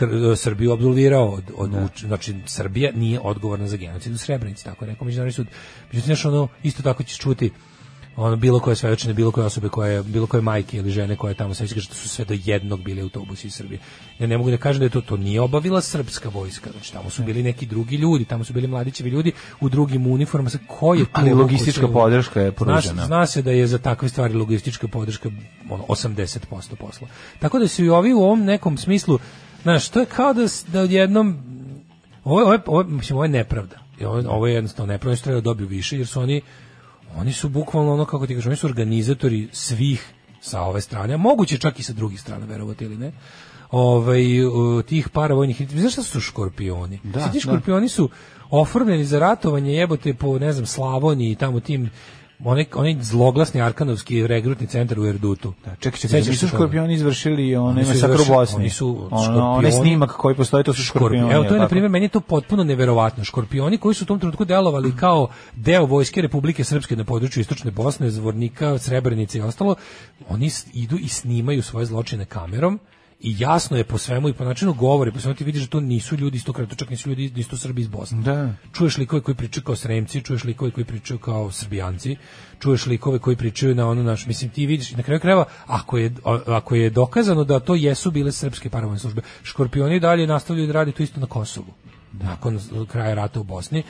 Speaker 7: Hr- eh, Srbiju absolvirao od, od uč- znači Srbija nije odgovorna za genocid u Srebrenici, tako je rekao međunarodni sud. Međutim, znaš, ono, isto tako ćeš čuti ono bilo koje svedočenje, bilo koje osobe koje bilo koje majke ili žene koje tamo svedoče što su sve do jednog bili autobusi iz Srbije. Ja ne mogu da kažem da je to to nije obavila srpska vojska, znači tamo su bili neki drugi ljudi, tamo su bili mladićevi ljudi u drugim uniformama, sa ko je tu
Speaker 8: Ali
Speaker 7: ruku
Speaker 8: logistička
Speaker 7: svela?
Speaker 8: podrška je
Speaker 7: Zna se-
Speaker 8: pružena.
Speaker 7: Zna se da je za takve stvari logistička podrška ono 80% posla. Tako da su i ovi u ovom nekom smislu, znaš, to je kao da s- da odjednom ovo je, ovo je, ovo je, mislim, ovo je nepravda. I Ovo, ovo je jednostavno nepravda, oni su trebali da dobiju više, jer su oni, oni su bukvalno ono, kako ti kažem, oni su organizatori svih sa ove strane, a moguće čak i sa drugih strana, verovati ili ne, ovaj, u, tih paravojnih, znaš šta su škorpioni?
Speaker 8: Da,
Speaker 7: Svi ti škorpioni su oformljeni za ratovanje jebote po, ne znam, Slavoniji i tamo tim, onaj, onaj zloglasni Arkanovski regrutni centar u Erdutu.
Speaker 8: Da, čekaj, čekaj,
Speaker 7: Sećaš
Speaker 8: nisu
Speaker 7: se toga?
Speaker 8: škorpioni izvršili one
Speaker 7: Oni su
Speaker 8: masakru u
Speaker 7: izvršili-
Speaker 8: Bosni.
Speaker 7: oni su
Speaker 8: Ono, onaj
Speaker 7: škorpioni.
Speaker 8: snimak koji postoji, to su škorpioni.
Speaker 7: Evo to je na
Speaker 8: tako?
Speaker 7: primjer meni je to potpuno neverovatno. Škorpioni koji su u tom trenutku
Speaker 8: Mm.
Speaker 7: delovali kao deo vojske Republike Srpske na području istočne Bosne, Zvornika, Srebrenice i ostalo, oni s- idu i snimaju svoje zločine kamerom i jasno je po svemu i po načinu govori, po svemu ti vidiš da to nisu ljudi iz tog kraja, to čak nisu ljudi, nisu to Srbi iz Bosne.
Speaker 8: Da.
Speaker 7: Čuješ likove koji pričaju kao Sremci, čuješ likove koji pričaju kao Srbijanci, čuješ likove koji pričaju na ono naš, mislim ti vidiš i na kraju krajeva ako je a- ako je dokazano da to jesu bile srpske paravojne službe. Škorpioni i dalje nastavljaju da radi to isto na Kosovu. Nakon s- kraja rata u Bosni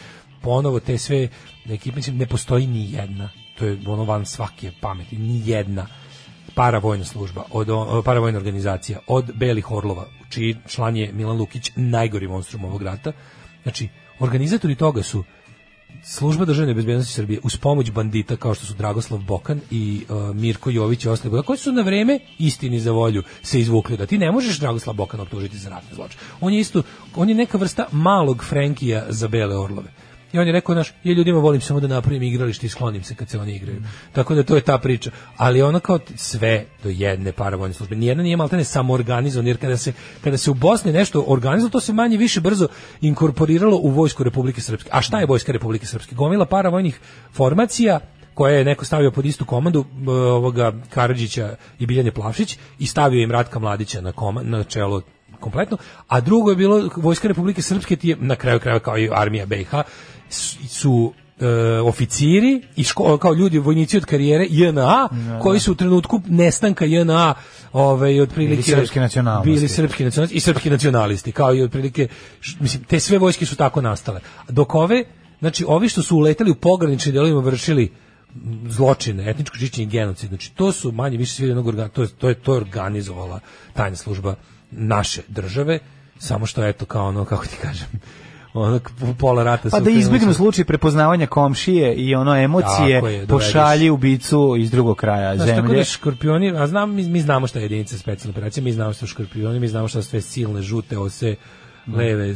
Speaker 7: ponovo te sve neki mislim ne postoji ni jedna. To je ono van svake pameti, ni jedna paravojna služba, od, o- paravojna organizacija, od Belih Orlova, čiji član je Milan Lukić, najgori monstrum ovog rata. Znači, organizatori toga su služba državne bezbednosti Srbije uz pomoć bandita kao što su Dragoslav Bokan i e, Mirko Jović i ostali banditi, koji su na vreme istini za volju se izvukli da ti ne možeš Dragoslav Bokan optužiti za ratne zločine. On je isto on je neka vrsta malog Frenkija za bele orlove. I on je rekao naš, ja ljudima volim samo da napravim igralište i sklonim se kad se oni igraju. Tako da to je ta priča. Ali ono kao t- sve do jedne paravojne službe. Nijedna nije maltene samoorganizovan, jer kada se, kada se u Bosni nešto organizovalo, to se manje više brzo inkorporiralo u vojsku Republike Srpske. A šta je vojska Republike Srpske? Gomila paravojnih formacija koje je neko stavio pod istu komandu b- ovoga Karadžića i Biljane Plavšić i stavio im Ratka Mladića na, koma, na čelo kompletno, a drugo je bilo Vojska Republike Srpske ti je, na kraju krajeva kao i armija BiH s- su e, oficiri i ško- kao ljudi vojnici od karijere JNA
Speaker 8: Da,
Speaker 7: koji su u trenutku nestanka JNA ovaj otprilike
Speaker 8: Bili srpske nacionalnosti.
Speaker 7: bili srpski nacionalisti i srpski nacionalisti kao i otprilike š- mislim te sve vojske su tako nastale dok ove znači ovi što su uleteli u pogranične delovima vršili m, zločine, etničko čišćenje i genocid. Znači to su manje više svi jednog organ, to je to je to je organizovala tajna služba naše države, samo što eto kao ono kako ti kažem. Ono k- u pola rata
Speaker 8: Pa
Speaker 7: su
Speaker 8: da
Speaker 7: krenuli
Speaker 8: izbjegnu
Speaker 7: sa-
Speaker 8: slučaj prepoznavanja komšije i ono
Speaker 7: Tako
Speaker 8: emocije,
Speaker 7: je, dovedeš.
Speaker 8: pošalji ubicu iz drugog kraja
Speaker 7: Znaš, tako
Speaker 8: zemlje.
Speaker 7: da škorpioni, a znam, mi, mi znamo šta je jedinica specijalne operacije, mi znamo šta su škorpioni, mi znamo šta su sve silne žute ose, leve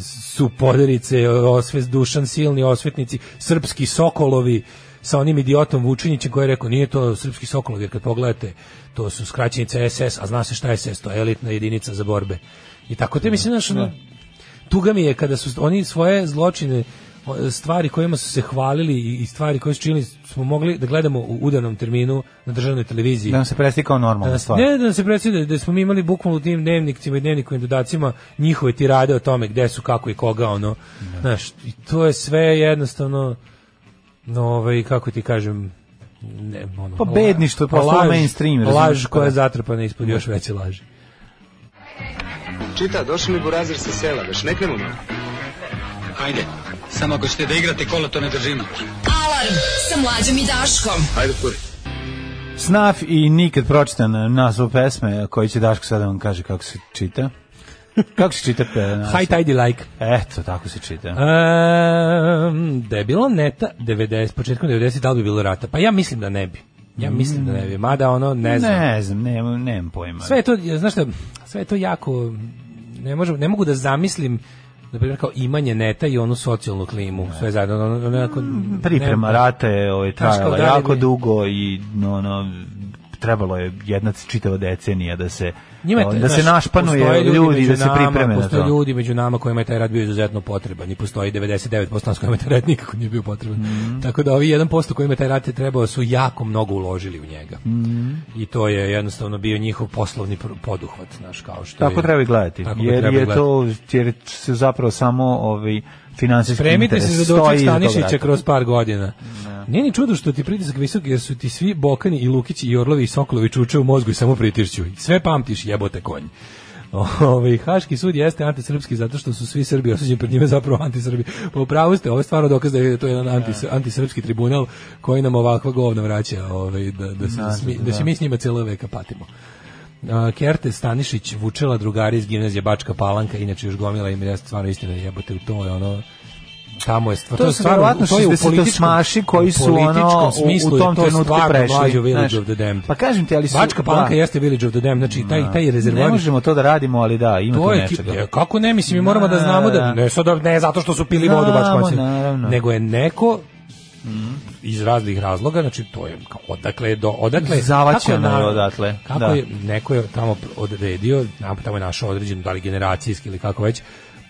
Speaker 7: supoderice, osves dušan silni osvetnici, srpski sokolovi sa onim idiotom Vučinićem koji je rekao nije to srpski sokolovi, jer kad pogledate to su skraćenice SS, a zna se šta je SS, to je elitna jedinica za borbe. I tako te mislim, znaš, ono, tuga mi je kada su oni svoje zločine o, stvari kojima su se hvalili i- i stvari koje su činili smo mogli da gledamo u udanom terminu na državnoj televiziji.
Speaker 8: Da nam se presti kao
Speaker 7: Da
Speaker 8: normalna
Speaker 7: nas-
Speaker 8: stvar.
Speaker 7: ne da nam se predstavlja da smo mi imali bukvalno u tim dnevnikcima i dnevnikovim dodacima njihove tirade o tome gde su, kako i koga, ono.
Speaker 8: Da.
Speaker 7: Znaš, i to je sve jednostavno no, ovaj, kako ti kažem, ne, ono,
Speaker 8: Pa bedništvo je postalo
Speaker 7: laž-
Speaker 8: mainstream, razumiješ,
Speaker 7: Laž
Speaker 8: pa
Speaker 7: koja je
Speaker 8: da.
Speaker 7: zatrpana ispod još veće laži.
Speaker 11: Čita, došli mi burazir sa sela, već ne krenemo. Hajde, samo ako ćete da igrate kola, to ne držimo.
Speaker 5: Alarm sa mlađom i Daškom.
Speaker 11: Hajde, kuri.
Speaker 8: Snaf i nikad pročitan naslov pesme koji će Daško sada da vam kaže kako se čita. Kako se čita? pe- naslov?
Speaker 7: High tidy like.
Speaker 8: Eto, tako se čita.
Speaker 7: Um, da je bilo neta 90, početkom 90, da li bi bilo rata? Pa ja mislim da ne bi. Ja mislim da ne bi, mada ono, ne znam.
Speaker 8: Ne znam, nemam, nemam pojma.
Speaker 7: Sve je to, znaš šta, sve je to jako, ne, možem, ne mogu da zamislim na primjer kao imanje neta i onu socijalnu klimu, sve zajedno, ono, ono, onako,
Speaker 8: Priprema
Speaker 7: ne-
Speaker 8: rata je ovaj,
Speaker 7: Znaš, kao
Speaker 8: trajala
Speaker 7: da li
Speaker 8: jako
Speaker 7: bi-
Speaker 8: dugo i no, no, trebalo je jedna čitava decenija da se
Speaker 7: Njima je,
Speaker 8: da se
Speaker 7: znaš,
Speaker 8: našpanuje
Speaker 7: postoje
Speaker 8: ljudi,
Speaker 7: među
Speaker 8: da se
Speaker 7: nama,
Speaker 8: pripreme na
Speaker 7: Postoje
Speaker 8: to.
Speaker 7: ljudi među nama kojima je taj rad bio izuzetno potreban i postoji 99% s kojima je taj rad nikako nije bio potreban.
Speaker 8: Mhm.
Speaker 7: Tako da ovi 1% kojima je taj rad trebao su jako mnogo uložili u njega.
Speaker 8: Mhm.
Speaker 7: I to je jednostavno bio njihov poslovni pr- poduhvat, znaš, kao što je-
Speaker 8: Tako treba i gledati.
Speaker 7: Tako ga
Speaker 8: jer
Speaker 7: treba
Speaker 8: je
Speaker 7: gledati.
Speaker 8: to jer se zapravo samo ovaj finansijski
Speaker 7: Spremite se
Speaker 8: interes
Speaker 7: za doček
Speaker 8: stoji iza toga
Speaker 7: Stanišića
Speaker 8: rata. Da.
Speaker 7: kroz par godina. Nije ni čudo što ti pritisak visok, jer su ti svi Bokani i Lukići i Orlovi i Sokolovi čuče u mozgu i samo pritišću. Sve pamtiš, jebote konj. Ovaj Haški sud jeste antisrpski zato što su svi Srbi osuđeni pred njime zapravo antisrbi. Pa u pravu ste, ovo je stvarno dokaz da je to jedan antis, antisrpski tribunal koji nam ovakva govna vraća, ovaj, da, da, se, smi- da se mi s njima cijelo veka patimo. A, Kerte Stanišić vučela drugari iz gimnazije Bačka Palanka, inače još gomila im ja stvarno istina jebote u to je ono tamo je stvarno,
Speaker 8: To
Speaker 7: to je
Speaker 8: su
Speaker 7: stvarno
Speaker 8: verovatno
Speaker 7: to je u
Speaker 8: 60-osmaši
Speaker 7: političkom
Speaker 8: koji su
Speaker 7: u političkom
Speaker 8: ono, u- u
Speaker 7: smislu je
Speaker 8: tom
Speaker 7: to
Speaker 8: trenutku
Speaker 7: stvarno
Speaker 8: prešli,
Speaker 7: mlađo Village
Speaker 8: znaš.
Speaker 7: of the Damned.
Speaker 8: Pa kažem ti, ali su-
Speaker 7: Bačka Palanka
Speaker 8: da.
Speaker 7: jeste Village of the Damned, znači taj taj
Speaker 8: Ne
Speaker 7: rezervoar
Speaker 8: možemo to da radimo, ali da, ima
Speaker 7: to
Speaker 8: to
Speaker 7: je
Speaker 8: nečega.
Speaker 7: ki- ja, kako ne mislim mi moramo da
Speaker 8: Da,
Speaker 7: znamo da
Speaker 8: da.
Speaker 7: ne sad ne zato što su pili vodu
Speaker 8: Znamo,
Speaker 7: baš konci
Speaker 8: naravno.
Speaker 7: nego je neko iz raznih razloga znači to je kao odakle je do odakle
Speaker 8: Zavaćeno
Speaker 7: kako
Speaker 8: je
Speaker 7: na-
Speaker 8: odatle,
Speaker 7: kako
Speaker 8: da.
Speaker 7: je neko je tamo odredio nam- tamo je našao određenu da li generacijski ili kako već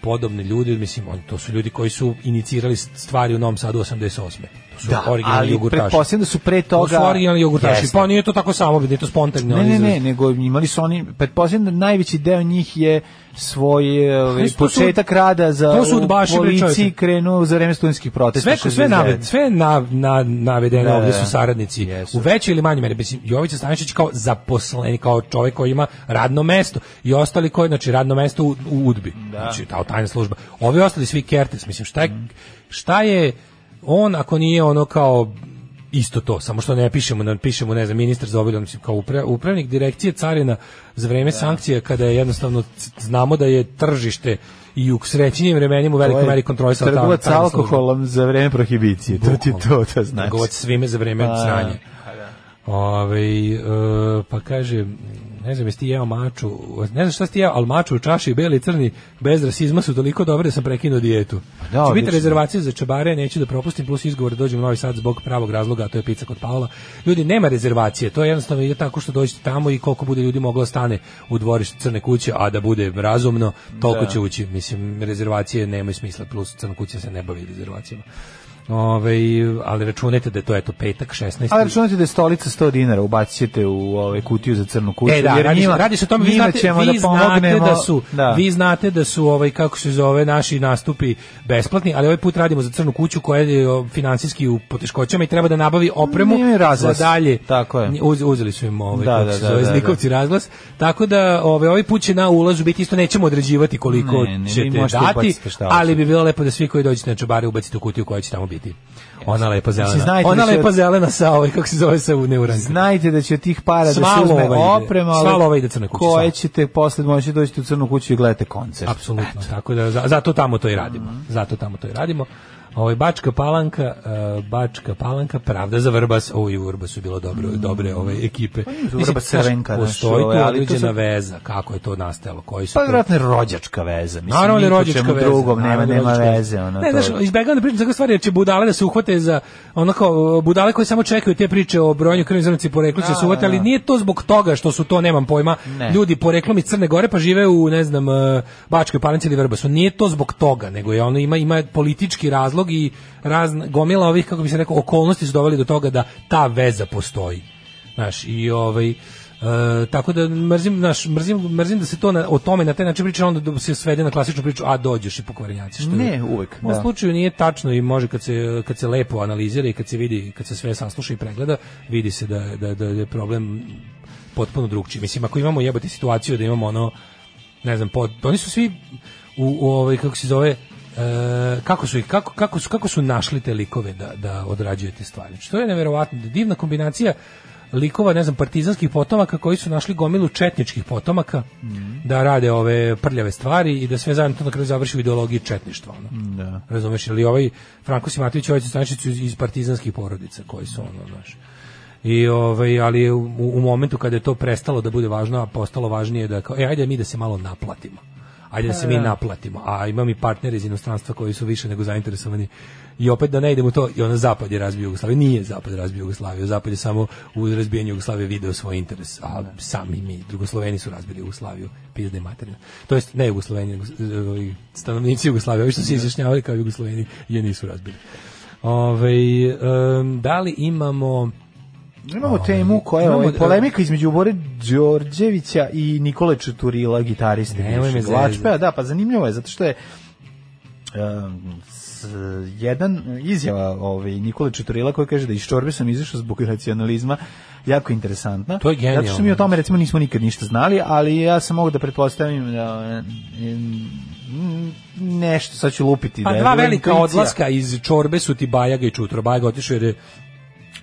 Speaker 7: podobni ljudi mislim on to su ljudi koji su inicirali stvari u Novom Sadu 88 to su
Speaker 8: Da,
Speaker 7: originalni
Speaker 8: ali
Speaker 7: jogurtaši
Speaker 8: pretpostavljam da su pre
Speaker 7: to
Speaker 8: toga...
Speaker 7: su originalni jogurtaši
Speaker 8: Jeste.
Speaker 7: pa nije to tako samo da je to spontano
Speaker 8: Ne, ne, ne, nego imali su oni, pretpostavljam da najveći deo njih je svoj e, ovaj,
Speaker 7: Ali to su-
Speaker 8: početak rada za
Speaker 7: to su
Speaker 8: u
Speaker 7: udbaši, bre,
Speaker 8: policiji
Speaker 7: čoveče.
Speaker 8: krenuo za vreme studentskih protesta.
Speaker 7: sve sve
Speaker 8: 69.
Speaker 7: naved, sve na na navedene
Speaker 8: Da,
Speaker 7: ovdje
Speaker 8: da,
Speaker 7: su saradnici
Speaker 8: jesu.
Speaker 7: u većoj ili manjoj meri mislim Jovica Stanišić kao zaposleni kao čovjek koji ima radno mesto i ostali koji znači radno mesto u, u udbi
Speaker 8: Da.
Speaker 7: znači ta tajna služba ovi ostali svi Kertes mislim šta je, šta je on ako nije ono kao isto to, samo što ne pišemo, ne pišemo, ne znam, ministar za obilje, mislim, kao upra- upravnik direkcije carina za vreme
Speaker 8: Da.
Speaker 7: sankcija, kada je jednostavno c- znamo da je tržište i u srećenjim vremenima u
Speaker 8: To je
Speaker 7: velikoj meri kontrolisala ta-
Speaker 8: Trgovac
Speaker 7: tajna služba.
Speaker 8: alkoholom za vreme prohibicije, to ti to, to znači.
Speaker 7: Trgovac svime za vreme
Speaker 8: Pa,
Speaker 7: sranja. Ovaj, e, pa kaže, ne znam jesi ti jeo maču, ne znam šta si ti jeo, ali maču u čaši, beli i crni, bez rasizma su toliko dobre da sam prekinuo dijetu. Će
Speaker 8: da,
Speaker 7: biti
Speaker 8: odlično.
Speaker 7: rezervacije za čebare, neću da propustim, plus izgovor da dođem u Novi Sad zbog pravog razloga, a to je pizza kod Paola. Ljudi, nema rezervacije, to je jednostavno ide tako što dođete tamo i koliko bude ljudi moglo da stane u dvorištu crne kuće, a da bude razumno,
Speaker 8: Da.
Speaker 7: toliko će ući. Mislim, rezervacije nemaju smisla, plus crna kuća se ne bavi rezervacijama. Ove, ali računajte da je to eto petak 16.
Speaker 8: Ali računajte da je stolica 100 dinara, ubacite u ovaj kutiju za crnu kuću.
Speaker 7: E da,
Speaker 8: jer
Speaker 7: radi,
Speaker 8: njima-
Speaker 7: radi se o tome, vi
Speaker 8: njima
Speaker 7: znate,
Speaker 8: ćemo
Speaker 7: vi
Speaker 8: da pomognemo.
Speaker 7: znate da su,
Speaker 8: da.
Speaker 7: vi znate da su ovaj kako se zove naši nastupi besplatni, ali ovaj put radimo za crnu kuću koja je o, finansijski u poteškoćama i treba da nabavi opremu
Speaker 8: Nije
Speaker 7: za
Speaker 8: razglas.
Speaker 7: dalje.
Speaker 8: Tako je.
Speaker 7: Nji- uz- uzeli su im ovaj
Speaker 8: Da,
Speaker 7: kako
Speaker 8: da,
Speaker 7: se
Speaker 8: da,
Speaker 7: zove,
Speaker 8: da, da.
Speaker 7: zlikovci razglas. Tako da ovaj ovaj put će na ulazu biti isto nećemo određivati koliko
Speaker 8: Ne, ne, vi
Speaker 7: ćete
Speaker 8: možete
Speaker 7: dati,
Speaker 8: ubaciti šta hoćete.
Speaker 7: ali bi bilo lepo da svi koji dođete na čobare ubacite u kutiju koja će tamo biti. Ona lepa
Speaker 8: Mislim,
Speaker 7: zelena.
Speaker 8: znajte
Speaker 7: Ona
Speaker 8: da će-
Speaker 7: lepa zelena sa ovaj kako se zove sa u neuranka.
Speaker 8: Znajte da će od tih para
Speaker 7: Sva
Speaker 8: da se uzme
Speaker 7: lova ovaj ide.
Speaker 8: oprema,
Speaker 7: Sva lova ide crna kuća,
Speaker 8: koje
Speaker 7: sva.
Speaker 8: ćete posle moći doći u crnu kuću i gledate koncert.
Speaker 7: Apsolutno. Tako da za- zato tamo to i radimo.
Speaker 8: Mhm.
Speaker 7: Zato tamo to i radimo. Ovaj Bačka Palanka, eh, Bačka Palanka, Pravda za Vrbas, ovo i u Vrbasu je bilo dobro,
Speaker 8: Mhm.
Speaker 7: dobre ove ekipe.
Speaker 8: Pa
Speaker 7: Mislim,
Speaker 8: Vrbas
Speaker 7: znaš,
Speaker 8: Crvenka, znaš,
Speaker 7: postoji tu
Speaker 8: ovaj, ali to
Speaker 7: određena
Speaker 8: su-
Speaker 7: veza, kako je to nastajalo, koji su
Speaker 8: Pa
Speaker 7: to-
Speaker 8: vjerojatno je rođačka veza. Mislim,
Speaker 7: Naravno da
Speaker 8: ni
Speaker 7: je
Speaker 8: po
Speaker 7: rođačka
Speaker 8: čemu
Speaker 7: veza.
Speaker 8: Drugom, nema,
Speaker 7: naravno da je
Speaker 8: nema
Speaker 7: rođačka
Speaker 8: veze. Ono,
Speaker 7: ne,
Speaker 8: to-
Speaker 7: znaš, izbegavam da pričam takve stvari, jer će budale da se uhvate za, onako, budale koje samo čekaju te priče o brojanju krvnih zrnaca i poreklu će se uhvate, ali nije to zbog toga što su to, nemam pojma,
Speaker 8: Ne.
Speaker 7: ljudi poreklom iz Crne Gore pa žive u, ne znam, eh, Bačkoj Palanci ili Vrbasu. Nije to zbog toga, nego je ono, ima, ima politički razlog i razna, gomila ovih, kako bi se rekao, okolnosti su doveli do toga da ta veza postoji. Znaš, i ovaj e, tako da mrzim, znaš, mrzim, mrzim da se to na, o tome na taj način priča, onda da se svede na klasičnu priču, a dođeš i pokvarenjaci. Što
Speaker 8: Ne, uvek,
Speaker 7: U ovom
Speaker 8: da.
Speaker 7: slučaju nije tačno i može kad se, kad se lepo analizira i kad se vidi, kad se sve sasluša i pregleda, vidi se da, da, da je problem potpuno drugčiji. Mislim, ako imamo jebote situaciju da imamo ono, ne znam, pod, oni su svi u, u ovaj, kako se zove, e, kako su ih kako, kako su kako su našli te likove da da odrađuju te stvari. Znači, to je neverovatno divna kombinacija likova, ne znam, partizanskih potomaka koji su našli gomilu četničkih potomaka da rade ove prljave stvari i da sve zajedno to na kraju završi u ideologiji četništva. Ono. Da. Razumeš, ili ovaj Franko Simatović i ovaj Stanišić su iz, iz partizanskih porodica koji su ono, znaš. I ovaj ali je u, u momentu kada je to prestalo da bude važno, a postalo važnije da kao, e, ajde mi da se malo naplatimo. Ajde da se mi naplatimo. A imam i partnere iz inostranstva koji su više nego zainteresovani. I opet da ne idemo to, i ono zapad je razbio Jugoslaviju. Nije zapad razbio Jugoslaviju. Zapad je samo u razbijanju Jugoslavije video svoj interes. A sami mi, Jugosloveni su razbili Jugoslaviju. Pizde materina. To jest ne Jugosloveni, nego eh, ovi stanovnici Jugoslavije. Ovi što se izjašnjavali kao Jugosloveni je nisu razbili. Ove, da li imamo...
Speaker 8: Imamo temu koja je
Speaker 7: Imamo,
Speaker 8: ovaj,
Speaker 7: e,
Speaker 8: polemika između Bore Đorđevića i Nikole Čuturila, gitariste.
Speaker 7: Nemoj me
Speaker 8: bivšeg
Speaker 7: zezati.
Speaker 8: Lačpea. Da, pa zanimljivo je, zato što je um, s- jedan izjava ovaj, Nikole Čuturila koji kaže da iz čorbe sam izašao zbog racionalizma jako interesantna.
Speaker 7: To je genijalno.
Speaker 8: Zato što mi o tome recimo nismo nikad ništa znali, ali ja sam mogu da pretpostavim da em, m, nešto, sad ću lupiti.
Speaker 7: Pa
Speaker 8: da je
Speaker 7: dva
Speaker 8: bila
Speaker 7: velika
Speaker 8: intuicija.
Speaker 7: odlaska iz čorbe su ti Bajaga i Čutro. Bajaga otišao jer je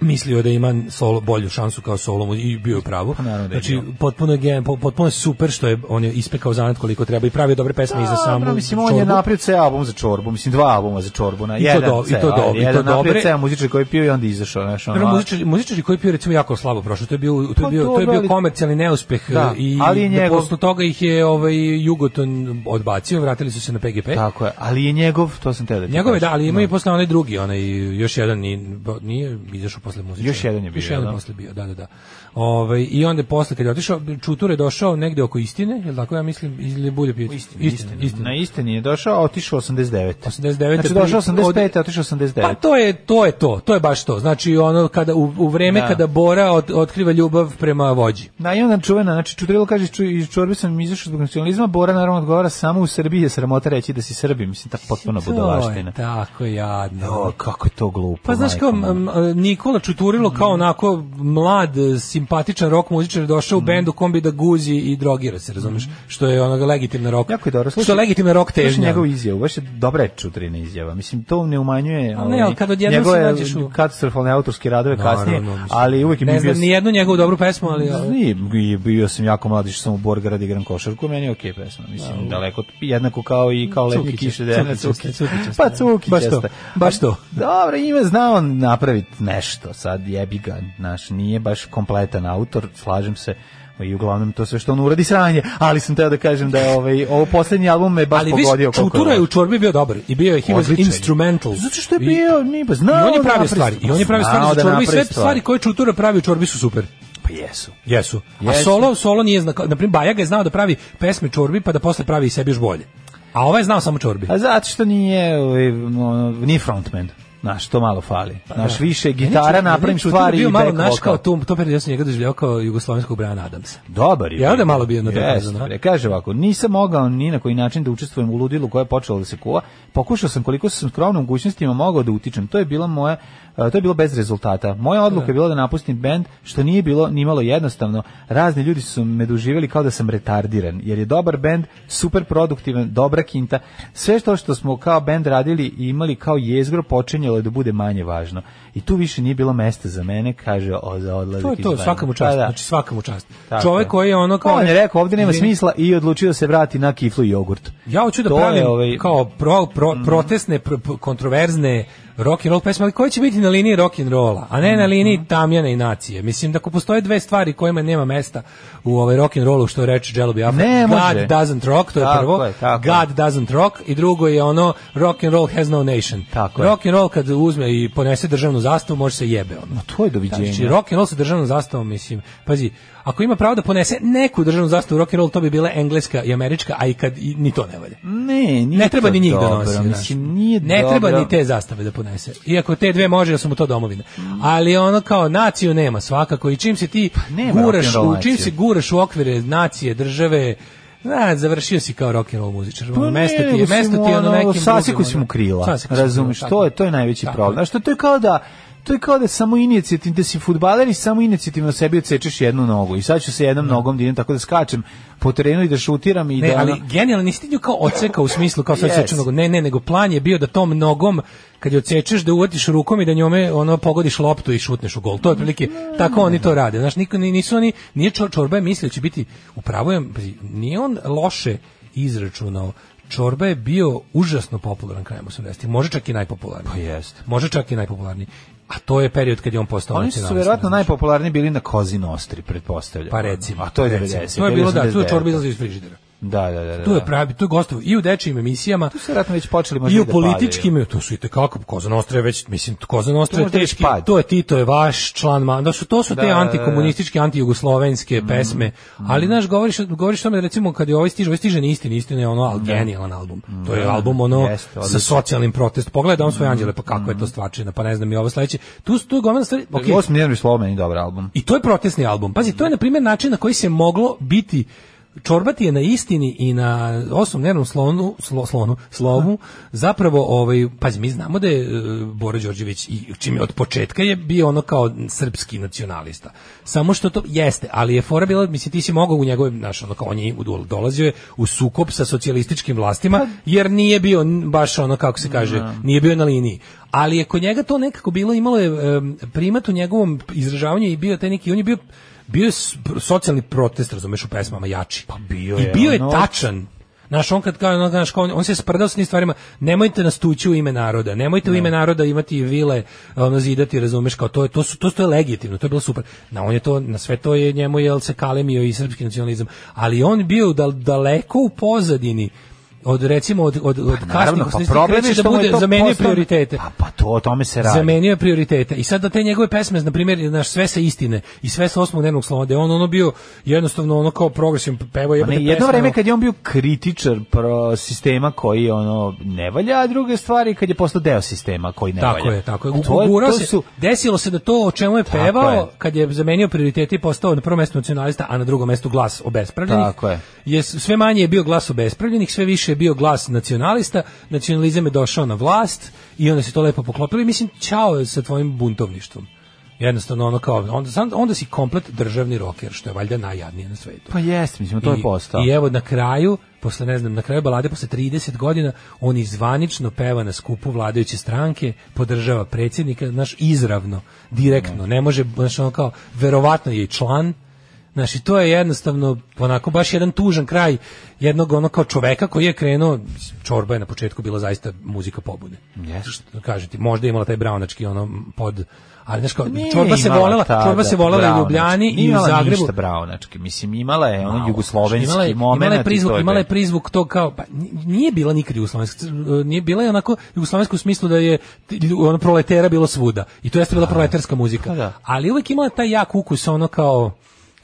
Speaker 7: mislio da ima solo, bolju šansu kao solo mu- i bio je pravo.
Speaker 8: naravno da je
Speaker 7: Znači,
Speaker 8: bio.
Speaker 7: potpuno, je gen, po- potpuno je super što je on je ispekao zanat koliko treba i pravio dobre pesme i za samu
Speaker 8: Pa, Dobro, mislim, on je
Speaker 7: čorbu.
Speaker 8: napravio ceo album za čorbu, mislim, dva albuma za čorbu. Na,
Speaker 7: I to
Speaker 8: jedan,
Speaker 7: do- i
Speaker 8: ceo,
Speaker 7: to
Speaker 8: ajde,
Speaker 7: dobro, i to
Speaker 8: jedan napravio
Speaker 7: dobre.
Speaker 8: ceo muzičar koji je pio i onda izašao. Znaš, ono,
Speaker 7: Prvo, muzičari, muzičari koji pio recimo jako slabo prošao, to je bio to je bio
Speaker 8: Pa
Speaker 7: to je
Speaker 8: dobro,
Speaker 7: bio
Speaker 8: ali-
Speaker 7: komercijalni neuspeh
Speaker 8: Da,
Speaker 7: e, i
Speaker 8: ali je njegov-
Speaker 7: posle toga ih je ovaj Jugoton odbacio, vratili su se na PGP.
Speaker 8: Tako je, ali je njegov, to sam te da ti
Speaker 7: Njegove da,
Speaker 8: kažem.
Speaker 7: ali ima i posle onaj drugi, onaj još jedan nije, nije izašao posle muzike.
Speaker 8: Još jedan je bio,
Speaker 7: Još jedan
Speaker 8: da.
Speaker 7: posle bio, da, da, da. Ovaj i onda je posle kad je otišao Čutur je došao negde oko istine, je tako ja mislim ili bulje pije.
Speaker 8: Istini, istini. Na istini je došao, a otišao 89.
Speaker 7: 89.
Speaker 8: Znači došao
Speaker 7: Od-
Speaker 8: 85, a otišao 89.
Speaker 7: Pa to je to je to, to je baš to. Znači ono kada u, u vreme
Speaker 8: Da.
Speaker 7: kada Bora od, otkriva ljubav prema vođi.
Speaker 8: Na i onda čuvena, znači Čutrilo kaže ču, iz čorbe sam izašao zbog nacionalizma, Bora naravno odgovara samo u Srbiji je sramota reći da si Srbi, mislim ta potpuno budalaština.
Speaker 7: To je tako jadno.
Speaker 8: O, kako je to glupo.
Speaker 7: Pa znaš kao
Speaker 8: majko moja. Mm.
Speaker 7: m, m, Nikola Čuturilo kao onako mlad, e, simpatičan rock muzičar došao
Speaker 8: Mm.
Speaker 7: u bend u kombi da guzi i drogira se, razumeš? Što je onoga legitimna rock.
Speaker 8: Jako je dobro. Slušaj,
Speaker 7: što je legitimna rock
Speaker 8: Slušaj
Speaker 7: težnja.
Speaker 8: njegovu izjavu, baš je dobra je čutrina izjava. Mislim, to ne umanjuje
Speaker 7: A ne,
Speaker 8: ovaj,
Speaker 7: ali kad odjednom
Speaker 8: njegove
Speaker 7: se nađeš u-
Speaker 8: katastrofalne autorske radove
Speaker 7: Naravno,
Speaker 8: kasnije,
Speaker 7: mislim.
Speaker 8: ali uvijek je mi
Speaker 7: Ne
Speaker 8: bio...
Speaker 7: znam ni jednu njegovu dobru pesmu, ali... ali-
Speaker 8: Nije, bio- bio sam jako mladi što sam u Borgrad igram košarku, meni je okej pesma, mislim,
Speaker 7: Da,
Speaker 8: daleko, jednako kao i kao letnje
Speaker 7: Cukića,
Speaker 8: kiše, da je
Speaker 7: Cukićaste, Cukićaste.
Speaker 8: Pa Cukićaste.
Speaker 7: Baš to, baš to.
Speaker 8: Dobro, ima, zna on napraviti nešto, sad jebi ga, znaš, nije baš kompletan autor, slažem se, i uglavnom to sve što on uradi sranje, ali sam teo da kažem da je ovaj, ovo posljednji album me baš
Speaker 7: Ali viš,
Speaker 8: pogodio. koliko
Speaker 7: Čutura je u
Speaker 8: loš.
Speaker 7: čorbi bio dobar i bio je he was
Speaker 8: Odličan je.
Speaker 7: instrumental.
Speaker 8: Zato što je
Speaker 7: I-
Speaker 8: bio, nije pa znao
Speaker 7: I on je
Speaker 8: da
Speaker 7: pravio
Speaker 8: napravi
Speaker 7: stvari. I on je pravio stvari
Speaker 8: Znao
Speaker 7: za
Speaker 8: da
Speaker 7: čorbu i sve
Speaker 8: napravi stvari.
Speaker 7: stvari koje Čutura pravi u čorbi su super.
Speaker 8: Pa jesu.
Speaker 7: Jesu. A
Speaker 8: Jesu.
Speaker 7: solo, solo nije znao. Naprimjer, Bajaga je znao da pravi pesme čorbi pa da posle pravi i sebi još bolje. A ovaj je znao samo čorbi.
Speaker 8: A zato što nije, ovaj, ono, nije frontman. Naš to malo fali.
Speaker 7: Pa
Speaker 8: Naš
Speaker 7: da.
Speaker 8: više gitara napravim stvari i
Speaker 7: bio malo
Speaker 8: back
Speaker 7: naš
Speaker 8: vokal.
Speaker 7: kao tu, to period ja sam njega doživljavao kao jugoslovenskog Brian Adamsa.
Speaker 8: Dobar je.
Speaker 7: Ja onda
Speaker 8: bio.
Speaker 7: malo da bio na
Speaker 8: Jeste,
Speaker 7: prepazu, no.
Speaker 8: bre. Kaže ovako, nisam mogao ni na koji način da učestvujem u ludilu koje je počelo da se kuva. Pokušao sam koliko sam skromno u mogućnostima mogao da utičem. To je bila moja a, to je bilo bez rezultata. Moja odluka je bila da napustim bend, što nije bilo ni malo jednostavno. Razni ljudi su me doživjeli kao da sam retardiran, jer je dobar bend, super produktivan, dobra kinta. Sve to što smo kao bend radili i imali kao jezgro počinjalo je da bude manje važno. I tu više nije bilo mesta za mene, kaže o, za odlazak
Speaker 7: To je
Speaker 8: iz
Speaker 7: to,
Speaker 8: benda.
Speaker 7: svaka mu čast,
Speaker 8: Pa da.
Speaker 7: znači svaka mu čast.
Speaker 8: Tako
Speaker 7: Čovjek
Speaker 8: je. Pa
Speaker 7: koji je ono kao...
Speaker 8: On je rekao, ovdje nema smisla i odlučio da se vrati na kiflu i jogurt.
Speaker 7: Ja hoću da
Speaker 8: To je
Speaker 7: pravim
Speaker 8: ovaj- Mhm.
Speaker 7: kao pro, pro- protestne, pro- pro- kontroverzne rock and roll pesme, ali koje će biti na liniji rock and rolla, a
Speaker 8: Mhm.
Speaker 7: ne na liniji tamjana i nacije. Mislim da ako postoje dve stvari kojima nema mesta u ovaj rock and rollu, što reče Jello Biafra,
Speaker 8: Ne
Speaker 7: God
Speaker 8: može.
Speaker 7: doesn't rock, to je
Speaker 8: Tako
Speaker 7: prvo.
Speaker 8: je, tako je.
Speaker 7: God doesn't rock i drugo je ono rock and roll has no nation.
Speaker 8: Tako je.
Speaker 7: rock and roll kad uzme i ponese državnu zastavu, može se jebe ono.
Speaker 8: To je doviđenje.
Speaker 7: Znači, rock and roll sa državnom zastavom, mislim. Pazi, ako ima pravo da ponese neku državnu zastavu rock and roll, to bi bila engleska i američka, a i kad i, ni to ne valja.
Speaker 8: Ne, nije
Speaker 7: Ne treba
Speaker 8: to
Speaker 7: ni njih
Speaker 8: dobro,
Speaker 7: da nosi. znaš.
Speaker 8: Mislim, nije
Speaker 7: ne
Speaker 8: dobro.
Speaker 7: treba ni te zastave da ponese. Iako te dve može, jer su mu to domovine. Ali ono kao naciju nema svakako i čim se ti
Speaker 8: Pa nema
Speaker 7: guraš,
Speaker 8: rock'n'roll
Speaker 7: u, čim
Speaker 8: naciju.
Speaker 7: se guraš u okvire nacije, države, na, završio si kao rock and roll muzičar.
Speaker 8: Pa
Speaker 7: Ono, mesto
Speaker 8: ne,
Speaker 7: ti je,
Speaker 8: nego si
Speaker 7: mesto
Speaker 8: mu
Speaker 7: ti je ono
Speaker 8: ono,
Speaker 7: nekim
Speaker 8: Sasiku
Speaker 7: drugim,
Speaker 8: si
Speaker 7: ono.
Speaker 8: mu krila.
Speaker 7: Sasiku si mu
Speaker 8: Razumeš,
Speaker 7: krila,
Speaker 8: to je,
Speaker 7: tako.
Speaker 8: to je najveći
Speaker 7: Tako
Speaker 8: problem.
Speaker 7: je.
Speaker 8: Znaš, to je kao da to je kao da samo inicijativno, da si futbaler i samo inicijativno sebi odsečeš jednu nogu i sad ću se jednom nogom da idem tako da skačem po terenu i da šutiram i
Speaker 7: Ne,
Speaker 8: da...
Speaker 7: ali
Speaker 8: ono-
Speaker 7: genijalno nisi ti nju kao odseka u smislu kao sad
Speaker 8: Yes.
Speaker 7: seču nogu. Ne, ne, nego plan je bio da tom nogom kad je odsečeš da uvatiš rukom i da njome ono pogodiš loptu i šutneš u gol. To je otprilike tako oni to rade. Znaš, niko ni- nisu oni nije Čo- čorba je mislio da će biti u pravu je, pazi, nije on loše izračunao. Čorba je bio užasno popularan krajem 80-ih. Može čak i najpopularniji.
Speaker 8: Pa jest.
Speaker 7: Može čak i najpopularniji. A to je period kad je on postao
Speaker 8: Oni su
Speaker 7: nacionalista,
Speaker 8: verovatno
Speaker 7: znaš.
Speaker 8: najpopularniji bili na Kozi Nostri, pretpostavljam.
Speaker 7: Pa recimo.
Speaker 8: A to je
Speaker 7: recimo.
Speaker 8: 90.
Speaker 7: To je bilo da, tu je
Speaker 8: 89.
Speaker 7: čorba izlazi iz frižidera.
Speaker 8: Da, da, da. da.
Speaker 7: Tu je pravi, tu je gostovo i u dečijim emisijama.
Speaker 8: Tu su vjerojatno već počeli možda
Speaker 7: I
Speaker 8: i
Speaker 7: u
Speaker 8: da padaju.
Speaker 7: političkim, to su i tekako, Koza Nostra je već, mislim, Koza Nostra
Speaker 8: Tu
Speaker 7: je
Speaker 8: možda već
Speaker 7: teški,
Speaker 8: pad.
Speaker 7: to je Tito je vaš član, ma- da su, to su
Speaker 8: Da,
Speaker 7: te
Speaker 8: da, Mm, da.
Speaker 7: antikomunističke, antijugoslovenske pesme, ali, znaš, govoriš, govoriš o tome, da, recimo, kad je ovaj stiže, ovaj stiže ni istina, istina je ono, ali genijalan album, to je album, ono,
Speaker 8: Da. Mm, Jeste,
Speaker 7: sa
Speaker 8: odlično. Mm,
Speaker 7: socijalnim protestom, pogledaj on svoje anđele, pa kako je to stvačina, pa ne znam, i ovo sledeće, tu su, tu je gomila stvari, okej.
Speaker 8: Okay. Osmi Jervis Slovo meni dobar album.
Speaker 7: I to je protestni album. Pazi, to je na primjer način na koji se moglo biti Čorbati je na istini i na osam nervnom slonu, slo, slonu, slovu, zapravo, ovaj, pazi, mi znamo da je e, Bora Đorđević, i čim je od početka je bio ono kao srpski nacionalista. Samo što to jeste, ali je fora bila, mislim, ti si mogao u njegovim, znaš, ono kao on je u- dolazio je u sukob sa socijalističkim vlastima, jer nije bio n- baš ono, kako se kaže, nije bio na liniji ali je kod njega to nekako bilo imalo je em, primat u njegovom izražavanju i bio taj neki on je bio bio je s- socijalni protest razumeš u pesmama jači pa bio
Speaker 8: je,
Speaker 7: i bio je
Speaker 8: ono-
Speaker 7: tačan Znaš, on kad kao, ono, znaš, kao on, on se sprdao s tim stvarima, nemojte nas tući u ime naroda, nemojte
Speaker 8: Da.
Speaker 7: u ime naroda imati vile, ono, zidati, razumeš, kao to je, to, su, to, to je legitimno, to je bilo super. Na, on je to, na sve to je njemu, jel se kalemio i srpski nacionalizam, ali on bio dal- daleko u pozadini od recimo od od od kasnih
Speaker 8: Naravno, pa
Speaker 7: 80-ih,
Speaker 8: problem
Speaker 7: kreće
Speaker 8: je što
Speaker 7: da
Speaker 8: mu je
Speaker 7: bude
Speaker 8: to
Speaker 7: zamenio
Speaker 8: postao-
Speaker 7: prioritete
Speaker 8: Pa, pa to, o tome se radi.
Speaker 7: zamenio je prioritete. I sad da te njegove pesme, na primjer, naš sve sa istine i sve sa osmog dnevnog slova, da je on ono bio jednostavno ono kao progresivan pevao
Speaker 8: Pa
Speaker 7: jebote
Speaker 8: Ne, jedno
Speaker 7: pesme,
Speaker 8: vreme
Speaker 7: ono-
Speaker 8: kad je on bio kritičar pro sistema koji ono ne valja, a druge stvari kad je postao deo sistema koji ne
Speaker 7: Tako
Speaker 8: valja.
Speaker 7: je, tako je.
Speaker 8: To
Speaker 7: Ugurao
Speaker 8: to
Speaker 7: se,
Speaker 8: su-
Speaker 7: desilo se da to o čemu je
Speaker 8: Tako
Speaker 7: pevao,
Speaker 8: je.
Speaker 7: kad je zamenio prioritete i postao na prvom mestu nacionalista, a na drugom mestu glas obespravljenih.
Speaker 8: Tako je.
Speaker 7: s- sve manje je bio glas obespravljenih, sve više je bio glas nacionalista, nacionalizam je došao na vlast i onda se to lepo poklopilo i mislim, čao je sa tvojim buntovništvom. Jednostavno ono kao, onda, sam- onda si komplet državni roker, što je valjda najjadnije na svetu.
Speaker 8: Pa jest, mislim, to
Speaker 7: I-
Speaker 8: je postao.
Speaker 7: I evo na kraju, posle ne znam, na kraju balade posle 30 godina on izvanično peva na skupu vladajuće stranke, podržava predsjednika, naš izravno, direktno, ne može, znaš, ono kao, verovatno je i član, Znaš, i to je jednostavno onako baš jedan tužan kraj jednog ono kao čoveka koji je krenuo, mislim, čorba je na početku bila zaista muzika pobune.
Speaker 8: Jeste.
Speaker 7: Što da kažem ti, možda je imala taj braunački ono pod, ali znaš kao,
Speaker 8: Nije
Speaker 7: čorba se
Speaker 8: imala
Speaker 7: volela,
Speaker 8: tada
Speaker 7: čorba se volela i u
Speaker 8: braunački.
Speaker 7: Ljubljani
Speaker 8: Nije
Speaker 7: i u
Speaker 8: imala
Speaker 7: Zagrebu.
Speaker 8: Ništa braunački, mislim, imala je ono
Speaker 7: Malo.
Speaker 8: jugoslovenski
Speaker 7: Imala je-
Speaker 8: moment.
Speaker 7: Imala je prizvuk, imala je prizvuk to kao pa n- nije bila nikad jugoslovenska, c- nije bila je onako jugoslovenska u smislu da je ti- lju- ono proletera bilo svuda. I to jeste bila proletarska muzika.
Speaker 8: Pa da.
Speaker 7: Ali uvek imala taj jak ukus ono kao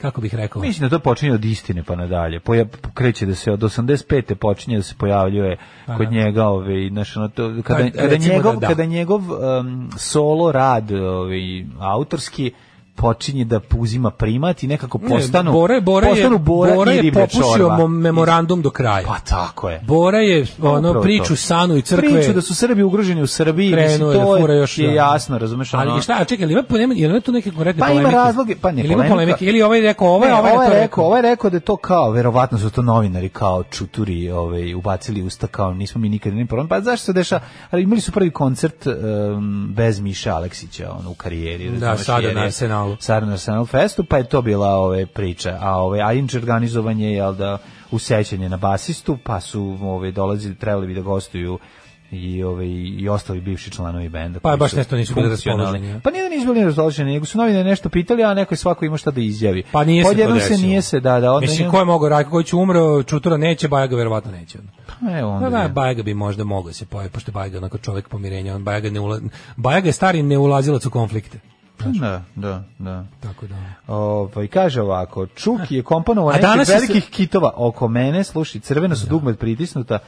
Speaker 7: kako bih rekao?
Speaker 8: Mislim da to počinje od istine pa nadalje. Poja, kreće da se od 85. počinje da se pojavljuje
Speaker 7: Pa,
Speaker 8: kod
Speaker 7: da.
Speaker 8: njega, ovaj, znaš, ono to, kada,
Speaker 7: Pa,
Speaker 8: kada
Speaker 7: recimo
Speaker 8: njegov,
Speaker 7: da da.
Speaker 8: kada njegov um, solo rad ovaj, autorski počinje da uzima primat i nekako postanu,
Speaker 7: Ne, Bora, Bora
Speaker 8: postanu
Speaker 7: je,
Speaker 8: Bora,
Speaker 7: Bora
Speaker 8: i
Speaker 7: je
Speaker 8: riblja
Speaker 7: popušio
Speaker 8: čorba.
Speaker 7: mo- memorandum do kraja.
Speaker 8: Pa tako je.
Speaker 7: Bora je ono
Speaker 8: Upravo to.
Speaker 7: priču Sanu i crkve.
Speaker 8: Priču da su Srbi ugroženi u Srbiji,
Speaker 7: krenuo
Speaker 8: mislim, to
Speaker 7: je,
Speaker 8: je,
Speaker 7: fura još.
Speaker 8: je
Speaker 7: da.
Speaker 8: jasno, razumeš?
Speaker 7: Ali
Speaker 8: ono-
Speaker 7: šta, a čekaj, jel ima, nema, jel ima tu neke konkretne
Speaker 8: Pa
Speaker 7: polemike?
Speaker 8: ima razloge, pa ne,
Speaker 7: Jel ima
Speaker 8: polemika.
Speaker 7: polemike, ili ovaj je rekao ovo,
Speaker 8: Ne,
Speaker 7: a ovaj je
Speaker 8: ovaj
Speaker 7: to
Speaker 8: je rekao, ovaj je rekao da je to kao, verovatno su to novinari kao čuturi, ovaj ubacili usta kao nismo mi nikad ni problem. Pa zašto se dešava? Ali imali su prvi koncert em, bez Miše Aleksića on u karijeri,
Speaker 7: Da,
Speaker 8: razumeš,
Speaker 7: sada
Speaker 8: jer
Speaker 7: na
Speaker 8: je-
Speaker 7: Arsenalu.
Speaker 8: Sada na Arsenal festu, pa je to bila ove priča. A ovaj a inče organizovan je jel da usećanje na basistu, pa su ove dolazili, trebali bi da gostuju i ove i ostali bivši članovi benda.
Speaker 7: Pa
Speaker 8: koji
Speaker 7: baš
Speaker 8: su
Speaker 7: nešto nisu bili
Speaker 8: funkcionalni.
Speaker 7: raspoloženi, ja.
Speaker 8: Pa nije da nisu bili raspoloženi, nego su novinari nešto pitali, a neko je svako ima šta da izjavi.
Speaker 7: Pa nije se to
Speaker 8: Odjednom se
Speaker 7: desilo.
Speaker 8: nije se, da, da. Onda
Speaker 7: Mislim,
Speaker 8: njemu-
Speaker 7: ko je mogao Rajko Kojić umro, Čutura neće, Bajaga verovatno neće.
Speaker 8: Pa evo onda
Speaker 7: Da, da,
Speaker 8: je.
Speaker 7: Bajaga bi možda mogao da se pojaviti, pošto je Bajaga onako čovjek pomirenja, on Bajaga, ne ula... Bajaga je stari neulazilac u konflikte.
Speaker 8: Da, da, da.
Speaker 7: Tako da...
Speaker 8: Ovaj, kaže ovako, Čuk je komponovao
Speaker 7: A
Speaker 8: nekih
Speaker 7: danas je Da.
Speaker 8: velikih kitova oko mene, slušaj, crvena su dugme pritisnuta,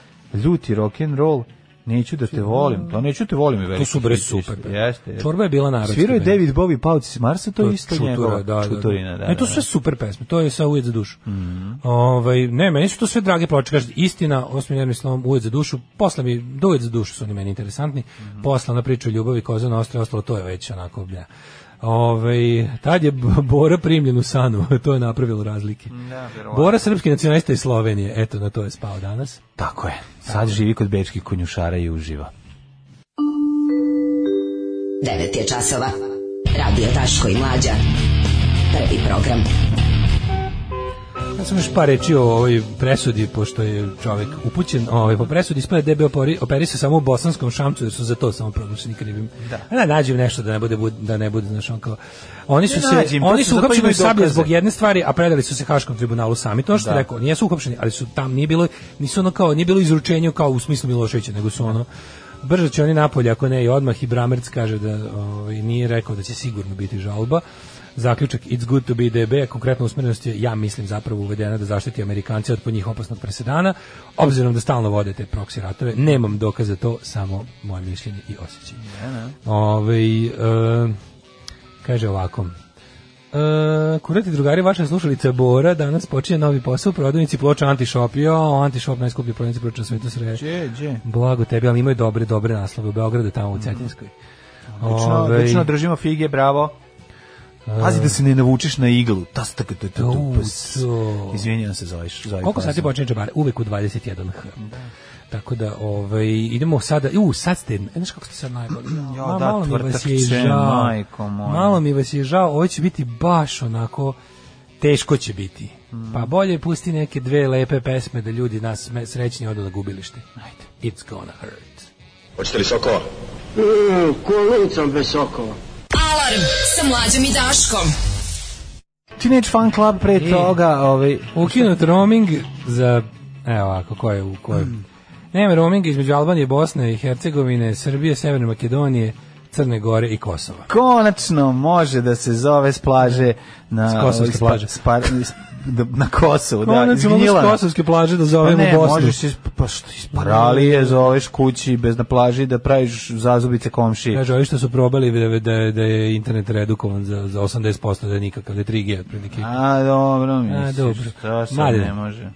Speaker 8: ljuti rock and roll, neću da te volim, to neću te volim i veliki.
Speaker 7: su, bre,
Speaker 8: hit,
Speaker 7: super,
Speaker 8: isto.
Speaker 7: bre.
Speaker 8: Jeste, jeste.
Speaker 7: Čorba je bila narodska,
Speaker 8: Svirao je
Speaker 7: bre.
Speaker 8: David Bowie Pauci s Marsa, to je isto
Speaker 7: Čutura,
Speaker 8: njegova
Speaker 7: da, da, da.
Speaker 8: čuturina, da.
Speaker 7: Ne, to
Speaker 8: da, Mhm.
Speaker 7: su sve super pesme, to je sa Ujed za dušu. Ovaj, ne, meni su to sve drage ploče, kažete, istina, osmi nervni slom, Ujed za dušu, posle mi, do Ujed za dušu su oni meni interesantni,
Speaker 8: Mhm.
Speaker 7: posle ona priča o ljubavi, koza na ostre, ostalo, to je već onako, blja. Ovaj, tad je B- Bora primljen u sanu, to je napravilo razlike.
Speaker 8: Da,
Speaker 7: Bora srpski nacionalista iz Slovenije, eto, na to je spao danas.
Speaker 8: da. Tako je. Sad živi kod bečkih konjušara i uživa.
Speaker 10: 9 je časova. Radio Daško i Mlađa. Prvi program.
Speaker 7: Ja sam još par reći o ovoj presudi, pošto je čovjek upućen ovaj, po presudi, ispada da je bio operi- operisa samo u bosanskom šamcu, jer su za to samo proglašeni krivim. Da. Ne, nađi im nešto da ne bude, bud- da ne bude znaš, on kao... Oni su,
Speaker 8: Ne
Speaker 7: se,
Speaker 8: nađi im,
Speaker 7: oni
Speaker 8: to su-
Speaker 7: su
Speaker 8: za to
Speaker 7: uhapšeni u
Speaker 8: imaju
Speaker 7: sablju
Speaker 8: dokaze.
Speaker 7: zbog jedne stvari, a predali su se Haškom tribunalu sami. To što
Speaker 8: Da.
Speaker 7: da. rekao, nijesu uhapšeni, ali su tam, nije bilo, nisu ono kao, nije bilo izručenje kao u smislu Miloševića, nego su ono, brže će oni napolje, ako ne i odmah i Bramerc kaže da ovaj, nije rekao da će sigurno biti žalba zaključak It's good to be DB, a konkretna usmjerenost je, ja mislim, zapravo uvedena da zaštiti Amerikanci od po njih opasnog presedana, obzirom da stalno vode te proksi ratove, nemam dokaza za to, samo moje mišljenje i osjećaj. Ovaj, e, kaže ovako, E, kurati drugari, vaša slušalica Bora danas počinje novi posao u prodavnici ploča Antishop. Jo, Antishop najskuplji prodavnici ploča na svetu sreće.
Speaker 8: Đe, đe.
Speaker 7: Blago tebi, ali imaju dobre, dobre naslove u Beogradu, tamo u Cetinskoj.
Speaker 8: Lično,
Speaker 7: Ovaj,
Speaker 8: lično držimo fige, bravo. Pazi da se ne navučeš na iglu. Ta stak, ta, ta, ta,
Speaker 7: U,
Speaker 8: pas.
Speaker 7: to.
Speaker 8: Izvinjam se za ovaj š- za ovaj
Speaker 7: Koliko
Speaker 8: pas.
Speaker 7: sati počinje džabare? Uvek u 21h. Tako da, ovaj, idemo sada, u, sad ste, e, znaš kako ste sad najbolji?
Speaker 8: Ja,
Speaker 7: Ma-
Speaker 8: da,
Speaker 7: malo mi vas
Speaker 8: tvrtak
Speaker 7: je i
Speaker 8: će,
Speaker 7: žao.
Speaker 8: majko moja.
Speaker 7: Malo mi vas je žao, ovo će biti baš onako, teško će biti.
Speaker 8: Mm.
Speaker 7: Pa bolje pusti neke dve lepe pesme da ljudi nas sme- srećni odu na gubilište. Ajde. It's gonna hurt.
Speaker 11: Hoćete li sokova?
Speaker 5: Alarm sa Mlađom i Daškom.
Speaker 8: Teenage Fan Club pre toga, ovaj
Speaker 7: Ukinut roaming za, evo ovako, ko je u kojoj.
Speaker 8: Mm.
Speaker 7: Nema roaminga između Albanije, Bosne i Hercegovine, Srbije, Severne Makedonije, Crne Gore i Kosova.
Speaker 8: konačno može da se zove s plaže na
Speaker 7: S kosovske
Speaker 8: spa-
Speaker 7: plaže.
Speaker 8: spa- s- da- na Kosovu, da.
Speaker 7: Konačno mogu
Speaker 8: izginjila.
Speaker 7: s kosovske plaže da
Speaker 8: Pa
Speaker 7: zovemo
Speaker 8: ne,
Speaker 7: Bosnu.
Speaker 8: možeš iz, pa što, iz paralije zoveš kući bez na plaži da praviš zazubice komšiji.
Speaker 7: Kaže, ovi što su probali da, da, da je internet redukovan za, za 80%, da je nikakav, da je 3G otprilike.
Speaker 8: A, dobro, misliš,
Speaker 7: dobro.
Speaker 8: šta sad
Speaker 7: Mladine.
Speaker 8: ne može.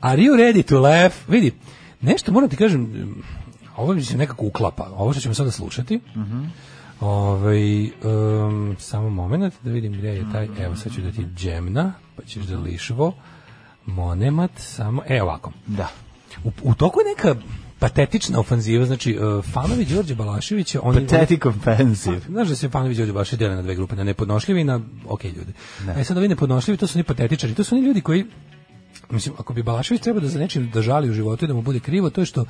Speaker 7: Are you ready to laugh? Vidi, nešto moram ti kažem, ovo mi se nekako uklapa, ovo što ćemo sada slušati. Ovaj, em, samo moment da vidim gdje je taj, evo sad ću da ti džemna, pa ćeš da lišvo, monemat, samo, e ovako.
Speaker 8: Da.
Speaker 7: U, u toku je neka patetična ofanziva, znači uh, fanovi Đorđe Balaševića, oni,
Speaker 8: Pathetic offensive.
Speaker 7: Znaš da se Panović Đorđe Balašević dele na dve grupe, na nepodnošljivi i na ok ljude. E sad ovi nepodnošljivi, to su oni patetičari, to su oni ljudi koji, mislim, ako bi Balašević trebao da za nečim da žali u životu i da mu bude krivo, to je što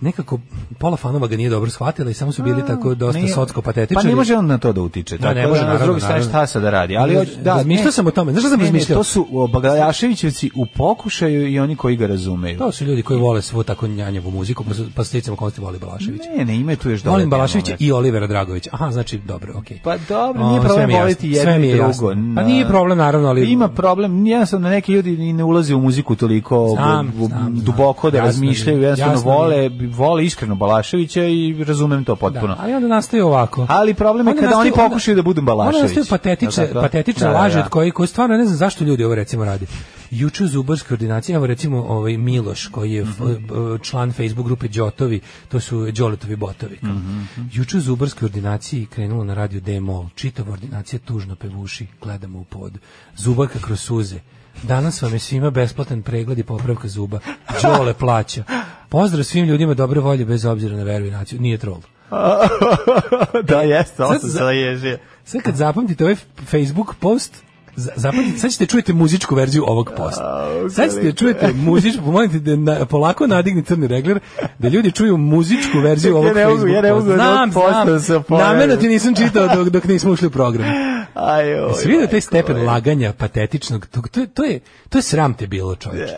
Speaker 7: nekako pola fanova ga nije dobro shvatila i samo su bili tako dosta
Speaker 8: Nije-
Speaker 7: socko patetičari.
Speaker 8: Pa ne može on na to da utiče.
Speaker 7: Da,
Speaker 8: tako
Speaker 7: ne može,
Speaker 8: da,
Speaker 7: naravno,
Speaker 8: S druge strane,
Speaker 7: naravno.
Speaker 8: šta sad da radi? Ali, hoće- da,
Speaker 7: Razmišljao
Speaker 8: ne.
Speaker 7: sam o tome. Znaš šta sam
Speaker 8: Ne, ne,
Speaker 7: razmišljao?
Speaker 8: To su o, Bagajaševićevci u pokušaju i oni koji ga razumeju.
Speaker 7: To su ljudi koji vole svu tako njanjevu muziku, pa, su- pa sticam okolnosti voli Balaševića.
Speaker 8: Ne, ne, ima tu još dodatni
Speaker 7: Volim Balaševića
Speaker 8: moment.
Speaker 7: i Olivera Dragovića. Aha, znači, dobro, okej.
Speaker 8: Pa dobro,
Speaker 7: O,
Speaker 8: nije
Speaker 7: sve
Speaker 8: problem
Speaker 7: mi je jasno.
Speaker 8: voliti
Speaker 7: Sve
Speaker 8: jedno
Speaker 7: mi
Speaker 8: i
Speaker 7: je
Speaker 8: drugo.
Speaker 7: jasno. Pa
Speaker 8: Na-
Speaker 7: nije problem, naravno, ali...
Speaker 8: Ima problem, jednostavno neki ljudi i ne ulaze u muziku toliko
Speaker 7: Znam,
Speaker 8: u- u-
Speaker 7: znam, znam.
Speaker 8: duboko da
Speaker 7: Jasno mi je,
Speaker 8: razmišljaju, jednostavno
Speaker 7: jasno mi
Speaker 8: vole, vole iskreno Balaševića i razumem to potpuno.
Speaker 7: Da, ali onda nastaje ovako.
Speaker 8: Ali problem je
Speaker 7: Onda
Speaker 8: kada oni
Speaker 7: nastaju-
Speaker 8: pokušaju da budu Balašević.
Speaker 7: Onda nastaju patetične,
Speaker 8: Jel tako?
Speaker 7: patetične
Speaker 8: Da, da,
Speaker 7: laži
Speaker 8: da.
Speaker 7: od kojih, koji stvarno ne znam zašto ljudi ovo recimo radi. Juče u Zubarskoj ordinaciji, evo recimo ovaj Miloš koji je f-
Speaker 8: Mhm.
Speaker 7: b- član Facebook grupe Đotovi, to su Đoletovi botovi. kao.
Speaker 8: Mhm,
Speaker 7: Juče u Zubarskoj ordinaciji krenulo na radio Demo, čitava ordinacija tužno pevuši, gledamo u pod. Zubarka kroz suze. Danas vam je svima besplatan pregled i popravka zuba. Đole plaća. Pozdrav svim ljudima dobre volje bez obzira na veru i naciju. Nije troll.
Speaker 8: da, jeste, on
Speaker 7: Sad
Speaker 8: se
Speaker 7: za-
Speaker 8: sada ježio.
Speaker 7: Sad kad zapamtite ovaj Facebook post, za- zapamtite, sad ćete čujete muzičku verziju ovog posta. Sad ćete čujete muzičku, pomolite da na, polako nadigni crni regler, da ljudi čuju muzičku verziju
Speaker 8: Ja
Speaker 7: ovog
Speaker 8: ne mogu-
Speaker 7: Facebook
Speaker 8: ja ne
Speaker 7: posta.
Speaker 8: mogu od
Speaker 7: Znam,
Speaker 8: ovog posta
Speaker 7: znam,
Speaker 8: da se oporavim.
Speaker 7: namerno ti nisam čitao dok, dok nismo ušli u program.
Speaker 8: Aj, oj,
Speaker 7: Jesi vidio taj
Speaker 8: majko,
Speaker 7: stepen
Speaker 8: oj.
Speaker 7: laganja, patetičnog, to, to, je- to, je, to je sram te bilo, čovječe.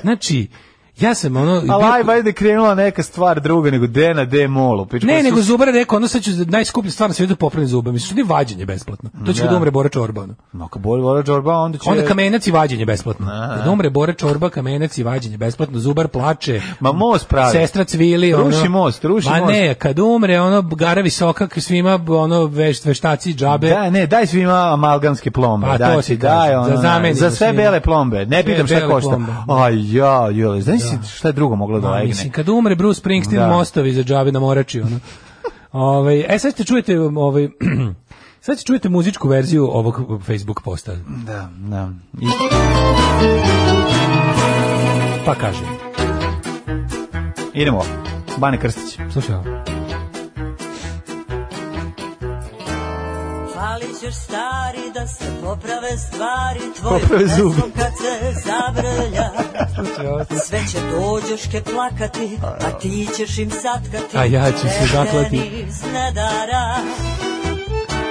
Speaker 7: Znači, ja sam ono...
Speaker 8: Ali
Speaker 7: bio-
Speaker 8: aj, ajde krenula neka stvar druga nego D na D molu. Pičku,
Speaker 7: Ne,
Speaker 8: su-
Speaker 7: nego Zubar je rekao, ono sad ću najskuplju stvar na svijetu da popravim zube. Mislim, ni vađenje besplatno. To će
Speaker 8: Da.
Speaker 7: kad umre Bora Čorba. ono.
Speaker 8: Ma, ako boli vola džorba, onda će...
Speaker 7: Onda kamenac i vađenje besplatno.
Speaker 8: Aha.
Speaker 7: Kad umre Bora Čorba, kamenac i vađenje besplatno. Zubar plače.
Speaker 8: Ma, most pravi.
Speaker 7: Sestra cvili.
Speaker 8: Ruši
Speaker 7: ono.
Speaker 8: most, ruši
Speaker 7: Ma
Speaker 8: most.
Speaker 7: ne, kad umre, ono, gara visokak svima, ono, veš, veštaci džabe.
Speaker 8: Da, ne, daj svima amalgamske plombe.
Speaker 7: Pa,
Speaker 8: da,
Speaker 7: to ti
Speaker 8: daj,
Speaker 7: kažem, za
Speaker 8: ono,
Speaker 7: zamenu
Speaker 8: za sve
Speaker 7: svima.
Speaker 8: bele plombe. Ne
Speaker 7: Sve
Speaker 8: pitam šta
Speaker 7: bele
Speaker 8: košta.
Speaker 7: plombe.
Speaker 8: Aj, ja, joj, znaš si šta je drugo moglo da
Speaker 7: Ma,
Speaker 8: legne?
Speaker 7: Pa, mislim, kad umre Bruce Springsteen,
Speaker 8: Da.
Speaker 7: mostovi za džabe na morači, ono. Ovaj, e, sad ćete čujete, ovaj, sad ćete čujete muzičku verziju ovog Facebook posta.
Speaker 8: Da, da. I,
Speaker 7: Pa kažem.
Speaker 8: idemo. Bane Krstić.
Speaker 7: Slušaj ovo.
Speaker 12: Fali ćeš stari da se poprave stvari Tvoj
Speaker 8: Poprave
Speaker 12: pesmom
Speaker 8: zubi.
Speaker 12: kad se zabrlja Sve će dođeš ke plakati A ti ćeš im satkati
Speaker 7: A ja ću se zaklati.
Speaker 12: Pečeni iz nedara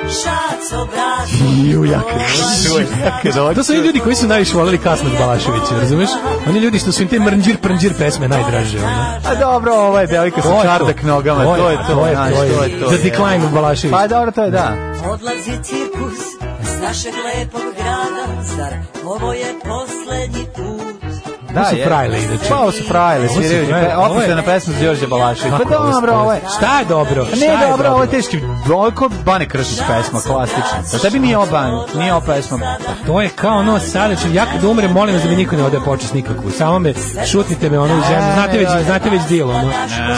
Speaker 12: Šac obrazu
Speaker 8: Ju, ja krenuo.
Speaker 7: To su oni ljudi koji su najviše voleli kasnog Balaševića, razumeš? Oni ljudi što su im te mrnđir prnđir pesme najdraže. Ono.
Speaker 8: A
Speaker 12: da.
Speaker 8: dobro, ovo je devojka
Speaker 7: To
Speaker 8: sa
Speaker 7: je
Speaker 8: čardak
Speaker 7: to.
Speaker 8: nogama.
Speaker 7: To je-
Speaker 8: To je to,
Speaker 7: to je-
Speaker 8: znaš,
Speaker 7: to je-
Speaker 8: to je to.
Speaker 7: The Decline of Balaševića.
Speaker 8: Pa dobro, to je da.
Speaker 12: Odlazi cirkus s našeg lepog grada Zar ovo je poslednji put
Speaker 8: Da,
Speaker 7: su
Speaker 8: je.
Speaker 7: frajle, inače.
Speaker 8: Pa, ovo su frajle,
Speaker 7: Ovo su
Speaker 8: sviraju.
Speaker 7: frajle,
Speaker 8: pe-
Speaker 7: ovo je-
Speaker 8: Opuštena pesma za Đorđe Balaševića. Pa dobro, ovo je...
Speaker 7: Šta je dobro?
Speaker 8: Pa
Speaker 7: Šta
Speaker 8: Ne,
Speaker 7: je
Speaker 8: dobro, ovo je teški. Ovo je kod Bane Krstić pesma, klasična. Za tebi nije ovo Bane, nije ovo pesma.
Speaker 7: To je kao ono sada ću ja kad umrem, molim vas da mi niko ne ode počast nikakvu. Samo me šutnite me ono u zemlju. Znate već, znate već deal ono.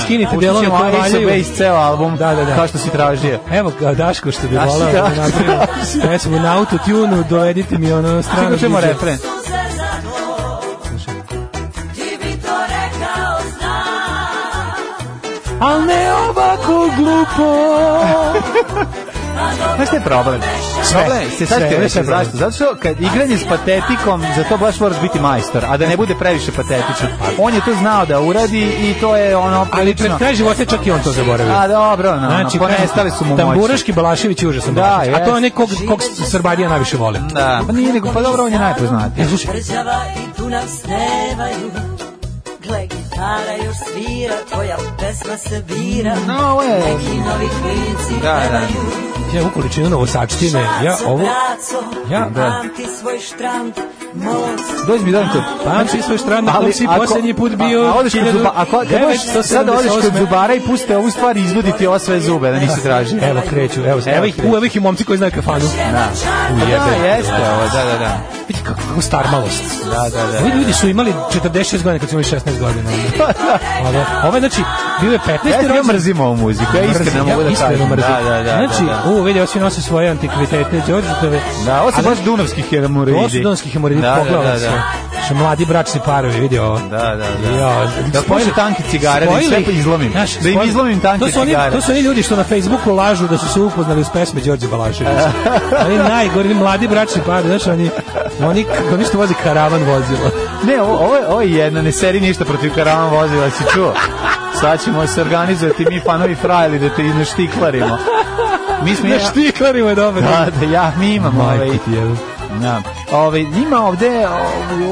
Speaker 7: Skinite
Speaker 8: Učit
Speaker 7: delove
Speaker 8: ćemo
Speaker 7: koje
Speaker 8: Alice
Speaker 7: valjaju.
Speaker 8: Base ceo album,
Speaker 7: Da, da, da.
Speaker 8: kao što si tražio.
Speaker 7: Evo ga Daško što bi
Speaker 8: Daško,
Speaker 7: volao
Speaker 8: da.
Speaker 7: da napravim. Pesmu na autotune dovedite mi ono strano.
Speaker 8: Čekaj,
Speaker 7: DJ.
Speaker 8: čujemo Pa, refren.
Speaker 12: suze za to Ti bi to rekao znam
Speaker 7: Al ne ovako glupo.
Speaker 8: Znaš šta je problem?
Speaker 7: Sve,
Speaker 8: Problem, je, sad
Speaker 7: sve,
Speaker 8: ću ti reći
Speaker 7: sve je problem.
Speaker 8: zašto. Zato što kad igranje s patetikom, za to baš moraš biti majstor, a da ne bude previše patetičan. On je to znao da uradi i to je ono
Speaker 7: Ali pred
Speaker 8: prilično...
Speaker 7: kraj života čak i on to zaboravio.
Speaker 8: A dobro, no,
Speaker 7: Znači,
Speaker 8: znači, ponestali su mu moći.
Speaker 7: Tamburaški Balašević je užasan
Speaker 8: Da,
Speaker 7: Balašević. A to je
Speaker 8: jest.
Speaker 7: onaj kog, kog Srbadija najviše vole.
Speaker 8: Da, pa nije nego, pa dobro, on je najpoznatiji.
Speaker 7: E, slušaj,
Speaker 12: Tvrđava i Dunav snevaju Gle, gitara još svira Tvoja pesma se bira
Speaker 8: No, ovo je-
Speaker 12: Neki novi klinci
Speaker 8: Da, da.
Speaker 12: pevaju
Speaker 7: ja ovu količinu novosačtine, ja
Speaker 12: Šaco,
Speaker 7: ovo...
Speaker 12: braco,
Speaker 7: Ja, da.
Speaker 12: pamti svoj štrand Most
Speaker 8: Dođi mi dođi kod...
Speaker 7: Pamci svoj stran, na kom si
Speaker 8: ako-
Speaker 7: posljednji put bio...
Speaker 8: A, a odeš kod zuba, ako kad budeš sada odeš kod
Speaker 7: 1978..
Speaker 8: zubara i puste ovu stvar i izvaditi ova sve zube da nisi tražio.
Speaker 7: Evo kreću, evo, evo, ih, u, evo ih i momci koji znaju kafanu. Da.
Speaker 8: Da, jeste, ovo, da, da, da.
Speaker 7: Vidi kako, kako star malost.
Speaker 8: Da, da, da.
Speaker 7: Ovi ljudi su imali 46 godina kad su imali 16 godina. Ovo, ovo je, znači, bio je 15.
Speaker 8: Ja, ja
Speaker 7: rođendan.
Speaker 8: mrzim ovu muziku, ja iskreno mogu da
Speaker 7: iskreno
Speaker 8: kažem. Da,
Speaker 7: mrzim.
Speaker 8: da, da.
Speaker 7: Znači,
Speaker 8: da, da.
Speaker 7: u, vidi, ovi nose svoje antikvitete, Đorđetove.
Speaker 8: Da, ovo su
Speaker 7: Ali-
Speaker 8: baš dunavski hemoroidi.
Speaker 7: Ovo su donski hemoridi,
Speaker 8: Da, da,
Speaker 7: pogledala
Speaker 8: da,
Speaker 7: sam.
Speaker 8: da.
Speaker 7: Što mladi bračni parovi, vidi ovo.
Speaker 8: Da, da, da.
Speaker 7: Ja,
Speaker 8: Da spojim tanke cigare, da ih sve izlomim.
Speaker 7: Znaš,
Speaker 8: Da im
Speaker 7: spojili-
Speaker 8: izlomim tanke
Speaker 7: to su oni,
Speaker 8: cigare.
Speaker 7: To su oni ljudi što na Facebooku lažu da su se upoznali uz pesme Đorđe Balaševića. oni najgori, oni mladi bračni parovi, znaš, oni, oni, oni što voze karavan vozilo.
Speaker 8: Ne, ovo, ovo, je- ovo je jedna, ne seri ništa protiv karavan vozila, si čuo. Sad ćemo se organizovati mi fanovi frajli da te naštiklarimo. Mi smo
Speaker 7: na štiklarima je dobro.
Speaker 8: Da, da, ja, mi imamo ovaj. Da. Ovaj ima ovde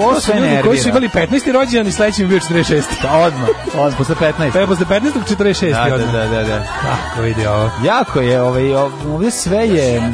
Speaker 8: ovo sve
Speaker 7: Ljudi
Speaker 8: nervira.
Speaker 7: koji su imali 15. rođendan i sledeći im je bio 46.
Speaker 8: Da, odmah, odmah, posle 15.
Speaker 7: Pa je posle 15. 46.
Speaker 8: Da, da,
Speaker 7: odmah.
Speaker 8: da, da, da.
Speaker 7: Kako vidi ovo.
Speaker 8: Jako je, ovaj, ovde sve je...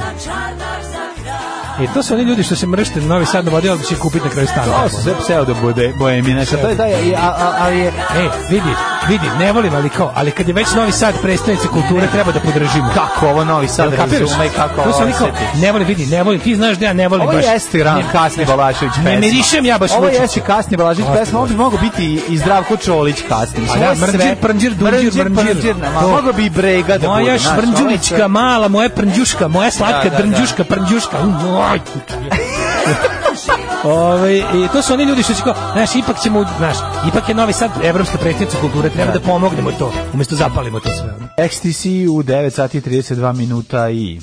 Speaker 7: E, to su oni ljudi što se mršte na Novi Sad na vodi, ali će kupiti na kraju stana.
Speaker 8: To su sve pseudo bude, bojemina. To je, da, je, a, a, ali je...
Speaker 7: E, vidi, vidi, ne volim, ali kao, ali kad je već Novi Sad predstavnice kulture, treba da podržimo.
Speaker 8: Kako ovo Novi Sad
Speaker 7: Jel kapiraš?
Speaker 8: razume i kako
Speaker 7: To
Speaker 8: ovo
Speaker 7: su oni kao,
Speaker 8: osjeti?
Speaker 7: ne volim, vidi, ne volim, ti znaš da ja ne volim
Speaker 8: Ovo
Speaker 7: baš.
Speaker 8: jeste ran,
Speaker 7: Ne,
Speaker 8: kasni Balašević pesma.
Speaker 7: Ne mirišem ja baš
Speaker 8: Ovo
Speaker 7: Vučića.
Speaker 8: jeste kasni Balašević
Speaker 7: Kasni
Speaker 8: pesma, ovo bi mogao biti i Zdravko Čolić kasni.
Speaker 7: A da,
Speaker 8: Ovo je sve-
Speaker 7: mrđir, prnđir, dunđir, mrnđir.
Speaker 8: na- ma,
Speaker 7: To.
Speaker 8: Mogao bi i brega da bude.
Speaker 7: Moja
Speaker 8: znaš, ovo je sve-
Speaker 7: švrnđulička mala, moja prnđuška, moja slatka
Speaker 8: Da, da, da.
Speaker 7: drnđuška, prnđuška. Uaj. Ove, Ovaj, i to su oni ljudi što će kao, znaš, ipak ćemo, znaš, ipak je Novi Sad evropska pretnica kulture, treba da pomognemo to, umesto zapalimo to sve. ono.
Speaker 8: XTC u 9 sati i 32 minuta i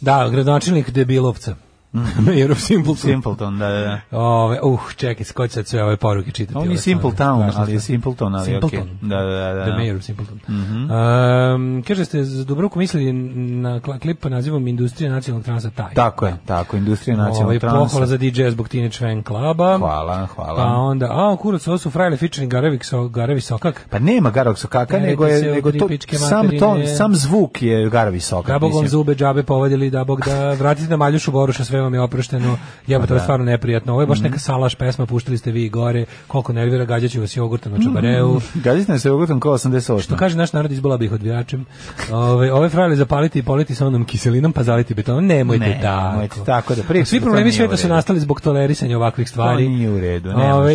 Speaker 7: Da, gradonačelnik debilovca.
Speaker 8: Mhm.
Speaker 7: Jerov Simpleton.
Speaker 8: Simpleton, da, da, da.
Speaker 7: Ove, uh, čekaj, skoči sad sve ove poruke čitati.
Speaker 8: On je
Speaker 7: Aleksandre.
Speaker 8: Simple Town,
Speaker 7: Važno
Speaker 8: ali je
Speaker 7: sve.
Speaker 8: Simpleton, ali okej.
Speaker 7: Simpleton.
Speaker 8: Da, da, da.
Speaker 7: The
Speaker 8: da.
Speaker 7: Mayor of Simpleton. um, kaže ste za Dubrovku mislili na kla- klip pod nazivom Industrija nacionalnog transa taj.
Speaker 8: Tako je, tako, industrija Da, nacionalnog
Speaker 7: Ovaj,
Speaker 8: transa.
Speaker 7: pohvala za DJ zbog Teenage Fan Cluba.
Speaker 8: Hvala,
Speaker 7: Pa
Speaker 8: hvala.
Speaker 7: onda, a, kurac, ovo su frajle featuring Garevi, so, Garevi Sokak.
Speaker 8: Pa nema Garog Sokaka,
Speaker 7: Nemojte
Speaker 8: nego je
Speaker 7: se
Speaker 8: nego to
Speaker 7: udripičke
Speaker 8: sam to
Speaker 7: materine.
Speaker 8: sam zvuk je Garovi Sokak.
Speaker 7: Da bog vam
Speaker 8: mislim.
Speaker 7: zube džabe povadili, da bog da vratite na Maljušu Boruša, sve vam je oprošteno.
Speaker 8: Pa
Speaker 7: Jebote,
Speaker 8: da.
Speaker 7: to je stvarno neprijatno. Ovo je
Speaker 8: Mhm.
Speaker 7: baš neka salaš pesma, puštali ste vi i gore, koliko nervira, gađaću vas jogurtom na
Speaker 8: Mhm.
Speaker 7: čabareu.
Speaker 8: Gađite se ugotom kao 88.
Speaker 7: Što Pa kaže naš narod, izbola bih odbijačem. Ove, ove frajle zapaliti i politi sa onom kiselinom, pa zaliti betonom. Nemojte
Speaker 8: Ne,
Speaker 7: tako.
Speaker 8: nemojte tako da pričate,
Speaker 7: Svi
Speaker 8: to
Speaker 7: problemi
Speaker 8: nije u
Speaker 7: sveta su
Speaker 8: redu.
Speaker 7: nastali zbog tolerisanja ovakvih stvari.
Speaker 8: To nije u redu, ne
Speaker 7: Ove,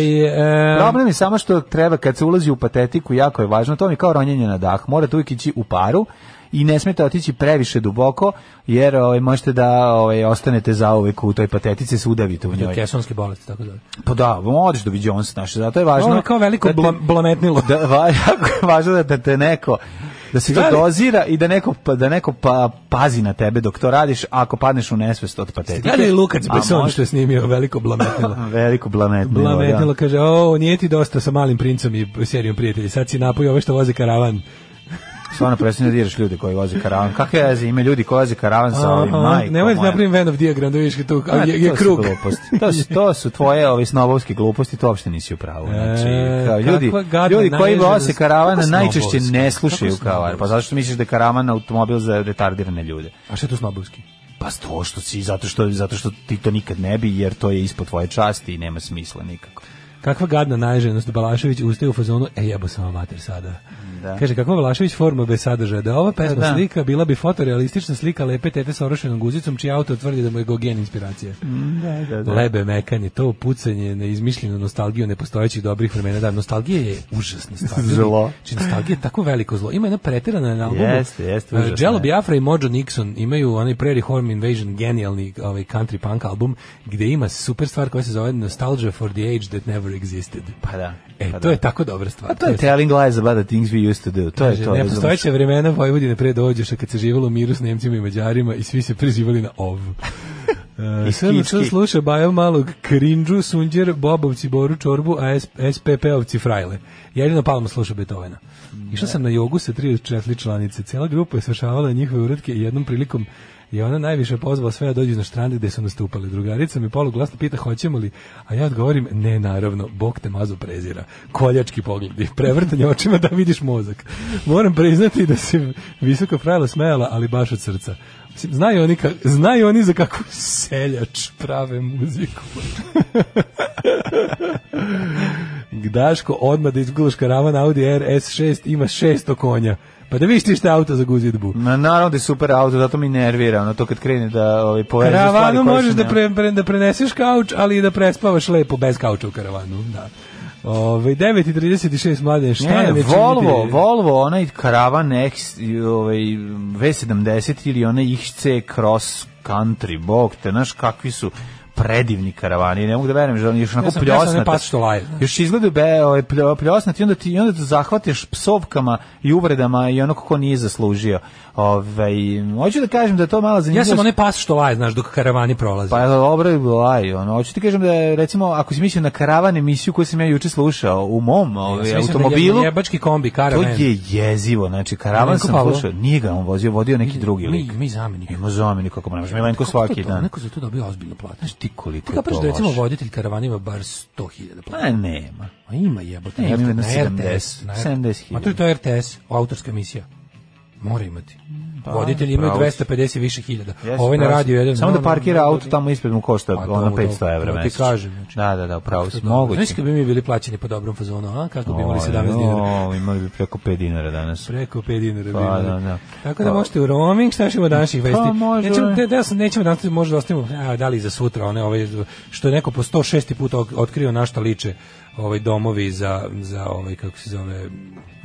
Speaker 7: e,
Speaker 8: može. Problem je samo što treba kad se ulazi u patetiku, jako je važno, to mi je kao ronjenje na dah. Morate uvijek ići u paru i ne smete otići previše duboko, jer ovaj, možete da ovaj, ostanete zauvek u toj patetici, se udavite u
Speaker 7: to je
Speaker 8: njoj.
Speaker 7: kesonski bolest, tako zove.
Speaker 8: Pa da, odeš do Jones, znaš, zato je važno...
Speaker 7: Ovo je kao veliko
Speaker 8: da te-
Speaker 7: bla- blametnilo.
Speaker 8: Da, va, jako je važno da te, te neko da se to
Speaker 7: Gledali?
Speaker 8: dozira i da neko pa, da neko pa, pazi na tebe dok to radiš ako padneš u nesvest od patetike.
Speaker 7: Gledaj i Lukac
Speaker 8: A
Speaker 7: Beson
Speaker 8: može- da.
Speaker 7: što je snimio veliko blametnilo.
Speaker 8: Veliko blametnilo,
Speaker 7: Blametnilo
Speaker 8: blametnilo
Speaker 7: kaže, o, nije ti dosta sa malim princom i serijom prijatelji, sad si napojio ove što voze karavan.
Speaker 8: da. Stvarno prestani da diraš ljude koji voze karavan. Kakve veze ima ljudi koji voze karavan sa ovim
Speaker 7: Aha,
Speaker 8: majkom?
Speaker 7: Nemoj da
Speaker 8: moja?
Speaker 7: napravim Venov diagram, da vidiš kad tu, a,
Speaker 8: Znate,
Speaker 7: je, je
Speaker 8: to su
Speaker 7: krug.
Speaker 8: gluposti. To su, to su tvoje ove snobovske gluposti, to uopšte nisi u pravu. Znači,
Speaker 7: E,
Speaker 8: kao, ljudi,
Speaker 7: kakva gadna
Speaker 8: ljudi koji
Speaker 7: naježenost.
Speaker 8: voze karavana
Speaker 7: Kako
Speaker 8: najčešće ne
Speaker 7: snobovska?
Speaker 8: slušaju
Speaker 7: Kako
Speaker 8: kao, pa
Speaker 7: snobovska?
Speaker 8: zato što misliš da je karavan automobil za retardirane ljude.
Speaker 7: A što je tu snobovski?
Speaker 8: Pa to što si, zato što, zato što ti to nikad ne bi, jer to je ispod tvoje časti i nema smisla nikako.
Speaker 7: Kakva gadna naježenost Balašević ustaje u fazonu, e jebo sam amater sada.
Speaker 8: Da.
Speaker 7: Kaže, kakva Balašević forma bez sadržaja, da je ova pesma
Speaker 8: Da, da.
Speaker 7: slika bila bi fotorealistična slika lepe tete sa orošenom guzicom, čiji autor tvrdi da mu je Gogen inspiracija.
Speaker 8: Da,
Speaker 7: Lebe mekanje, to pucanje na izmišljenu nostalgiju nepostojećih dobrih vremena. Da, nostalgija je užasna stvar.
Speaker 8: Zlo.
Speaker 7: Znači, nostalgija je tako veliko zlo. Ima jedna pretirana na albumu.
Speaker 8: Jeste, jeste, užasna
Speaker 7: Jello
Speaker 8: je.
Speaker 7: Biafra i Mojo Nixon imaju onaj Prairie Home Invasion genijalni ovaj country punk album gde ima super stvar koja se zove Nostalgia for the Age that never existed.
Speaker 8: Pa da.
Speaker 7: E,
Speaker 8: pa
Speaker 7: to je tako dobra stvar.
Speaker 8: Pa to je telling lies about the things we used to do. To je
Speaker 7: Kaže,
Speaker 8: to. razumeš?
Speaker 7: Nepostojeća vremena Vojvodine pre dođeš, a kad se živelo u miru s Nemcima i Mađarima i svi se prezivali na ov.
Speaker 8: I
Speaker 7: E, Sve na to
Speaker 8: kički.
Speaker 7: sluša Bajo Malog, Krinđu, Sunđer, Bobovci, Boru, Čorbu, a S- SPP-ovci Frajle. Jedino Palma sluša Beethovena. Išao sam na jogu sa tri od četiri članice. Cijela grupa je svršavala njihove uredke i jednom prilikom je ona najviše pozvala sve da dođu na štrande gde su nastupali. Drugarica mi poluglasno pita hoćemo li, a ja odgovorim ne naravno, Bog te mazo prezira. Koljački pogledi, prevrtanje očima da vidiš mozak. Moram priznati da se visoka frajla smejala, ali baš od srca. Mislim, znaju oni, ka, znaju oni za kakvu seljač prave muziku. Daško, odmah da izgulaš karavan Audi RS6, ima 600 konja. Pa da vidiš ti šta je auto za guzidbu.
Speaker 8: Ma naravno da je super auto, zato mi nervira, ono to kad krene da ovaj poveže stvari.
Speaker 7: Karavanu
Speaker 8: koje
Speaker 7: možeš
Speaker 8: su
Speaker 7: da,
Speaker 8: ne-
Speaker 7: pre, pre- da preneseš kauč, ali i da prespavaš lepo bez kauča u karavanu. Da. Ovaj, Ove, 9.36 mladen, šta
Speaker 8: Ne,
Speaker 7: nam je
Speaker 8: Volvo,
Speaker 7: činiti?
Speaker 8: Volvo, onaj karavan X, i ovaj, V70 ili onaj XC Cross Country, bog te, znaš kakvi su predivni karavani, ne mogu da verujem, da oni još onako
Speaker 7: sam- ja sam ne
Speaker 8: pljosnati.
Speaker 7: pas što laje.
Speaker 8: Još izgledaju be, ovaj, pljo- pljosnati, i onda ti i onda te zahvatiš psovkama i uvredama i ono kako nije zaslužio. Ovaj hoću da kažem da je to malo zanimljivo.
Speaker 7: Ja sam onaj pas što laje, znaš, dok karavani prolaze.
Speaker 8: Pa dobro je laj, ono. Hoću ti kažem da je, recimo, ako si mislio na karavan emisiju koju sam ja juče slušao u mom
Speaker 7: Ja
Speaker 8: ovaj,
Speaker 7: sam mislio da je
Speaker 8: automobilu,
Speaker 7: Jebački kombi,
Speaker 8: to
Speaker 7: karavan.
Speaker 8: je jezivo. Znači, karavan
Speaker 7: Milenko
Speaker 8: sam
Speaker 7: Pavlov.
Speaker 8: slušao, nije ga on vozio, vodio neki drugi lik.
Speaker 7: Mi, mi zamenik.
Speaker 8: Ima zamenik, kako ne može,
Speaker 7: Kako
Speaker 8: Milenko
Speaker 7: to
Speaker 8: svaki
Speaker 7: to?
Speaker 8: dan.
Speaker 7: Neko za to dobio ozbiljnu platu.
Speaker 8: Znaš ti koliko
Speaker 7: Ti
Speaker 8: je
Speaker 7: kapiraš
Speaker 8: to
Speaker 7: da recimo
Speaker 8: loše?
Speaker 7: voditelj karavana ima bar 100.000 plata.
Speaker 8: Pa nema.
Speaker 7: Ma ima jebote.
Speaker 8: Ne, ima jedno
Speaker 7: na
Speaker 8: 70,
Speaker 7: na
Speaker 8: 70.000.
Speaker 7: Ma to je to RTS, autorska emisija. Mora imati.
Speaker 8: Pa,
Speaker 7: Voditelji imaju
Speaker 8: pravo si.
Speaker 7: 250 i više hiljada.
Speaker 8: Jesi,
Speaker 7: Ovaj na
Speaker 8: pravo si.
Speaker 7: radiju jedan...
Speaker 8: Samo
Speaker 7: no,
Speaker 8: da
Speaker 7: no,
Speaker 8: parkira
Speaker 7: no,
Speaker 8: auto
Speaker 7: no,
Speaker 8: tamo ispred mu košta
Speaker 7: Pa,
Speaker 8: ono
Speaker 7: dobro,
Speaker 8: 500
Speaker 7: dobro,
Speaker 8: evra
Speaker 7: ti
Speaker 8: mesečno.
Speaker 7: kažem, znači.
Speaker 8: Da, da, da, pravo si.
Speaker 7: no, no.
Speaker 8: Moguće.
Speaker 7: Znaš kad bi mi bili plaćeni po dobrom fazonu, a? Kako bi imali 17 dinara?
Speaker 8: O, imali bi preko 5 dinara danas.
Speaker 7: Preko 5 dinara.
Speaker 8: Pa,
Speaker 7: bi imali.
Speaker 8: da, da.
Speaker 7: Tako da
Speaker 8: Pa.
Speaker 7: možete u roaming, šta ćemo današnjih vesti?
Speaker 8: može.
Speaker 7: Nećemo, da, da, nećemo danas, možda ostavimo, a, da li za sutra, one, ovaj, što je neko po 106. puta ok- otkrio na šta liče ovaj domovi za, za ovaj, kako se zove,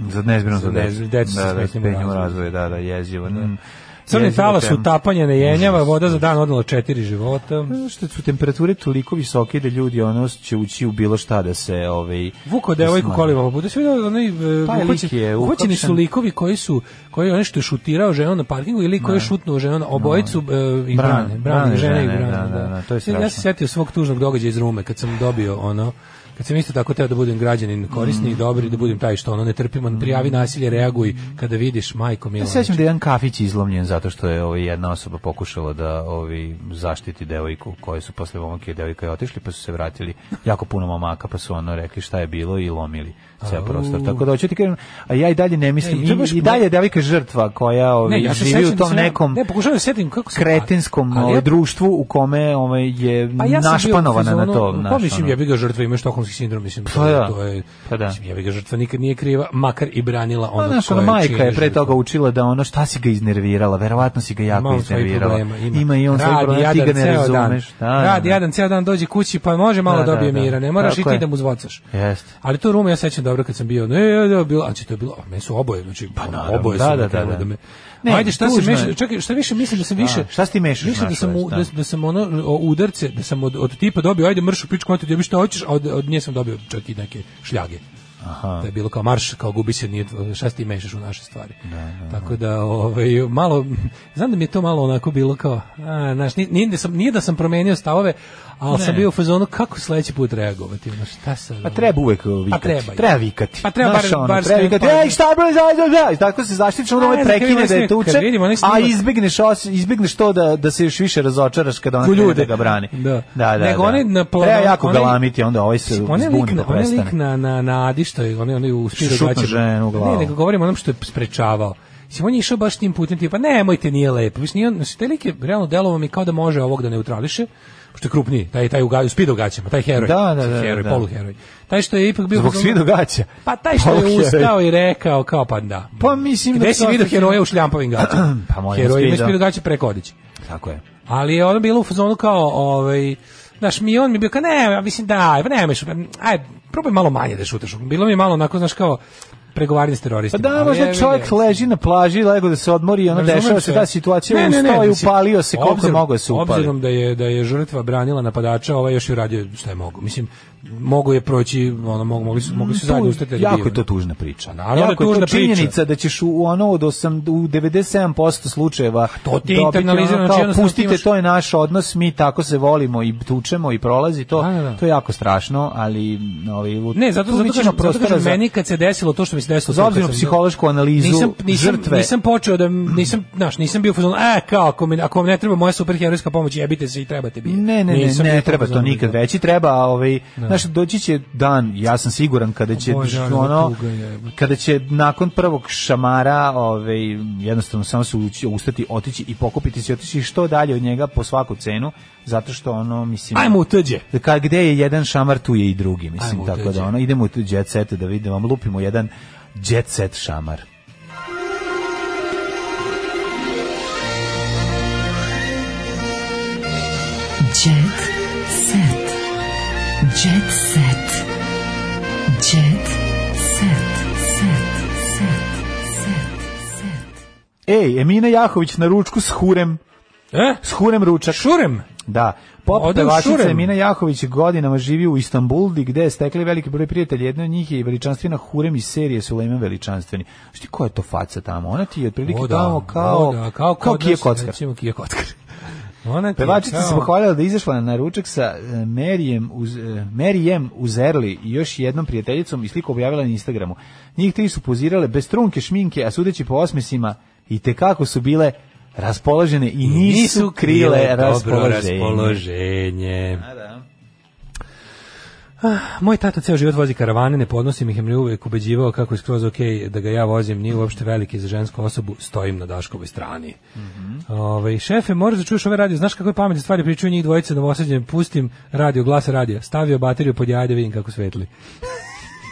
Speaker 8: Za nezbrinu za
Speaker 7: Za
Speaker 8: decu.
Speaker 7: nezbrinu, decu sa
Speaker 8: da,
Speaker 7: smetnjama u
Speaker 8: da, smetnjama u
Speaker 7: razvoju.
Speaker 8: razvoju, da, da, jezivo. Mm.
Speaker 7: Crni
Speaker 8: Jeziva
Speaker 7: talas
Speaker 8: tema.
Speaker 7: utapanja ne jenjava, voda za dan odnala četiri života.
Speaker 8: Zato što su temperature toliko visoke da ljudi ono će ući u bilo šta da se ovaj
Speaker 7: Vuko devojku
Speaker 8: smanje.
Speaker 7: kolima po putu. Sve vidio onaj e,
Speaker 8: Taj lik
Speaker 7: uhvaćen-
Speaker 8: je
Speaker 7: uhvaćeni
Speaker 8: uhapšen.
Speaker 7: su likovi koji su koji je onaj što je šutirao ženu na parkingu ili koji je šutnuo ženu na obojicu e, i
Speaker 8: Da. Brane,
Speaker 7: brane,
Speaker 8: brane
Speaker 7: brane, žene i
Speaker 8: žene,
Speaker 7: brane.
Speaker 8: da, da, da, to
Speaker 7: Ja-
Speaker 8: je
Speaker 7: Ja
Speaker 8: strašno.
Speaker 7: se sjetio svog tužnog događaja iz Rume kad sam dobio ono kad sam isto tako teo da budem građanin korisni
Speaker 8: Mm.
Speaker 7: i dobri, da budem taj što ono ne trpimo, prijavi nasilje, reaguj kada vidiš majko mila.
Speaker 8: Ja se sećam da je jedan kafić izlomljen zato što je ovaj jedna osoba pokušala da ovi zaštiti devojku koje su posle momke i devojka je otišli pa su se vratili jako puno momaka pa su ono rekli šta je bilo i lomili ceo prostor. Tako da hoću ti kažem, a ja i dalje ne mislim,
Speaker 7: Ne, i to je baš-
Speaker 8: i, i dalje je devojka žrtva koja ovi,
Speaker 7: Ne, ja se
Speaker 8: živi
Speaker 7: sećam
Speaker 8: u
Speaker 7: da
Speaker 8: tom
Speaker 7: sam ja-
Speaker 8: nekom
Speaker 7: Ne, pokušavam da se setim kako sam-
Speaker 8: kretinskom
Speaker 7: ali ja-
Speaker 8: ovaj, društvu u kome ovaj, je našpanovana na to.
Speaker 7: Pa
Speaker 8: znaš,
Speaker 7: mislim,
Speaker 8: ono.
Speaker 7: jebi ga žrtva ima štokomski sindrom, mislim, to,
Speaker 8: Pa
Speaker 7: je-
Speaker 8: da.
Speaker 7: to je,
Speaker 8: Pa da.
Speaker 7: mislim, jebi ga žrtva nikad nije kriva, makar i branila
Speaker 8: Pa,
Speaker 7: ono
Speaker 8: znaš,
Speaker 7: koje
Speaker 8: ona majka je pre
Speaker 7: žrtva.
Speaker 8: toga učila da ono šta si ga iznervirala, verovatno si ga
Speaker 7: Ima
Speaker 8: jako
Speaker 7: on svojih
Speaker 8: iznervirala.
Speaker 7: problema, ima.
Speaker 8: Ima i on svoj
Speaker 7: Radi
Speaker 8: problem, ti ga
Speaker 7: jadan
Speaker 8: ne
Speaker 7: ceo dan.
Speaker 8: razumeš. Da, da,
Speaker 7: Radi
Speaker 8: da.
Speaker 7: jadan ceo dan, dođe kući, pa može malo
Speaker 8: Da, da,
Speaker 7: dobije
Speaker 8: da.
Speaker 7: mira, ne moraš i
Speaker 8: Tako
Speaker 7: ti
Speaker 8: je.
Speaker 7: da mu zvocaš.
Speaker 8: Jeste.
Speaker 7: Ali tu rumu ja sećam dobro kad sam bio, ne, ne, ne, bilo, a či to je bilo, a meni su oboje, znači, pa
Speaker 8: naravno,
Speaker 7: oboje
Speaker 8: da,
Speaker 7: su mi
Speaker 8: da, da,
Speaker 7: krenuli
Speaker 8: da.
Speaker 7: me-
Speaker 8: Ne,
Speaker 7: Ajde, šta se
Speaker 8: tužno je.
Speaker 7: meša, čekaj, šta više mislim da sam više.
Speaker 8: šta si ti mešaš,
Speaker 7: Mislim da
Speaker 8: znaš,
Speaker 7: sam u-
Speaker 8: šta?
Speaker 7: da, da sam ono o, udarce, da sam od, od tipa dobio, ajde mršu pičku, mater, dobiš šta hoćeš, a od, od nje sam dobio čak i neke šljage. Aha. Da je bilo kao marš, kao gubi se, nije, tvo- šta si ti mešaš u naše stvari. Tako da, ovaj, malo, znam da mi je to malo onako bilo kao, a, znaš, nije, nije, da sam, nije da sam promenio stavove, ali sam bio u fazonu kako sledeći put reagovati, ono, šta sad?
Speaker 8: Pa
Speaker 7: ono?
Speaker 8: treba uvek uh, vikati.
Speaker 7: Pa treba, ja.
Speaker 8: treba vikati.
Speaker 7: Pa treba
Speaker 8: Znaš,
Speaker 7: bar-
Speaker 8: ono,
Speaker 7: bar
Speaker 8: treba
Speaker 7: skrenuti
Speaker 8: vikati.
Speaker 7: pažnju.
Speaker 8: Ej, šta bre, zađe, da, i tako se zaštitiš, onda
Speaker 7: A,
Speaker 8: ovaj
Speaker 7: ne znam, kad
Speaker 8: prekine
Speaker 7: vidim
Speaker 8: da je
Speaker 7: onaj snimak,
Speaker 8: tuče,
Speaker 7: kad vidim onaj
Speaker 8: a
Speaker 7: snimak-
Speaker 8: izbegneš, os- izbegneš to da, da se još više razočaraš kada ona
Speaker 7: Ko
Speaker 8: krene
Speaker 7: ljude.
Speaker 8: da ga brani.
Speaker 7: Da.
Speaker 8: da, da.
Speaker 7: Nego
Speaker 8: da.
Speaker 7: onaj na plan-
Speaker 8: Treba jako
Speaker 7: onaj-
Speaker 8: galamiti, onda ovaj se
Speaker 7: Onaj lik,
Speaker 8: zbuni
Speaker 7: na,
Speaker 8: pa
Speaker 7: onaj lik na,
Speaker 8: prestane.
Speaker 7: na, na Adi što je, onaj, onaj uspio da
Speaker 8: Šutno
Speaker 7: gaće-
Speaker 8: ženu u glavu.
Speaker 7: Ne, nego govorim o onom što je sprečavao. Mislim, on je išao baš tim putem, tipa, nemojte, nije lepo. Mislim, nije on, mislim, taj lik je, realno, delovao mi kao da može ovog da neutrališe, pošto je krupniji, taj, taj u, ga, uspio u gaćama, taj heroj.
Speaker 8: Da, da, da,
Speaker 7: Heroj,
Speaker 8: da.
Speaker 7: poluheroj. Taj što je ipak bio...
Speaker 8: Zbog svi dogaća.
Speaker 7: Pa taj što
Speaker 8: Poluheroj.
Speaker 7: je ustao i rekao, kao, pa da.
Speaker 8: Pa mislim
Speaker 7: Gde
Speaker 8: da...
Speaker 7: si vidio heroja u šljampavim gaćama?
Speaker 8: Pa molim,
Speaker 7: Heroji imaju
Speaker 8: spilja.
Speaker 7: spilju gaće preko odeće.
Speaker 8: Tako je.
Speaker 7: Ali je ono bilo u fazonu kao, ovaj, znaš, mi je on mi je bio kao, ne, ja mislim da, pa nemoj šut, aj, probaj malo manje da šutaš. Bilo mi je malo onako, znaš, kao, pregovaranje s
Speaker 8: Pa
Speaker 7: teroristima.
Speaker 8: da,
Speaker 7: Ali
Speaker 8: možda
Speaker 7: jebi
Speaker 8: čovjek
Speaker 7: ga.
Speaker 8: leži na plaži, lego da se odmori i ono
Speaker 7: Razumem
Speaker 8: dešava se
Speaker 7: sve.
Speaker 8: ta situacija,
Speaker 7: Ne, ne, ne,
Speaker 8: ustao i
Speaker 7: mislim,
Speaker 8: upalio se koliko je
Speaker 7: obzirom-
Speaker 8: mogao da se upali.
Speaker 7: Obzirom da je, da je žrtva branila napadača, ovaj još je uradio šta je mogo. Mislim, mogu je proći, ono, mogu, mogli su, mogli su zajedno ustati. da
Speaker 8: Jako
Speaker 7: biju.
Speaker 8: je to tužna priča.
Speaker 7: naravno da je
Speaker 8: jako je
Speaker 7: tužna
Speaker 8: to
Speaker 7: priča.
Speaker 8: činjenica da ćeš u ono od osam, u 97% slučajeva
Speaker 7: to ti je
Speaker 8: dobiti
Speaker 7: internalizirano,
Speaker 8: ono
Speaker 7: znači
Speaker 8: kao,
Speaker 7: jednostavno
Speaker 8: pustite,
Speaker 7: ti imaš-
Speaker 8: to je naš odnos, mi tako se volimo i tučemo i prolazi to.
Speaker 7: Da, da, da.
Speaker 8: To je jako strašno, ali ovaj, u-
Speaker 7: Ne, zato
Speaker 8: tu
Speaker 7: zato
Speaker 8: bit će
Speaker 7: kažem, zato
Speaker 8: prostora
Speaker 7: kažem
Speaker 8: za-
Speaker 7: meni kad se desilo to što mi se desilo,
Speaker 8: Za
Speaker 7: to
Speaker 8: obzirom
Speaker 7: kad sam-
Speaker 8: psihološku analizu
Speaker 7: nisam, nisam,
Speaker 8: žrtve.
Speaker 7: Nisam počeo da nisam, znaš, nisam bio u fazonu, e, kao ako mi ako vam ne treba moja superherojska pomoć, jebite se i trebate bi.
Speaker 8: Ne, ne, ne,
Speaker 7: Nisam bio
Speaker 8: ne
Speaker 7: u
Speaker 8: treba to
Speaker 7: fazonu,
Speaker 8: nikad
Speaker 7: da.
Speaker 8: veći, treba, ovaj, znaš, doći će dan, ja sam siguran kada će
Speaker 7: Bože, ali da
Speaker 8: ono
Speaker 7: tuga je.
Speaker 8: kada će nakon prvog šamara, ovaj jednostavno samo se ući- ustati, otići i pokupiti se i otići što dalje od njega po svaku cenu, zato što ono mislim
Speaker 7: Ajmo u tuđe.
Speaker 8: da ka- gde je jedan šamar tu je i drugi, mislim
Speaker 7: Ajmo u
Speaker 8: tako
Speaker 7: tuđe.
Speaker 8: da ono idemo u tu jet set da vidimo, lupimo jedan jet set šamar.
Speaker 5: Jet set. Jet set. Jet set. Set. Set. Set. Set.
Speaker 8: Ej, Emina Jahović na ručku s Hurem,
Speaker 7: E?
Speaker 8: s Hurem ručak.
Speaker 7: Šurem.
Speaker 8: Da, Pop
Speaker 7: Ode u
Speaker 8: pevačica
Speaker 7: Šuren.
Speaker 8: Emina Jahović godinama živi u Istanbulu, gde je stekli veliki broj prijatelja. Jedna od njih je i veličanstvena Hurem iz serije Sulejman veličanstveni. Znaš ti koja je to faca tamo? Ona ti je otprilike
Speaker 7: O da,
Speaker 8: tamo kao,
Speaker 7: o da, kao kod
Speaker 8: kao
Speaker 7: nas,
Speaker 8: Kija Kockar.
Speaker 7: recimo, Kija Kockar. Ona ti je
Speaker 8: Pevačica
Speaker 7: kao-
Speaker 8: se pohvalila da je izašla na ručak sa e, Merijem, uz, e, Merijem Uzerli i još jednom prijateljicom i sliku objavila na Instagramu. Njih tri su pozirale bez trunke šminke, a sudeći po osmesima i tekako su bile raspoložene i nisu, krile,
Speaker 7: dobro
Speaker 8: raspoloženje. Da,
Speaker 7: raspoloženje. Ah, Moj tata ceo život vozi karavane, ne podnosim ih, jer mi uvek ubeđivao kako je skroz ok da ga ja vozim, nije uopšte veliki za žensku osobu, stojim na Daškovoj strani.
Speaker 8: Mhm.
Speaker 7: Ovaj, šefe, moraš da čuješ ove radio, znaš kako je pametne stvari pričaju njih dvojice na pustim radio, glas radija, stavio bateriju pod jaja da vidim kako svetli.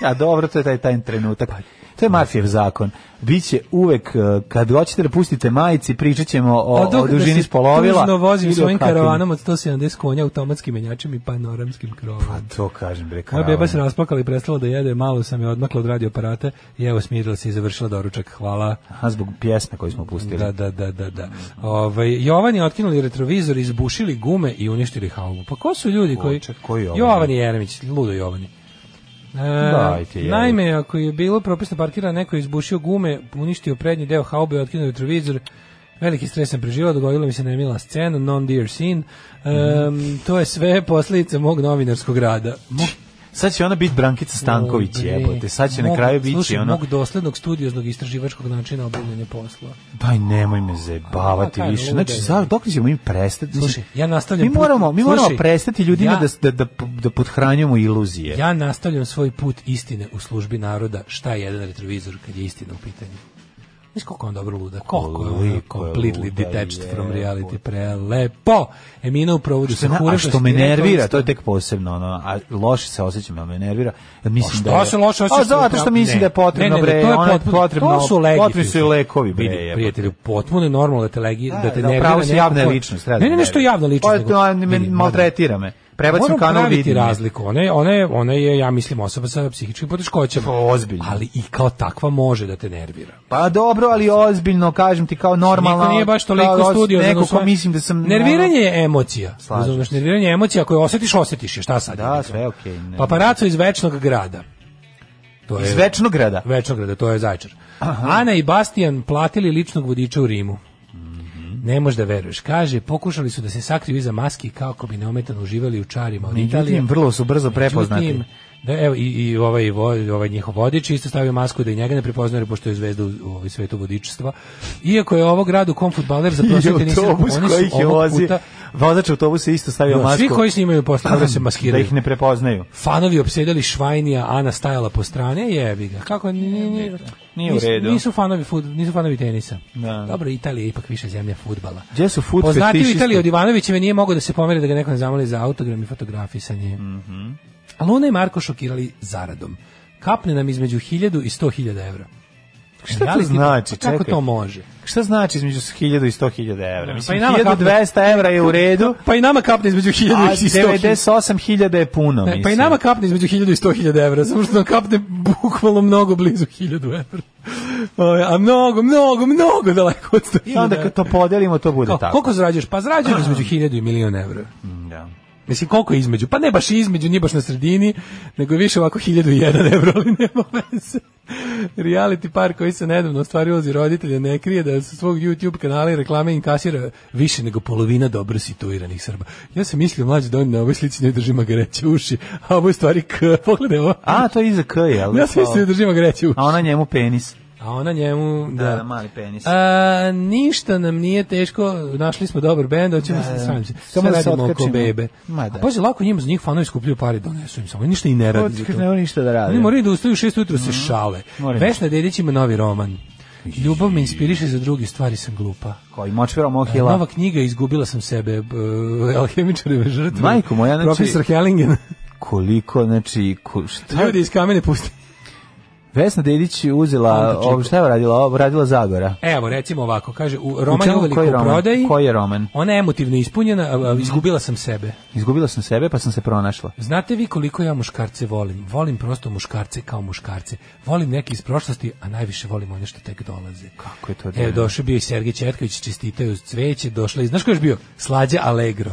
Speaker 8: A dobro, to je taj, taj trenutak.
Speaker 7: Pa,
Speaker 8: To je Marfijev zakon. Biće uvek, e, kad hoćete da pustite majici, pričat ćemo o,
Speaker 7: A dok
Speaker 8: o
Speaker 7: da
Speaker 8: dužini
Speaker 7: se
Speaker 8: spolovila.
Speaker 7: tužno
Speaker 8: ili
Speaker 7: vozim
Speaker 8: o
Speaker 7: svojim
Speaker 8: kakvim-
Speaker 7: karavanom od 170 konja, automatskim menjačem i panoramskim krovom.
Speaker 8: To kažem, bre,
Speaker 7: Moja
Speaker 8: karavan.
Speaker 7: beba se rasplakala i prestala da jede, malo sam je odmakla od radioaparata i evo smirila se i završila doručak. Hvala.
Speaker 8: Aha, zbog pjesme koju smo pustili.
Speaker 7: Da, da, da, da. da. Ovaj, Jovan je otkinuli retrovizor, izbušili gume i uništili haubu. Pa ko su ljudi koji...
Speaker 8: Ko- koji Jovan?
Speaker 7: Jovan Jeremić, ludo Jovani. E,
Speaker 8: Dajte, jebe.
Speaker 7: naime, ako je bilo propisno parkirano, neko je izbušio gume, uništio prednji deo haube i otkinuo retrovizor. Veliki stres sam preživao, dogodila mi se nemila scena, non dear scene. E, to je sve posljedice mog novinarskog rada. Mog
Speaker 8: Sad će ona biti Brankica Stanković,
Speaker 7: Dobre.
Speaker 8: jebote. Sad će na
Speaker 7: Mog-
Speaker 8: kraju biti
Speaker 7: slušaj,
Speaker 8: ono...
Speaker 7: mog doslednog studioznog istraživačkog načina obavljanja posla.
Speaker 8: Daj, nemoj me zajebavati
Speaker 7: A, kaj,
Speaker 8: više.
Speaker 7: luda
Speaker 8: Znači,
Speaker 7: je.
Speaker 8: za, dok ćemo im prestati?
Speaker 7: Slušaj, ja nastavljam
Speaker 8: Mi
Speaker 7: put-
Speaker 8: moramo, mi moramo
Speaker 7: slušaj,
Speaker 8: prestati ljudima
Speaker 7: ja-
Speaker 8: da, s- da, da, da podhranjujemo iluzije.
Speaker 7: Ja nastavljam svoj put istine u službi naroda, šta je jedan retrovizor kad je istina u pitanju. Znaš koliko je on dobro luda, koliko je ono
Speaker 8: Koliko je
Speaker 7: completely
Speaker 8: luda,
Speaker 7: detached from
Speaker 8: jebote.
Speaker 7: reality, prelepo. Emina u provodu
Speaker 8: Što,
Speaker 7: sa
Speaker 8: na-
Speaker 7: Hurem,
Speaker 8: Da, a što me
Speaker 7: je rekao
Speaker 8: nervira,
Speaker 7: isto.
Speaker 8: to je tek posebno, ono, a loše se osjećam, ali me nervira. jer Mislim
Speaker 7: što
Speaker 8: da je,
Speaker 7: se loše osjećaš
Speaker 8: A zato što
Speaker 7: upravo-
Speaker 8: mislim
Speaker 7: ne.
Speaker 8: da je potrebno,
Speaker 7: Ne, ne, ne,
Speaker 8: bre,
Speaker 7: to je
Speaker 8: ono je
Speaker 7: potpuno-
Speaker 8: potrebno,
Speaker 7: to su legitimni.
Speaker 8: potrebni su i lekovi, bre,
Speaker 7: Vidi,
Speaker 8: jebote.
Speaker 7: prijatelju, potpuno je normalno da te legi, da, te
Speaker 8: da,
Speaker 7: nervira.
Speaker 8: pravo si
Speaker 7: neko
Speaker 8: javna
Speaker 7: ko-
Speaker 8: ličnost,
Speaker 7: Ne,
Speaker 8: treba
Speaker 7: ne,
Speaker 8: da
Speaker 7: ne, što
Speaker 8: nervira.
Speaker 7: javna ličnost.
Speaker 8: Pa,
Speaker 7: nego-
Speaker 8: to, me-
Speaker 7: vidi,
Speaker 8: maltretira me. Prebacim
Speaker 7: Moram
Speaker 8: kanal,
Speaker 7: praviti
Speaker 8: vidim je.
Speaker 7: razliku. Ona je, ona je, ona je, ja mislim, osoba sa psihičkim poteškoćama.
Speaker 8: ozbiljno.
Speaker 7: Ali i kao takva može da te nervira.
Speaker 8: Pa dobro, ali ozbiljno, kažem ti, kao normalno.
Speaker 7: Znači, Niko nije baš toliko
Speaker 8: kao os-
Speaker 7: studio.
Speaker 8: Neko ko mislim da sam...
Speaker 7: Nerviranje je emocija.
Speaker 8: Slažem
Speaker 7: Razumeš, nerviranje je emocija. Ako je osjetiš, osjetiš je. Šta sad?
Speaker 8: Da, sve okej. ne.
Speaker 7: Paparaco iz Večnog grada. To
Speaker 8: Iz Večnograda.
Speaker 7: Večnograda, to je Zajčar. Ana i Bastian platili ličnog vodiča u Rimu.
Speaker 8: Mhm.
Speaker 7: Ne možeš da veruješ. Kaže, pokušali su da se sakriju iza maski kako bi neometano uživali u čarima od Italije.
Speaker 8: Međutim, vrlo su brzo prepoznati.
Speaker 7: Međutim, Da, evo, i, i ovaj, vo- ovaj njihov vodič isto stavio masku da i njega ne prepoznaju pošto je zvezda u, u ovaj svetu vodičstva. Iako je ovo grad u kom futbaler za
Speaker 8: I
Speaker 7: prosvete nisam,
Speaker 8: autobus
Speaker 7: oni
Speaker 8: koji ih
Speaker 7: su
Speaker 8: je
Speaker 7: ovog
Speaker 8: vozi,
Speaker 7: puta...
Speaker 8: vozač autobusa isto stavio
Speaker 7: Da,
Speaker 8: masku.
Speaker 7: svi koji snimaju posle toga se
Speaker 8: Da
Speaker 7: maskiraju.
Speaker 8: ih ne prepoznaju.
Speaker 7: Fanovi opsedali Švajnija, Ana stajala po strane, jebi ga. Kako ni- ni- ni-
Speaker 8: Nije u
Speaker 7: nisu-
Speaker 8: redu.
Speaker 7: Nisu fanovi fud, nisu fanovi tenisa.
Speaker 8: Da.
Speaker 7: Dobro, Italija je ipak više zemlja fudbala.
Speaker 8: Gdje su food
Speaker 7: Poznati u
Speaker 8: fetišisti?
Speaker 7: Italiji od Ivanovićeve nije mogao da se pomeri da ga neko ne zamoli za autogram i fotografisanje.
Speaker 8: Mhm.
Speaker 7: A Luna i Marko šokirali zaradom. Kapne nam između 1000 i 100.000 evra.
Speaker 8: Šta to
Speaker 7: Reality-
Speaker 8: znači?
Speaker 7: Pa Kako
Speaker 8: Čekaj.
Speaker 7: to može?
Speaker 8: Šta znači između 1000 i 100.000 evra? Mislim,
Speaker 7: Pa nama kapne.
Speaker 8: 1200 evra je u redu,
Speaker 7: Pa i nama kapne između
Speaker 8: a
Speaker 7: 1000 i 100.000.
Speaker 8: 98.000 je puno,
Speaker 7: Ne,
Speaker 8: mislim.
Speaker 7: pa i nama kapne između 1000 i 100.000 evra, samo što nam kapne bukvalno mnogo blizu 1000 evra. Ovaj, A mnogo, mnogo, mnogo daleko od 100.000
Speaker 8: I onda kad to podelimo, to bude
Speaker 7: Kao,
Speaker 8: tako.
Speaker 7: koliko zarađuješ? Pa zarađuješ između 1000 i milion evra.
Speaker 8: Da.
Speaker 7: Mislim, koliko je između? Pa ne baš između, nije baš na sredini, nego je više ovako 1001 evro, ali nema veze. Reality par koji se nedavno ostvario ulozi roditelja ne krije da sa svog YouTube kanala i reklame inkasira više nego polovina dobro situiranih Srba. Ja sam mislio mlađi da on na ovoj slici ne držima gareće uši, a ovo je u stvari k, pogledaj ovo.
Speaker 8: A, to je iza K, jel?
Speaker 7: Ja sam mislio da držima gareće uši.
Speaker 8: A ona njemu penis.
Speaker 7: A ona njemu... Da,
Speaker 8: Da, da, mali penis.
Speaker 7: A, ništa nam nije teško, našli smo dobar bend, hoćemo se sramiti. Samo
Speaker 8: Sve
Speaker 7: da
Speaker 8: da se
Speaker 7: radimo oko
Speaker 8: otkačimo.
Speaker 7: bebe.
Speaker 8: Ma da.
Speaker 7: A pazi, lako njima za njih fanovi skupljuju pare i donesu im samo. Oni ništa i ne radi. za to.
Speaker 8: Ne, ništa da radi.
Speaker 7: Oni moraju da ustaju u šest ujutro
Speaker 8: Mhm.
Speaker 7: se šale.
Speaker 8: Moraju.
Speaker 7: Vesna Dedić ima novi roman. Ljubav me inspiriše za druge stvari, sam glupa.
Speaker 8: Koji močvero mohila.
Speaker 7: Nova knjiga, izgubila sam sebe, b- e, alhemičareve žrtve.
Speaker 8: Majko moja, znači-
Speaker 7: Profesor Hellingen.
Speaker 8: koliko, znači, ko, šta?
Speaker 7: Ljudi iz kamene pusti.
Speaker 8: Vesna Dedić je uzela,
Speaker 7: Kontačeku.
Speaker 8: ovo, šta je radila? Radila Zagora.
Speaker 7: Evo, recimo ovako, kaže, u roman je
Speaker 8: čemu-
Speaker 7: uveliko
Speaker 8: koji
Speaker 7: u
Speaker 8: roman?
Speaker 7: prodaji.
Speaker 8: Koji je roman?
Speaker 7: Ona je emotivno ispunjena, a, a, izgubila sam sebe.
Speaker 8: Izgubila sam sebe, pa sam se pronašla.
Speaker 7: Znate vi koliko ja muškarce volim? Volim prosto muškarce kao muškarce. Volim neke iz prošlosti, a najviše volim one što tek dolaze.
Speaker 8: Kako je to da-
Speaker 7: Evo, došao bio i Sergej Četković, čestitaju cveće, došla i, znaš ko je još bio? Slađa Allegro.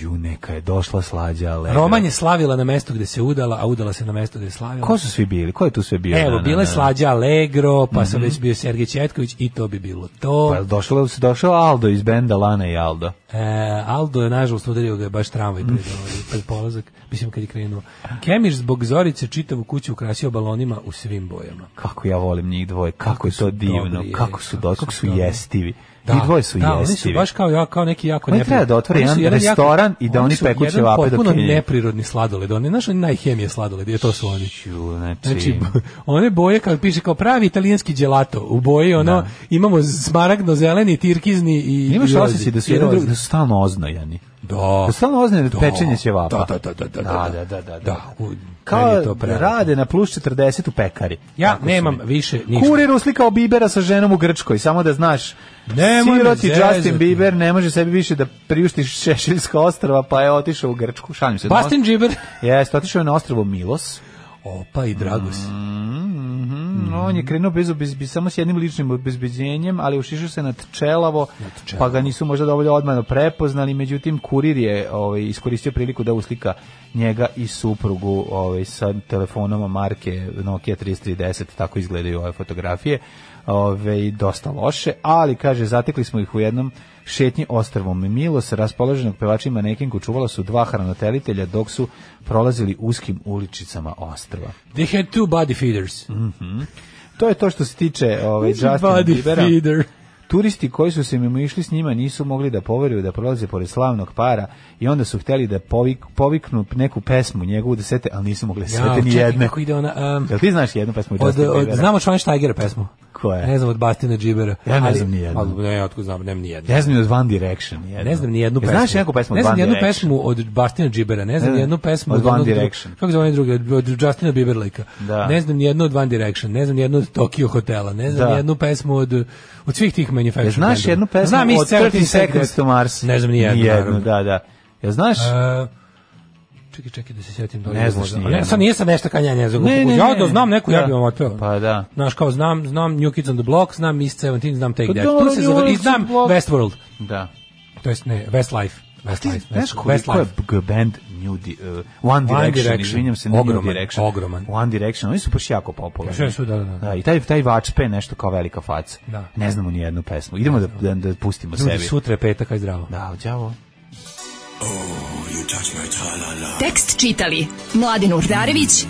Speaker 8: Ju, neka je došla slađa, ale...
Speaker 7: Roman je slavila na mesto gde se udala, a udala se na mesto gde je slavila.
Speaker 8: Ko su svi bili? Ko je tu sve bio?
Speaker 7: Evo,
Speaker 8: Na, na,
Speaker 7: bila je
Speaker 8: na.
Speaker 7: Slađa Allegro, pa sam
Speaker 8: da. Mhm.
Speaker 7: već bio Sergej Četković i to bi bilo to.
Speaker 8: Pa došao, došao Aldo iz benda Lana i Aldo.
Speaker 7: E, Aldo je nažalost udario ga je baš tramvaj pred,
Speaker 8: Mhm.
Speaker 7: ovaj, pred polazak, mislim kad je krenuo. Kemir zbog Zorice čitavu kuću ukrasio balonima u svim bojama.
Speaker 8: Kako ja volim njih dvoje, kako, je to divno,
Speaker 7: dobri,
Speaker 8: kako su, do, kako su
Speaker 7: dobri.
Speaker 8: jestivi. Da, dvoje su
Speaker 7: da, oni su
Speaker 8: jestivi.
Speaker 7: baš kao ja, kao neki jako
Speaker 8: Oni
Speaker 7: nepri-
Speaker 8: treba da otvore
Speaker 7: Oni su
Speaker 8: jedan
Speaker 7: jako-
Speaker 8: restoran i da oni
Speaker 7: su
Speaker 8: peku
Speaker 7: jedan
Speaker 8: ćevape dok
Speaker 7: potpuno
Speaker 8: je-
Speaker 7: neprirodni sladoled, oni naš oni najhemije sladoled, je to su oni.
Speaker 8: Ju, znači,
Speaker 7: Znači, one boje kao piše kao pravi italijanski gelato. U boji ono imamo smaragdno zeleni, tirkizni i
Speaker 8: Da. imaš
Speaker 7: i rozi.
Speaker 8: osjećaj da su,
Speaker 7: I
Speaker 8: jedan,
Speaker 7: rozi.
Speaker 8: drug- da su stalno oznojani.
Speaker 7: Da.
Speaker 8: Da su stalno oznojani od
Speaker 7: Da.
Speaker 8: pečenja ćevapa.
Speaker 7: Da, da, da, da,
Speaker 8: da,
Speaker 7: da,
Speaker 8: da, da, da.
Speaker 7: u- meni
Speaker 8: Kao
Speaker 7: je to
Speaker 8: da
Speaker 7: prelepo.
Speaker 8: rade na plus 40 u pekari.
Speaker 7: Ja
Speaker 8: Tako su
Speaker 7: nemam
Speaker 8: oni.
Speaker 7: više ništa.
Speaker 8: Kurir uslikao Bibera sa ženom u Grčkoj, samo da znaš.
Speaker 7: Nemoj me
Speaker 8: Siroti
Speaker 7: zezati.
Speaker 8: Justin Bieber ne može sebi više da priušti Šešiljska ostrava, pa je otišao u Grčku. Šalim se.
Speaker 7: Bastin Džiber.
Speaker 8: Jeste, otišao je na ostrvo Milos.
Speaker 7: Opa i Dragos.
Speaker 8: Mm, On je krenuo bez, bez, bez- samo s jednim ličnim obezbeđenjem, ali ušišao se nad čelavo, pa ga nisu možda dovoljno odmano prepoznali, međutim kurir je ovaj, iskoristio priliku da uslika njega i suprugu ovaj, sa telefonom marke Nokia 3310, tako izgledaju ove fotografije, ovaj, dosta loše, ali kaže, zatekli smo ih u jednom šetnji ostrvom Milos, raspoloženog pevača i manekenku čuvala su dva hranatelitelja dok su prolazili uskim uličicama ostrva.
Speaker 7: They had two body feeders.
Speaker 8: Mhm. To je to što se tiče ovaj,
Speaker 7: Who's
Speaker 8: Justina
Speaker 7: body
Speaker 8: Biebera.
Speaker 7: feeder?
Speaker 8: Turisti koji su se mimo išli s njima nisu mogli da poveruju da prolaze pored slavnog para i onda su hteli da povik, poviknu neku pesmu njegovu da sete, ali nisu mogli da sete
Speaker 7: Ja,
Speaker 8: ni
Speaker 7: čekaj,
Speaker 8: jedne.
Speaker 7: kako ide ona, um,
Speaker 8: Jel ti znaš jednu pesmu
Speaker 7: Od,
Speaker 8: Justina
Speaker 7: od,
Speaker 8: Biebera?
Speaker 7: znamo Schweinsteigera pesmu.
Speaker 8: Koja je?
Speaker 7: Ne znam od Bastina Džibera.
Speaker 8: Ja Pa, ne
Speaker 7: Ali-
Speaker 8: znam ni jednu.
Speaker 7: Ali, ne, otkud znam, nemam ni jednu.
Speaker 8: Ne znam ni od One Direction. ni jednu.
Speaker 7: Ne znam ni jednu
Speaker 8: Jel
Speaker 7: pesmu.
Speaker 8: Znaš neku pesmu od
Speaker 7: ne znam
Speaker 8: One
Speaker 7: ni jednu
Speaker 8: Direction?
Speaker 7: pesmu od Bastina Džibera, ne znam
Speaker 8: Ne,
Speaker 7: ni jednu pesmu
Speaker 8: od One
Speaker 7: onog dru-
Speaker 8: Direction.
Speaker 7: Kako se zove drugi od, od Justina Bieberlika.
Speaker 8: Da.
Speaker 7: Ne znam ni jednu od One Direction, ne znam ni jednu od Tokyo Hotela, ne znam
Speaker 8: Da.
Speaker 7: ni jednu pesmu od od svih tih manufacturer.
Speaker 8: Jel znaš
Speaker 7: bendova.
Speaker 8: jednu pesmu
Speaker 7: znam iz
Speaker 8: od
Speaker 7: 13
Speaker 8: 30 Seconds to Mars?
Speaker 7: Ne znam ni jednu. naravno.
Speaker 8: da, da. Jel znaš?
Speaker 7: E, Čekaj, čekaj da se sjetim dobro.
Speaker 8: Ne znaš
Speaker 7: možda.
Speaker 8: ni
Speaker 7: A
Speaker 8: jednu.
Speaker 7: Ne, sad nije sad nešto kanja ne znam.
Speaker 8: Ne, ne,
Speaker 7: ja
Speaker 8: ne.
Speaker 7: da znam neku, ja
Speaker 8: Da.
Speaker 7: bih vam otpeo.
Speaker 8: Pa da.
Speaker 7: Znaš, kao znam, znam New Kids on the Block, znam East 17, znam Take
Speaker 8: Pa
Speaker 7: That.
Speaker 8: dobro,
Speaker 7: Tu se
Speaker 8: New
Speaker 7: završi, i
Speaker 8: Kids on
Speaker 7: znam
Speaker 8: the Block.
Speaker 7: Westworld.
Speaker 8: Da.
Speaker 7: To jest ne, Westlife.
Speaker 8: Ti
Speaker 7: Westlife.
Speaker 8: znaš
Speaker 7: Westlife.
Speaker 8: koliko je
Speaker 7: Westlife.
Speaker 8: g- band New Di, uh, One,
Speaker 7: One
Speaker 8: Direction,
Speaker 7: Direction.
Speaker 8: izvinjam se, ne New
Speaker 7: Ogroman,
Speaker 8: Direction.
Speaker 7: ogroman.
Speaker 8: One Direction, oni su baš jako popularni.
Speaker 7: Sve su, da, da, da.
Speaker 8: I taj, taj Vačpe je nešto kao velika faca.
Speaker 7: Da.
Speaker 8: Ne znamo ni jednu pesmu. Idemo da, da, da pustimo
Speaker 7: Ljudi,
Speaker 8: sebi.
Speaker 7: sutra je petak, aj zdravo.
Speaker 8: Da, đavo.
Speaker 5: Tekst čitali Mladin Urdarević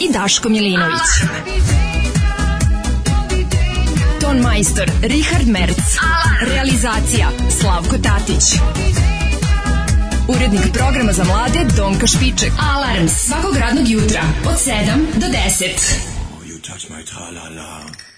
Speaker 5: i Daško Milinović. Ton majstor Richard Merc. Realizacija Slavko Tatić. Urednik programa za mlade Donka Špiček. Alarms svakog radnog jutra od 7 do 10.
Speaker 6: You touch my tra-la-la.